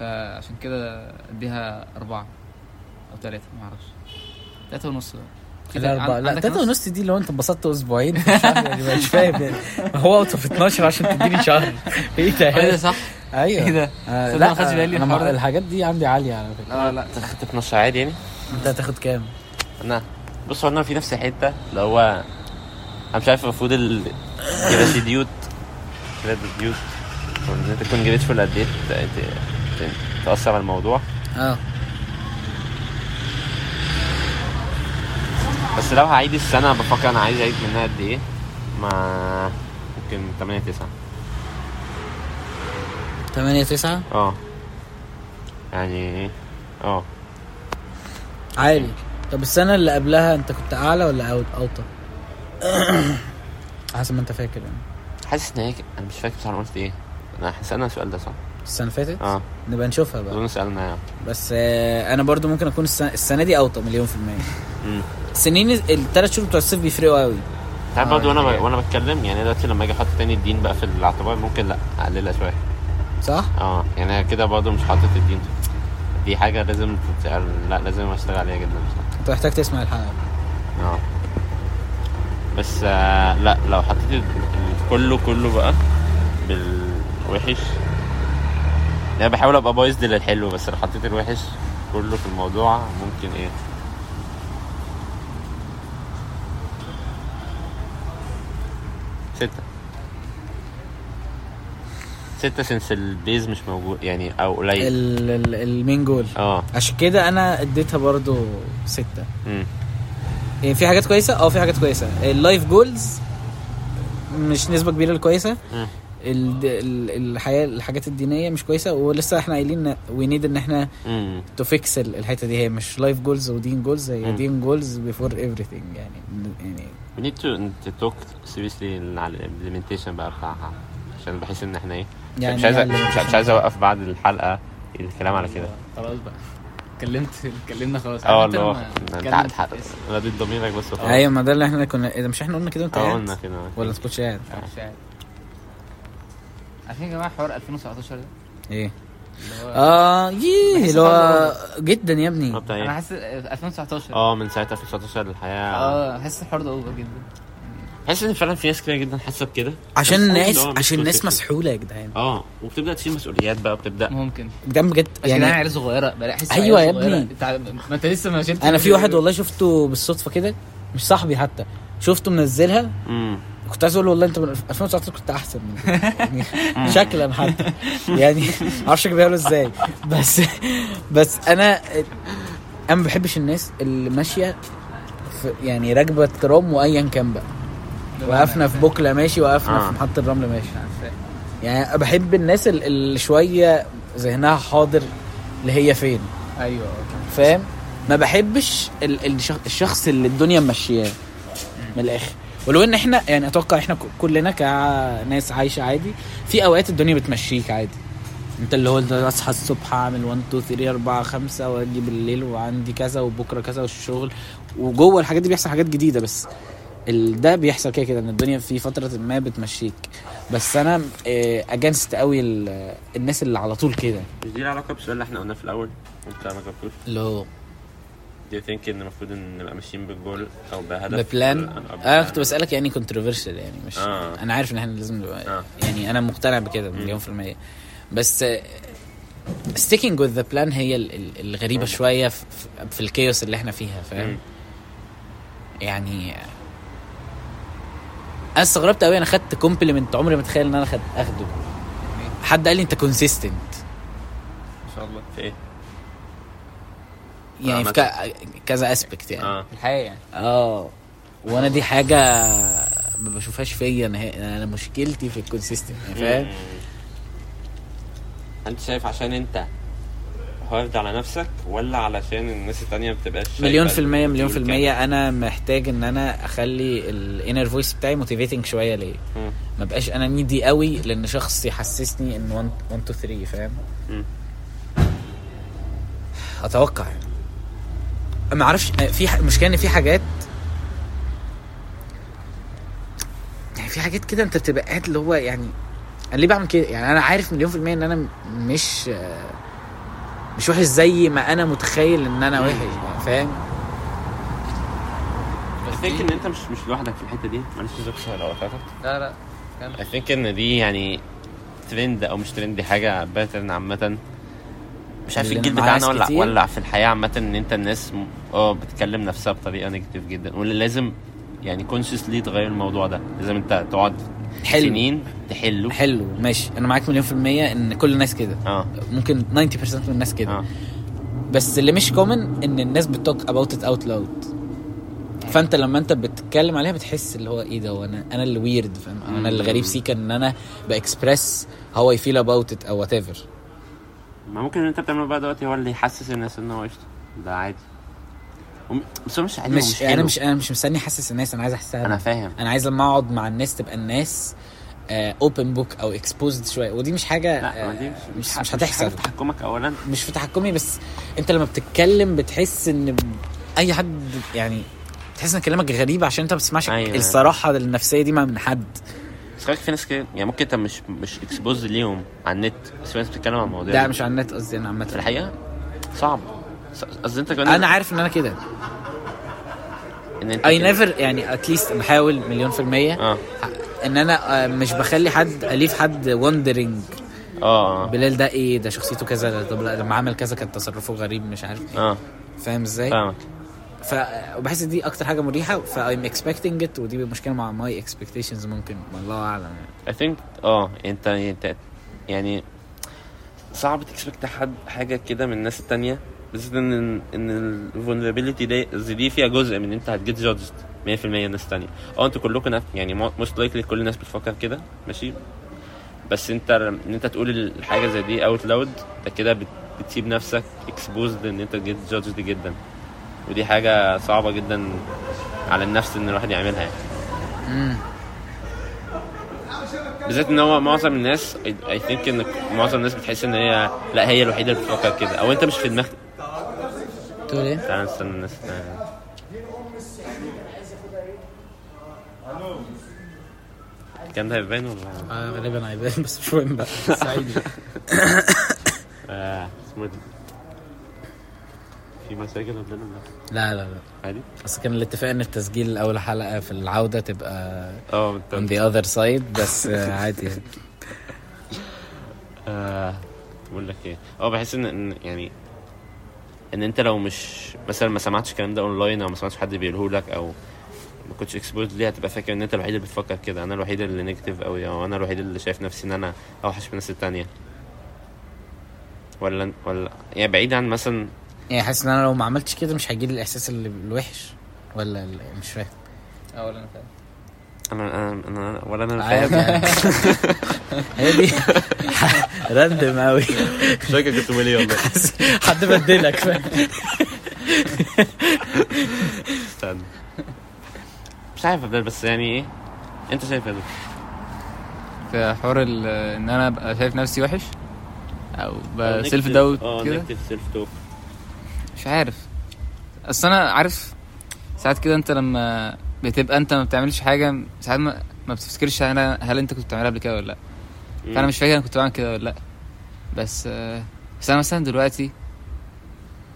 D: فعشان كده اديها أربعة أو ثلاثة معرفش ثلاثة ونص بقى في
B: لا
D: تل-
B: أربعة لا
D: عندك
B: تلاتة
D: نص؟
B: ونص دي لو أنت اتبسطت أسبوعين في شهر يعني مش فاهم يعني هو أوت أوف 12 عشان تديني شهر إيه ده؟
D: ايه ده صح؟
B: أيوه
D: ايه ده؟
B: آه،
D: صدق
B: لا
D: ما خدتش بالي
B: أنا
D: الحوار
B: مع-
D: ده.
B: الحاجات دي عندي عالية على فكرة
D: لا لا
A: انت خدت 12 عادي يعني؟
B: أنت هتاخد كام؟
A: انا بص هو انا في نفس الحته اللي هو انا مش عارف المفروض ال gratitude gratitude ان انت تكون grateful قد ايه ت- ت- ت- تاثر على الموضوع
B: أه
A: بس لو هعيد السنه بفكر انا عايز اعيد منها قد ايه ما ممكن 8 9
B: 8 9
A: اه يعني اه
B: عالي طب السنة اللي قبلها أنت كنت أعلى ولا أو- أوطى؟ حسب ما أنت فاكر يعني
A: حاسس ان هي ك- انا مش فاكر بصراحه أنا قلت ايه انا سالنا السؤال ده صح؟ يعني.
B: السنة اللي فاتت؟
A: اه
B: نبقى نشوفها بقى
A: اظن سالنا
B: بس آه، انا برضو ممكن اكون السنه, السنة دي اوطى مليون في الميه
A: امم
B: سنين الثلاث شهور بتوع الصيف بيفرقوا قوي
A: تعرف
D: آه،
A: برضه وانا
D: يعني-
A: ب- وانا بتكلم يعني دلوقتي لما اجي احط تاني الدين بقى في الاعتبار ممكن لا اقللها شويه
B: صح
A: اه يعني أنا كده برضه مش حاطط الدين دي حاجه لازم تتعمل- لا لازم اشتغل عليها جدا بصراحه
B: انت محتاج تسمع الحلقه
A: اه بس آه لا لو حطيت ال- ال- كله كله بقى بالوحش يعني بحاول ابقى بايظ للحلو بس لو حطيت الوحش كله في الموضوع ممكن ايه ستة ستة سنس البيز مش موجود يعني او قليل
B: ال- ال- المين جول
A: اه
B: عشان كده انا اديتها برضو ستة
A: امم
B: يعني في حاجات كويسه اه في حاجات كويسه اللايف جولز مش نسبه كبيره الكويسه
A: مم.
B: ال- ال- الحياه الحاجات الدينيه مش كويسه ولسه احنا قايلين وي نيد ان احنا
A: امم
B: تو فيكس الحته دي هي مش لايف جولز ودين جولز هي
A: مم.
B: دين جولز بيفور everything يعني يعني
A: We need to to talk seriously على الامبلمنتيشن بقى بتاعها عشان بحس ان احنا ايه
B: يعني
A: مش عايز
B: يعني
A: مش, مش عايز اوقف بعد الحلقه الكلام على كده
D: خلاص بقى اتكلمت اتكلمنا خلاص
A: اه
D: عارف انت
A: والله
D: لما
A: انت
D: تتكلم-
A: حق رديت ضميرك بس وخلاص.
B: ايوه ما ده اللي احنا كنا اذا مش احنا قلنا كده وانت
A: اه
B: قاعد؟
A: آه. قلنا آه. كده
B: ولا انت كنتش قاعد
D: مش عارف عارفين يا جماعه حوار 2017 ده
B: ايه
D: اللي هو
B: اه ييه
D: بحس
B: اللي هو
D: طبعاً.
B: جدا يا ابني
A: اه بتاع
D: انا
A: ايه؟
D: حاسس 2019
A: اه من ساعتها في 19
B: آه.
A: الحياه
D: اه حاسس الحوار ده اوفر جدا
A: حاسس ان فعلا في ناس كتير جدا حاسه بكده
B: عشان
A: بس
B: الناس
A: الموضوع مش
B: عشان الناس
A: consistent.
B: مسحوله يا جدعان
A: اه وبتبدا تشيل مسؤوليات بقى بتبدا
D: ممكن
B: ده بجد
D: يعني انا
B: يعني
D: عيال صغيره بلاقي احس
B: أيوة
D: عيال
B: يا
D: صغيرة.
B: ابني.
D: انت ع- ما انت لسه ما شلت
B: انا في واحد والله شفته بالصدفه كده مش صاحبي حتى شفته منزلها
A: امم
B: كنت عايز اقول له والله انت من 2019 كنت احسن من كده. يعني شكلا حتى يعني معرفش اجيبها له ازاي بس بس انا انا ما بحبش الناس اللي ماشيه في يعني راكبه ترام وايا كان بقى وقفنا في بوكله ماشي وقفنا
A: آه.
B: في محطه الرمل ماشي يعني أنا بحب الناس ال- اللي شويه ذهنها حاضر اللي هي فين
D: ايوه
B: فاهم ما بحبش ال- الشخ- الشخص اللي الدنيا ماشياه من الاخر ولو ان احنا يعني اتوقع احنا ك- كلنا كناس عايشه عادي في اوقات الدنيا بتمشيك عادي انت اللي هو انت اصحى الصبح اعمل 1 2 3 4 5 واجي بالليل وعندي كذا وبكره كذا والشغل وجوه الحاجات دي بيحصل حاجات جديده بس ال- ده بيحصل كده كده ان الدنيا في فتره ما بتمشيك بس انا اجنست قوي ال- الناس اللي على طول كده
A: مش دي لها علاقه بالسؤال اللي احنا قلناه في الاول انت ما جاوبتوش
B: اللي هو
A: دي ثينك ان المفروض ان نبقى ماشيين بالجول او بهدف
B: ببلان
A: أو
B: انا
A: ببلان.
B: كنت بسالك يعني كونتروفيرشال يعني مش
A: آه.
B: انا عارف ان احنا لازم نبقى
A: آه.
B: يعني انا مقتنع بكده مليون في المية بس آه، ستيكينج وذ ذا بلان هي ال- ال- الغريبة شوية في, في الكيوس اللي احنا فيها فاهم
A: مم.
B: يعني انا استغربت قوي انا خدت كومبلمنت عمري ما اتخيل ان انا خد اخده حد قال لي انت كونسيستنت
A: ان شاء الله في ايه؟
B: يعني في ك- كذا اسبكت يعني
A: اه
D: الحياه يعني
B: اه وانا دي حاجه ما بشوفهاش فيا انا انا مشكلتي في الكونسيستنت فاهم
A: أيوة. انت شايف عشان انت هارد على نفسك ولا علشان الناس التانية ما بتبقاش شايفة
B: مليون في المية
A: الروتين
B: مليون في
A: كامل؟
B: المية أنا محتاج إن أنا أخلي الانر فويس بتاعي موتيفيتنج شوية ليا
A: مم.
B: ما بقاش أنا نيدي قوي لأن شخص يحسسني إن 1 2 3 فاهم
A: مم.
B: أتوقع ما أعرفش في ح- مشكلة إن في حاجات يعني في حاجات كده أنت بتبقى قاعد اللي هو يعني أنا ليه بعمل كده يعني أنا عارف مليون في المية إن أنا م- مش مش وحش زي ما أنا متخيل إن أنا وحش فاهم
A: I think ان انت مش مش لوحدك في الحته دي معلش زوكس لو قطعتك
D: لا لا كمل.
A: I think ان دي يعني ترند او مش ترند دي حاجه باترن عامه مش عارف
B: اللي
A: الجيل
B: أنا مع
A: بتاعنا
B: ناس
A: ولا
B: كتير.
A: ولا في الحياه عامه ان انت الناس م- اه بتكلم نفسها بطريقه نيجاتيف جدا واللي لازم يعني كونشسلي تغير الموضوع ده لازم انت تقعد
B: حلو.
A: سنين تحله
B: حلو ماشي انا معاك مليون في المية ان كل الناس كده
A: اه
B: ممكن 90% من الناس كده
A: اه
B: بس اللي مش كومن ان الناس بتوك اباوت ات اوت لاود فانت لما انت بتتكلم عليها بتحس اللي هو ايه ده وانا انا اللي ويرد فاهم أو انا اللي غريب سيكا ان انا باكسبرس هاو اي فيل اباوت ات او وات ايفر
A: أيوة، ما ممكن اللي انت بتعمله بقى دلوقتي هو اللي يحسس الناس ان هو قشطه ده عادي وم- بس هو مش عادي
B: مش
A: حلو.
B: انا مش انا مش مستني احسس الناس انا عايز احسها
A: انا فاهم
B: انا عايز لما اقعد مع الناس تبقى الناس آه، اوبن بوك او اكسبوزد شويه ودي مش حاجه
A: لا ما دي
B: آه،
A: مش
B: مش,
A: حاجة-
B: مش
A: حاجة
B: هتحصل
A: في تحكمك اولا
B: مش في تحكمي بس انت لما بتتكلم بتحس ان اي حد يعني تحس ان كلامك غريب عشان انت ما بتسمعش
A: أيوة.
B: أيوة. الصراحه النفسيه دي ما من حد
A: بس خلي بالك في ناس كده يعني ممكن انت مش مش اكسبوز ليهم على النت بس في ناس بتتكلم عن المواضيع
B: ده
A: دي.
B: مش على النت قصدي انا
A: في
B: عامه
A: الحقيقه صعب ص- قصدي انت كمان
B: انا عارف ان انا كده
A: ان انت
B: اي
A: كده-
B: نيفر يعني اتليست بحاول مليون في الميه
A: اه
B: ان انا آه، مش بخلي حد اليف حد وندرنج
A: اه اه
B: بلال ده ايه ده شخصيته كذا ده- طب لا، لما عمل كذا كان تصرفه غريب مش عارف ايه
A: اه
B: فاهم ازاي؟
A: فاهمك
B: ف وبحس دي اكتر حاجه مريحه فايم اكسبكتنج ات ودي مشكله مع ماي اكسبكتيشنز ممكن والله اعلم يعني
A: I think اه انت انت يعني صعب تكسبكت حد حاجه كده من الناس التانية بس ان ان الفولنربيلتي دي قصدي دي فيها جزء من انت هتجيت جادجد 100% الناس التانية اه انتوا كلكم نف- يعني موست لايكلي كل الناس بتفكر كده ماشي بس انت ان انت تقول الحاجه زي دي اوت لاود انت كده بت- بتسيب نفسك اكسبوزد ان انت تجيت جادجد جدا ودي حاجه صعبه جدا على النفس ان الواحد يعملها يعني بالذات ان هو معظم الناس اي ثينك ان معظم الناس بتحس ان هي لا هي الوحيده اللي بتفكر كده او انت مش في دماغك
B: تقول ايه؟
A: تعال نستنى الناس تعال. الكلام ده هيبان ولا
B: اه غالبا عيبان بس مش مهم بقى
D: سعيد
A: آه، اسمه ده في مساجد قبلنا ولا
B: لا لا لا
A: عادي؟
B: اصل كان الاتفاق ان التسجيل الاول حلقه في العوده تبقى
A: اه
B: on
A: انت
B: the other side بس آه، عادي يعني.
A: آه، بقول لك ايه اه بحس ان إن يعني ان انت لو مش مثلا ما سمعتش الكلام ده اونلاين او ما سمعتش حد بيقوله لك او ما كنتش اكسبوز ليه هتبقى فاكر ان انت الوحيد اللي بتفكر كده انا الوحيد اللي نيجاتيف قوي او انا الوحيد اللي شايف نفسي ان انا اوحش من الناس التانية ولا ولا يعني بعيد عن مثلا
B: يعني حاسس ان انا لو ما عملتش كده مش هيجي لي الاحساس اللي الوحش ولا ال- مش فاهم
D: اول انا اه، فاهم
A: انا انا, أنا ولا انا
B: عادي
A: فاهم
B: يعني. هي دي راندم قوي
A: مش فاكر كنت بقول ايه والله
B: حد بدلك فاهم
A: استنى مش عارف أبدأ، بس يعني ايه انت شايف ايه
D: في حوار ال- ان انا ابقى شايف نفسي وحش او سيلف
A: اه
D: داوت كده
A: نكتب سيلف توك
D: مش عارف اصل انا عارف ساعات كده انت لما بتبقى انت ما بتعملش حاجه ساعات ما, ما بتفتكرش انا هل انت كنت بتعملها قبل كده ولا لا
E: إيه.
D: فانا مش فاكر انا كنت بعمل كده ولا لا بس آه، بس انا مثلا دلوقتي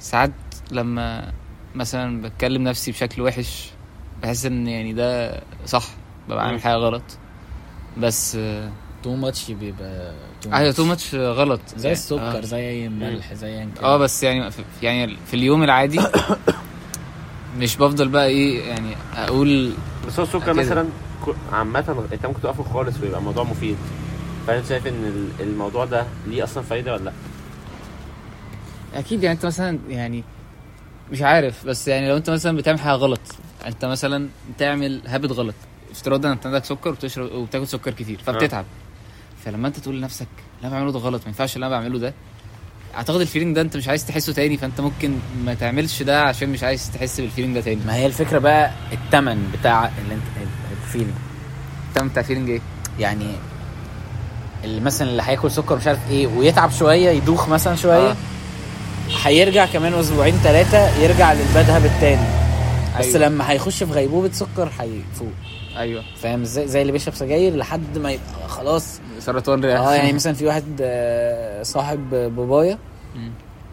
D: ساعات لما مثلا بتكلم نفسي بشكل وحش بحس ان يعني ده صح ببقى
A: مم.
D: عامل حاجه غلط بس آه،
E: تو ماتش بيبقى too
D: ايوه
E: much.
D: تو ماتش غلط
E: زي
D: يعني،
E: السكر
D: آه.
E: زي اي ملح زي أيا كان.
D: اه بس يعني في- يعني في اليوم العادي مش بفضل بقى ايه يعني اقول
A: بس هو السكر
D: كده.
A: مثلا كو- عامة انت ممكن توقفه خالص ويبقى الموضوع مفيد فانت شايف ان ال- الموضوع ده ليه اصلا فايدة ولا لا؟
D: اكيد يعني انت مثلا يعني مش عارف بس يعني لو انت مثلا بتعمل حاجه غلط انت مثلا بتعمل هابت غلط افتراضا انت عندك سكر وبتشرب وبتاكل سكر كتير فبتتعب فلما انت تقول لنفسك اللي انا بعمله ده غلط ما ينفعش اللي انا بعمله ده اعتقد الفيلينج ده انت مش عايز تحسه تاني فانت ممكن ما تعملش ده عشان مش عايز تحس بالفيلينج ده تاني
B: ما هي الفكره بقى التمن بتاع اللي انت الفيلم
D: التمام بتاع فيلينج ايه؟
B: يعني اللي مثلا اللي هياكل سكر مش عارف ايه ويتعب شويه يدوخ مثلا شويه
D: آه.
B: هيرجع كمان اسبوعين ثلاثه يرجع للباد هابت تاني بس
D: أيوة.
B: لما هيخش في غيبوبه سكر هيفوق
D: ايوه
B: فاهم ازاي زي اللي بيشرب سجاير لحد ما يبقى خلاص
D: سرطان رئه
B: اه يعني مثلا في واحد آه، صاحب بابايا
D: مم.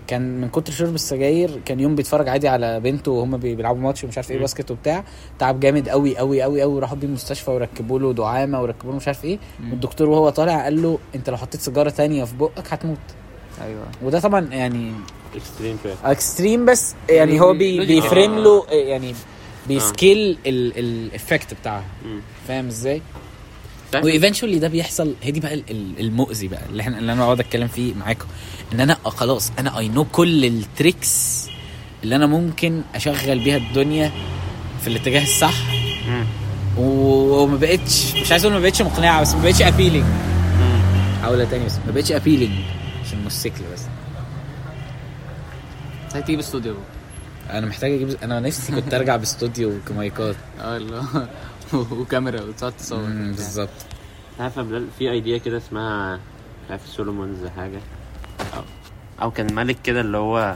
B: كان من كتر شرب السجاير كان يوم بيتفرج عادي على بنته وهم بي- بيلعبوا ماتش ومش عارف ايه
A: مم.
B: باسكت وبتاع تعب جامد قوي قوي قوي قوي راحوا بيه المستشفى وركبوا له دعامه وركبوا له مش عارف ايه
D: مم.
B: والدكتور وهو طالع قال له انت لو حطيت سيجاره تانية في بقك هتموت
D: ايوه
B: وده طبعا يعني
A: اكستريم شوية
B: اكستريم بس يعني هو بي
D: لوجيك.
B: بيفريم
A: آه.
B: له يعني بيسكيل الايفكت بتاعها
A: مم. طيب.
B: فاهم ازاي؟
A: تعرف-
B: وايفنشولي ده بيحصل هي دي بقى ال- ال- المؤذي بقى اللي احنا اللي انا بقعد اتكلم فيه معاكم ان انا آه خلاص انا اي نو كل التريكس اللي انا ممكن اشغل بيها الدنيا في الاتجاه الصح
A: مم.
B: و- وما بقتش مش عايز اقول ما بقتش مقنعه بس ما بقتش ابيلينج
A: مم.
B: هقولها تاني بس ما بقتش ابيلينج عشان موتوسيكل بس
D: هتيجي باستوديو
B: انا محتاج اجيب انا نفسي كنت ارجع باستوديو كمايكات
D: اه اللي هو وكاميرا وتقعد تصور
B: مم، بالظبط
A: عارف يا بلال في ايديا كده اسمها مش عارف سولومونز حاجة أو, او كان ملك كده اللي هو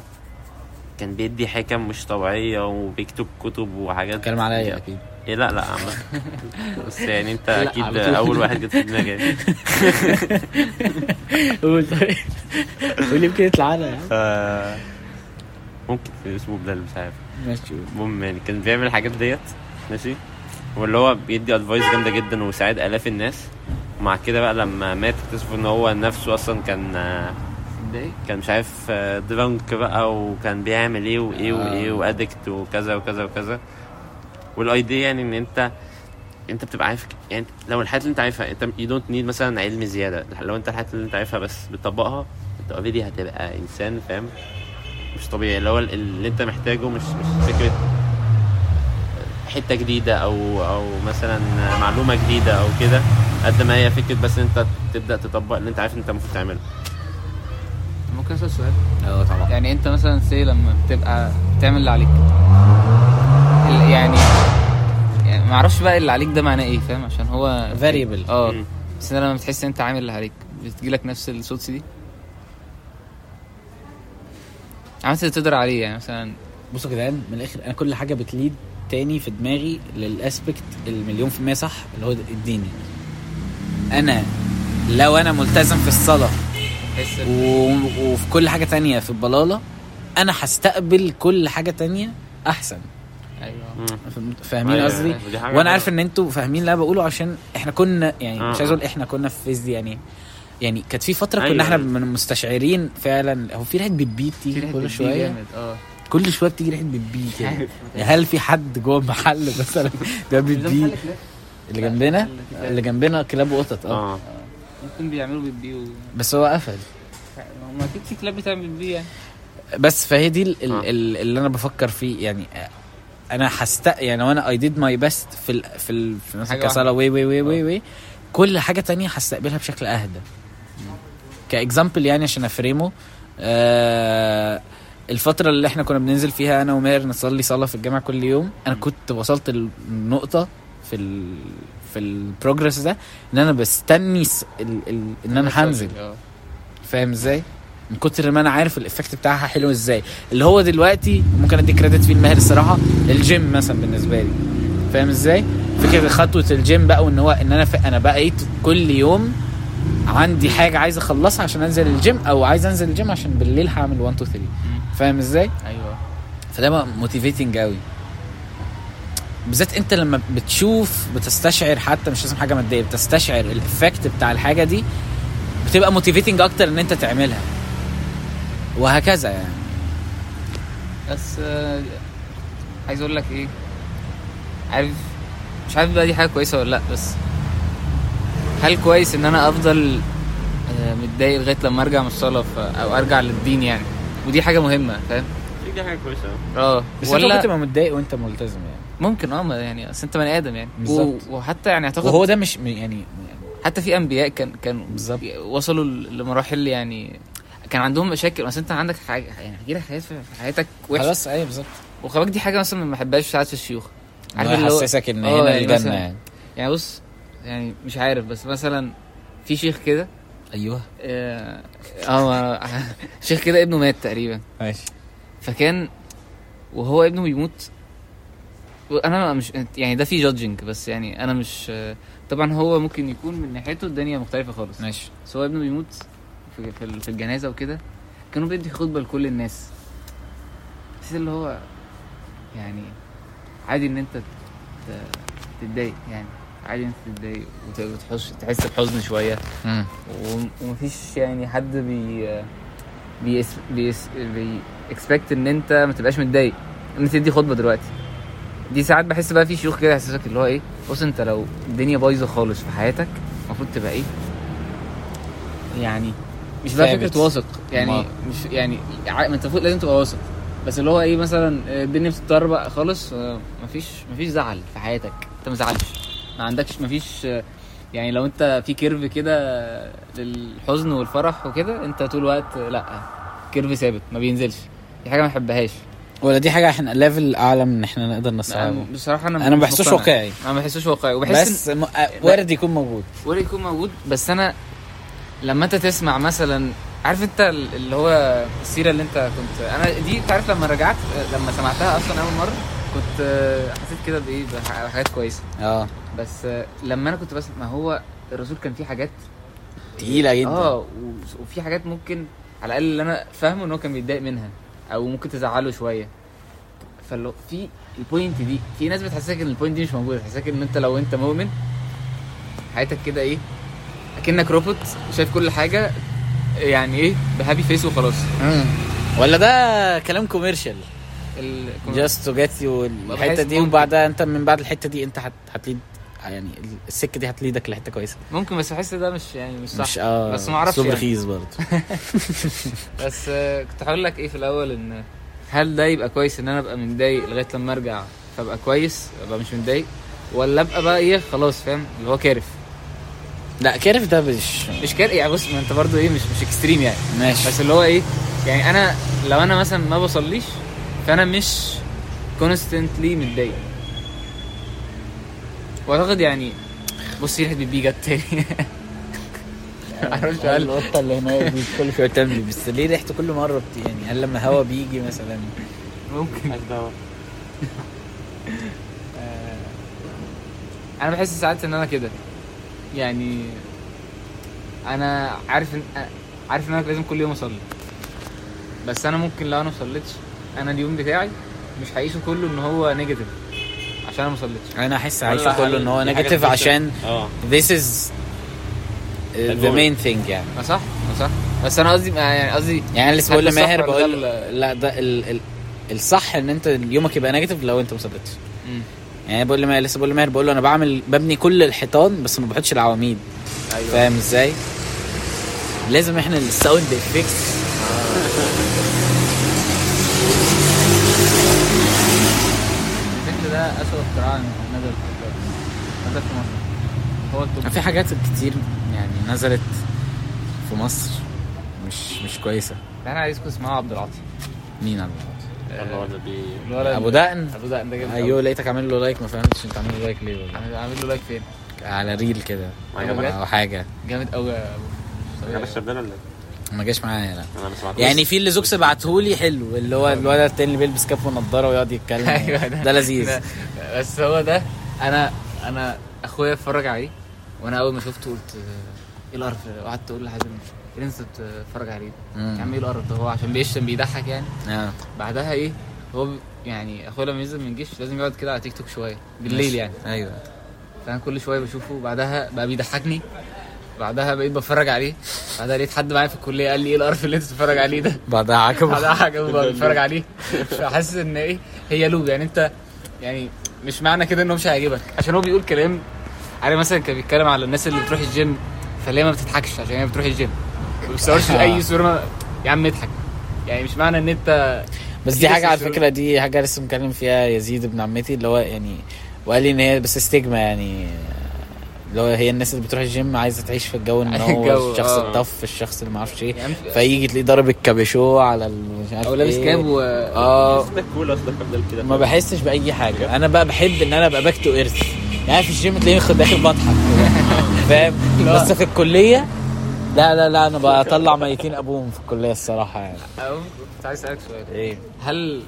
A: كان بيدي حكم مش طبيعية وبيكتب كتب وحاجات
B: اتكلم عليا اكيد
A: ايه لا لا عامة بس يعني انت
D: لا،
A: اكيد
D: على طول.
A: اول واحد جت في دماغك
B: قول طيب. قول يمكن يطلع انا يا عم.
A: آه، ممكن اسمه بلال مش عارف
B: ماشي
A: المهم يعني كان بيعمل الحاجات ديت ماشي واللي هو بيدي ادفايس جامده جدا وساعد الاف الناس ومع كده بقى لما مات اكتشفوا ان هو نفسه اصلا كان آه،
D: ازاي؟
A: كان مش عارف درانك بقى وكان بيعمل ايه وايه وايه وادكت وكذا وكذا وكذا والايديا يعني ان انت انت بتبقى عارف يعني لو الحاجات اللي انت عارفها انت يو دونت نيد مثلا علم زياده لو انت الحاجات اللي انت عارفها بس بتطبقها انت اوريدي هتبقى انسان فاهم مش طبيعي اللي هو اللي انت محتاجه مش مش فكره حته جديده او او مثلا معلومه جديده او كده قد ما هي فكره بس انت تبدا تطبق اللي انت عارف انت المفروض تعمله
D: ممكن اسال سؤال
B: اه طبعا
D: يعني انت مثلا سي لما بتبقى بتعمل اللي عليك ال- يعني يعني ما اعرفش بقى اللي عليك ده معناه ايه فاهم عشان هو
B: فاريبل
D: اه
A: مم.
D: بس انا لما بتحس ان انت عامل اللي عليك بتجيلك نفس الصوت دي عملت اللي تقدر عليه يعني مثلا
B: بصوا يا جدعان من الاخر انا كل حاجه بتليد تاني في دماغي للاسبكت المليون في المية صح اللي هو الديني انا لو انا ملتزم في الصلاه
D: تحس
B: و... وفي كل حاجه تانية في البلاله انا هستقبل كل حاجه تانية احسن
D: ايوه
A: مم.
B: فاهم- فاهمين
A: أيوة،
B: قصدي
A: أيوة، دي حاجة
B: وانا عارف
A: حلوة.
B: ان انتوا فاهمين اللي انا بقوله عشان احنا كنا يعني
A: آه.
B: مش عايز اقول احنا كنا في فيز دي يعني يعني كانت في فتره كنا
A: أيوة.
B: احنا من المستشعرين فعلا هو في ريحه بتبيب
D: في
B: تيجي
D: ريحة
B: كل
D: بتجي
B: شويه
D: جامد، اه
B: كل شويه بتيجي ريحه بتبيب كده هل في حد جوه المحل مثلا ده بتبيب اللي جنبنا اللي جنبنا كلاب وقطط اه
A: اه
D: ممكن بيعملوا بيبي و...
B: بس هو قفل
D: ما اكيد في كلاب بتعمل بيبي يعني
B: بس فهي دي ال ال
A: آه.
B: ال اللي انا بفكر فيه يعني انا هست يعني وانا اي ديد ماي بيست في ال في, ال في مثلا
D: حاجة
B: كصلاه وي وي وي وي وي كل حاجه تانية هستقبلها بشكل اهدى كاكزامبل يعني عشان افريمه آه الفترة اللي احنا كنا بننزل فيها انا وماهر نصلي صلاة في الجامع كل يوم انا كنت وصلت النقطة في ال في البروجرس ده ان انا بستني س- ال ال ان انا هنزل
D: آه.
B: فاهم ازاي؟ من كتر ما انا عارف الايفكت بتاعها حلو ازاي اللي هو دلوقتي ممكن ادي كريدت فيه لماهر الصراحه الجيم مثلا بالنسبه لي فاهم ازاي؟ فكره خطوه الجيم بقى وان هو ان انا ف... انا بقيت كل يوم عندي حاجه عايز اخلصها عشان انزل الجيم او عايز انزل الجيم عشان بالليل هعمل 1 2 3 فاهم ازاي؟
D: ايوه
B: فده موتيفيتنج قوي بالذات انت لما بتشوف بتستشعر حتى مش لازم حاجه ماديه بتستشعر الايفكت بتاع الحاجه دي بتبقى موتيفيتنج اكتر ان انت تعملها وهكذا يعني
D: بس آه، عايز اقول لك ايه عارف مش عارف بقى دي حاجه كويسه ولا لا بس هل كويس ان انا افضل آه، متضايق لغايه لما ارجع من الصلاه ف- او ارجع للدين يعني ودي حاجه مهمه فاهم
A: دي حاجه كويسه
D: اه
B: بس ولا... انت ممكن
D: ولا
B: تبقى متضايق وانت ملتزم يعني
D: ممكن اه ما يعني اصل انت بني ادم يعني و...
B: بالظبط.
D: وحتى يعني هتاخد
B: وهو ده مش م- يعني
D: حتى في انبياء كان كانوا
B: بالظبط.
D: وصلوا ل- لمراحل يعني كان عندهم مشاكل بس انت عندك حاجه يعني هيجيلك حاجات في في حياتك وحشه
B: خلاص ايوه بالظبط
D: وخلاك دي حاجه مثلا ما بحبهاش ساعات في الشيوخ
B: عارف اللي هو حسسك ان
D: اه
B: هنا
D: يعني
B: الجنه
D: مثلا-
B: يعني
D: يعني بص يعني مش عارف بس مثلا في شيخ كده
B: ايوه
D: اه آه، ما- شيخ كده ابنه مات تقريبا
B: ماشي
D: فكان وهو ابنه بيموت انا مش يعني ده في جادجنج بس يعني انا مش طبعا هو ممكن يكون من ناحيته الدنيا مختلفه خالص
B: ماشي
D: بس هو ابنه بيموت في في ال- في الجنازه وكده كانوا بيدي خطبه لكل الناس بس اللي هو يعني عادي ان انت ت- تتضايق يعني عادي ان انت تتضايق وت- وتحس تحس بحزن شويه
B: مم.
D: وم- ومفيش يعني حد بي بيس بيس بي اكسبكت ان انت ما تبقاش متضايق ان تدي خطبه دلوقتي دي ساعات بحس بقى في شيوخ كده يحسسك اللي هو ايه بص انت لو الدنيا بايظه خالص في حياتك المفروض تبقى ايه يعني مش بقى
B: ثابت.
D: فكره واثق يعني
B: ما-
D: مش يعني ع- ما انت المفروض لازم تبقى واثق بس اللي هو ايه مثلا آه، الدنيا بتتطربق خالص آه، مفيش مفيش زعل في حياتك انت ما زعلش ما عندكش مفيش آه، يعني لو انت في كيرف كده آه، للحزن والفرح وكده انت طول الوقت آه، لا كيرف ثابت ما بينزلش دي حاجه ما بحبهاش
B: ولا دي حاجه احنا ليفل اعلى من ان احنا نقدر نستوعبه
D: أنا- بصراحه انا
B: انا ما
D: مش
B: بحسوش
D: مقتنع.
B: واقعي
D: انا ما بحسوش واقعي
B: بس
D: وبحس
B: م... وارد يكون موجود
D: ولا يكون موجود بس انا لما انت تسمع مثلا عارف انت ال- اللي هو السيره اللي انت كنت انا دي انت عارف لما رجعت لما سمعتها اصلا اول مره كنت آه، حسيت كده بايه بح- بحاجات كويسه
B: اه
D: بس آه، لما انا كنت بسمع ما هو الرسول كان فيه حاجات
B: تقيله جدا
D: اه و- وفي حاجات ممكن على الاقل اللي انا فاهمه ان هو كان بيتضايق منها او ممكن تزعله شويه فلو في البوينت دي في ناس بتحسسك ان البوينت دي مش موجوده بتحسسك ان انت لو انت مؤمن حياتك كده ايه اكنك روبوت شايف كل حاجه يعني ايه بهابي فيس وخلاص
B: مم. ولا ده كلام كوميرشال
D: ال-
B: جاست تو جيت يو
D: بحس
B: الحته دي
D: ممكن.
B: وبعدها انت من بعد الحته دي انت هت... هتليد يعني السكه دي هتليدك لحته كويسه
D: ممكن بس بحس ده مش يعني مش صح
B: مش اه
D: بس ما اعرفش
B: اسلوب
D: يعني.
B: رخيص برضه
D: بس آه، كنت هقول لك ايه في الاول ان هل ده يبقى كويس ان انا ابقى متضايق لغايه لما ارجع فابقى كويس ابقى مش متضايق ولا ابقى بقى ايه خلاص فاهم اللي هو كارف
B: لا كارف ده مش
D: مش كارف يعني بص ما انت برضو ايه مش مش اكستريم يعني
B: ماشي
D: بس اللي هو ايه يعني انا لو انا مثلا ما بصليش فانا مش كونستنتلي متضايق واعتقد يعني بص ريحه بيبي جت تاني معرفش هل-
B: القطه اللي هناك دي كل شويه بتعمل بس ليه ريحته كل مره بت... يعني هل لما هوا بيجي مثلا
D: ممكن انا بحس ساعات ان انا كده يعني انا عارف ان عارف ان انا لازم كل يوم اصلي بس انا ممكن لو انا ما صليتش انا اليوم بتاعي مش هعيشه كله ان هو نيجاتيف عشان انا ما صليتش
B: انا احس
A: ولا
B: عايشه كله ان هو
A: دي حاجة
B: نيجاتيف
A: كويسة.
B: عشان
A: اه
B: this is ذا مين ثينج يعني
D: ما أه، صح ما صح بس انا قصدي ما- يعني قصدي
B: يعني أنا لسه
D: هل
B: بقول
D: ده صح
B: لماهر
D: ولا
B: بقول
D: ده
B: لا ده ال... ال... الصح ان انت يومك يبقى نيجاتيف لو انت ما صليتش
D: مم.
B: يعني بقول لماهر لسه بقول لماهر بقول له انا بعمل ببني كل الحيطان بس ما بحطش العواميد
D: ايوه
B: فاهم ازاي؟ لازم احنا الساوند افكتس
D: الفكر ده اسوء اختراع عن مدى الحكايه مدى في مصر هو التوب
B: في حاجات كتير يعني نزلت في مصر مش مش كويسه
D: انا عايزكم تسمعوا عبد العاطي
B: مين عم
A: الله النبي
D: الولد
B: ابو دقن
D: ابو دقن ده جامد أوي.
B: ايوه لقيتك عامل له لايك ما فهمتش انت عامل له لايك ليه والله.
D: عامل عامل له لايك فين
B: على ريل كده
A: عجبك؟
B: او حاجه
D: جامد قوي يا ابو مش طبيعي.
A: انا بشرب ده ولا إيه؟
B: ما جاش معايا لا
A: انا ما سمعتوش
B: يعني في اللي زوكس بعتهولي حلو اللي هو الولد التاني اللي بيلبس كاب ونضاره ويقعد يتكلم
D: ايوه
B: ده لذيذ
D: آه. ده- بس هو ده انا انا اخويا اتفرج عليه وانا اول ما شفته قلت آه، ايه القرف ده؟ وقعدت اقول لحازم انسى تتفرج عليه
B: مم.
D: يا عم ايه القرف ده هو عشان بيشتم بيضحك يعني
B: آه.
D: بعدها ايه هو ب- يعني اخويا لما ينزل من الجيش لازم يقعد كده على تيك توك شويه بالليل يعني
B: ايوه
D: فانا كل شويه بشوفه بعدها بقى بيضحكني بعدها بقيت بتفرج عليه بعدها لقيت حد معايا في الكليه قال لي ايه القرف اللي انت بتتفرج عليه ده
B: بعدها عقب
D: على حاجه بقى بتفرج عليه فحاسس ان ايه هي لوب يعني انت يعني مش معنى كده انه مش هيعجبك عشان هو بيقول كلام عارف مثلا كان بيتكلم على الناس اللي بتروح الجيم فليه ما بتضحكش عشان هي بتروح الجيم ما بتصورش اي صوره ما- يا عم اضحك يعني مش معنى ان انت
B: بس
D: في
B: دي حاجه على
D: لسه
B: فكره دي حاجه لسه مكلم فيها يزيد ابن عمتي اللي هو يعني وقال لي ان هي بس استجما يعني اللي هو هي الناس اللي بتروح الجيم عايزه تعيش في الجو ان هو
D: الجو،
B: الشخص
D: آه.
B: الطف الشخص اللي ما اعرفش ايه
D: يعني
B: فيجي تلاقيه ضارب الكابيشو على ال- مش عارف
D: او لابس
B: إيه.
D: كاب و
B: اه
A: ده كول اصلا كان كده
B: ما بحسش باي حاجه انا بقى بحب ان انا ابقى باك تو ايرث يعني في الجيم تلاقيني خد داخل بضحك فاهم
D: لا.
B: بس في الكليه لا لا لا انا بطلع ميتين ابوهم في الكليه الصراحه يعني
D: أو كنت عايز اسالك سؤال
B: ايه
D: هل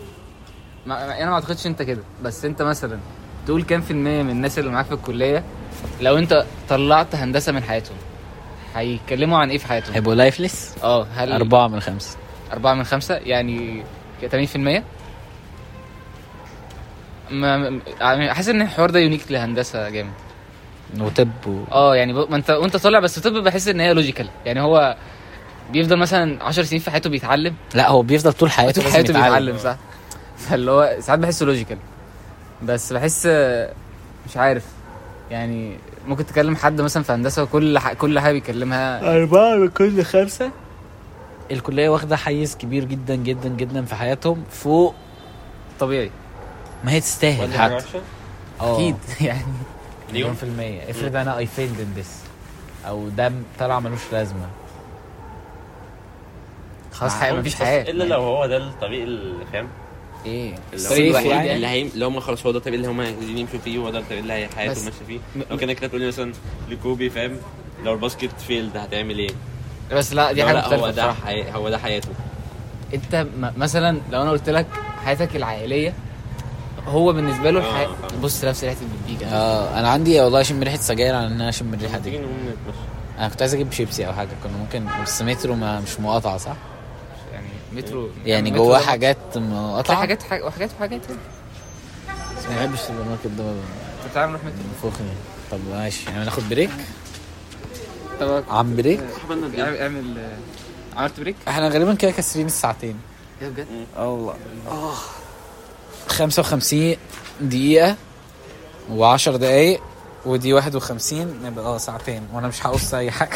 D: ما... يعني ما- انا ما اعتقدش انت كده بس انت مثلا تقول كام في المية من الناس اللي معاك في الكلية لو انت طلعت هندسة من حياتهم هيتكلموا عن ايه في حياتهم؟
B: هيبقوا لايفلس
D: اه هل
B: أربعة من خمسة
D: أربعة من خمسة يعني 80% ما ما- يعني حاسس ان الحوار ده يونيك لهندسة جامد
B: وطب و...
D: اه يعني ب- ما انت وانت طالع بس طب بحس ان هي لوجيكال يعني هو بيفضل مثلا 10 سنين في حياته بيتعلم
B: لا هو بيفضل طول حياته
D: طول
B: لازم
D: حياته بيتعلم صح فاللي هو ساعات بحسه لوجيكال بس بحس آه، مش عارف يعني ممكن تكلم حد مثلا في هندسه وكل ح... كل حاجه بيكلمها
B: أربعة من كل خمسة الكلية واخدة حيز كبير جدا جدا جدا في حياتهم فوق
D: طبيعي
B: ما هي تستاهل حتى آه.
D: اكيد يعني
B: مليون في المية افرض أنا I failed in this أو ده طلع ملوش لازمة
D: خلاص
B: مع-
D: حياه مفيش يعني حياه
A: الا لو هو ده الطريق اللي فاهم
B: إيه
A: اللي هو
D: الطريق
A: الوحيد
D: يعني.
A: اللي هي اللي هم خلاص هو ده الطريق اللي هم عايزين يمشوا فيه وهو ده الطريق اللي هي
D: بس-
A: حياتهم ماشيه فيه لو كانك كده تقول لي مثلا لكوبي فاهم لو الباسكت فيلد هتعمل ايه؟
D: بس لا دي
A: لو
D: حاجه
A: لا هو
D: مختلفه
A: ده
D: بصراحه
A: حي... هو ده حياته
D: انت م... مثلا لو انا قلت لك حياتك العائليه هو بالنسبه له الحياه
A: آه، فاهم.
D: بص نفس ريحه البيبيجا
B: آه أنا عندي والله أشم ريحة سجاير عن إن أنا أشم الريحة
A: تيجي
B: دي
A: نقوم نتمشى
B: أنا كنت عايز أجيب شيبسي أو حاجة كنا ممكن بس مترو ما مش مقاطعة صح؟
D: يعني مترو
B: يعني
D: مترو
B: جواه
D: ده-
B: حاجات مقاطعة
D: تلاقي حاجات حاجات وحاجات وحاجات يعني.
B: بس ما بحبش السوبر ماركت ده
D: طب تعالى نروح مترو
B: فوخني طب ماشي يعني ناخد بريك
D: طب
B: عم بريك
A: صاحبنا ده
D: اعمل اعمل- آه، عملت بريك؟
B: احنا غالبا كده كاسرين الساعتين
D: ايه بجد؟
B: الله اه 55 دقيقة و10 دقايق ودي آه، 51 نبقى اه ساعتين وانا مش هقص اي حاجة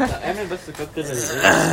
A: اعمل بس كابتن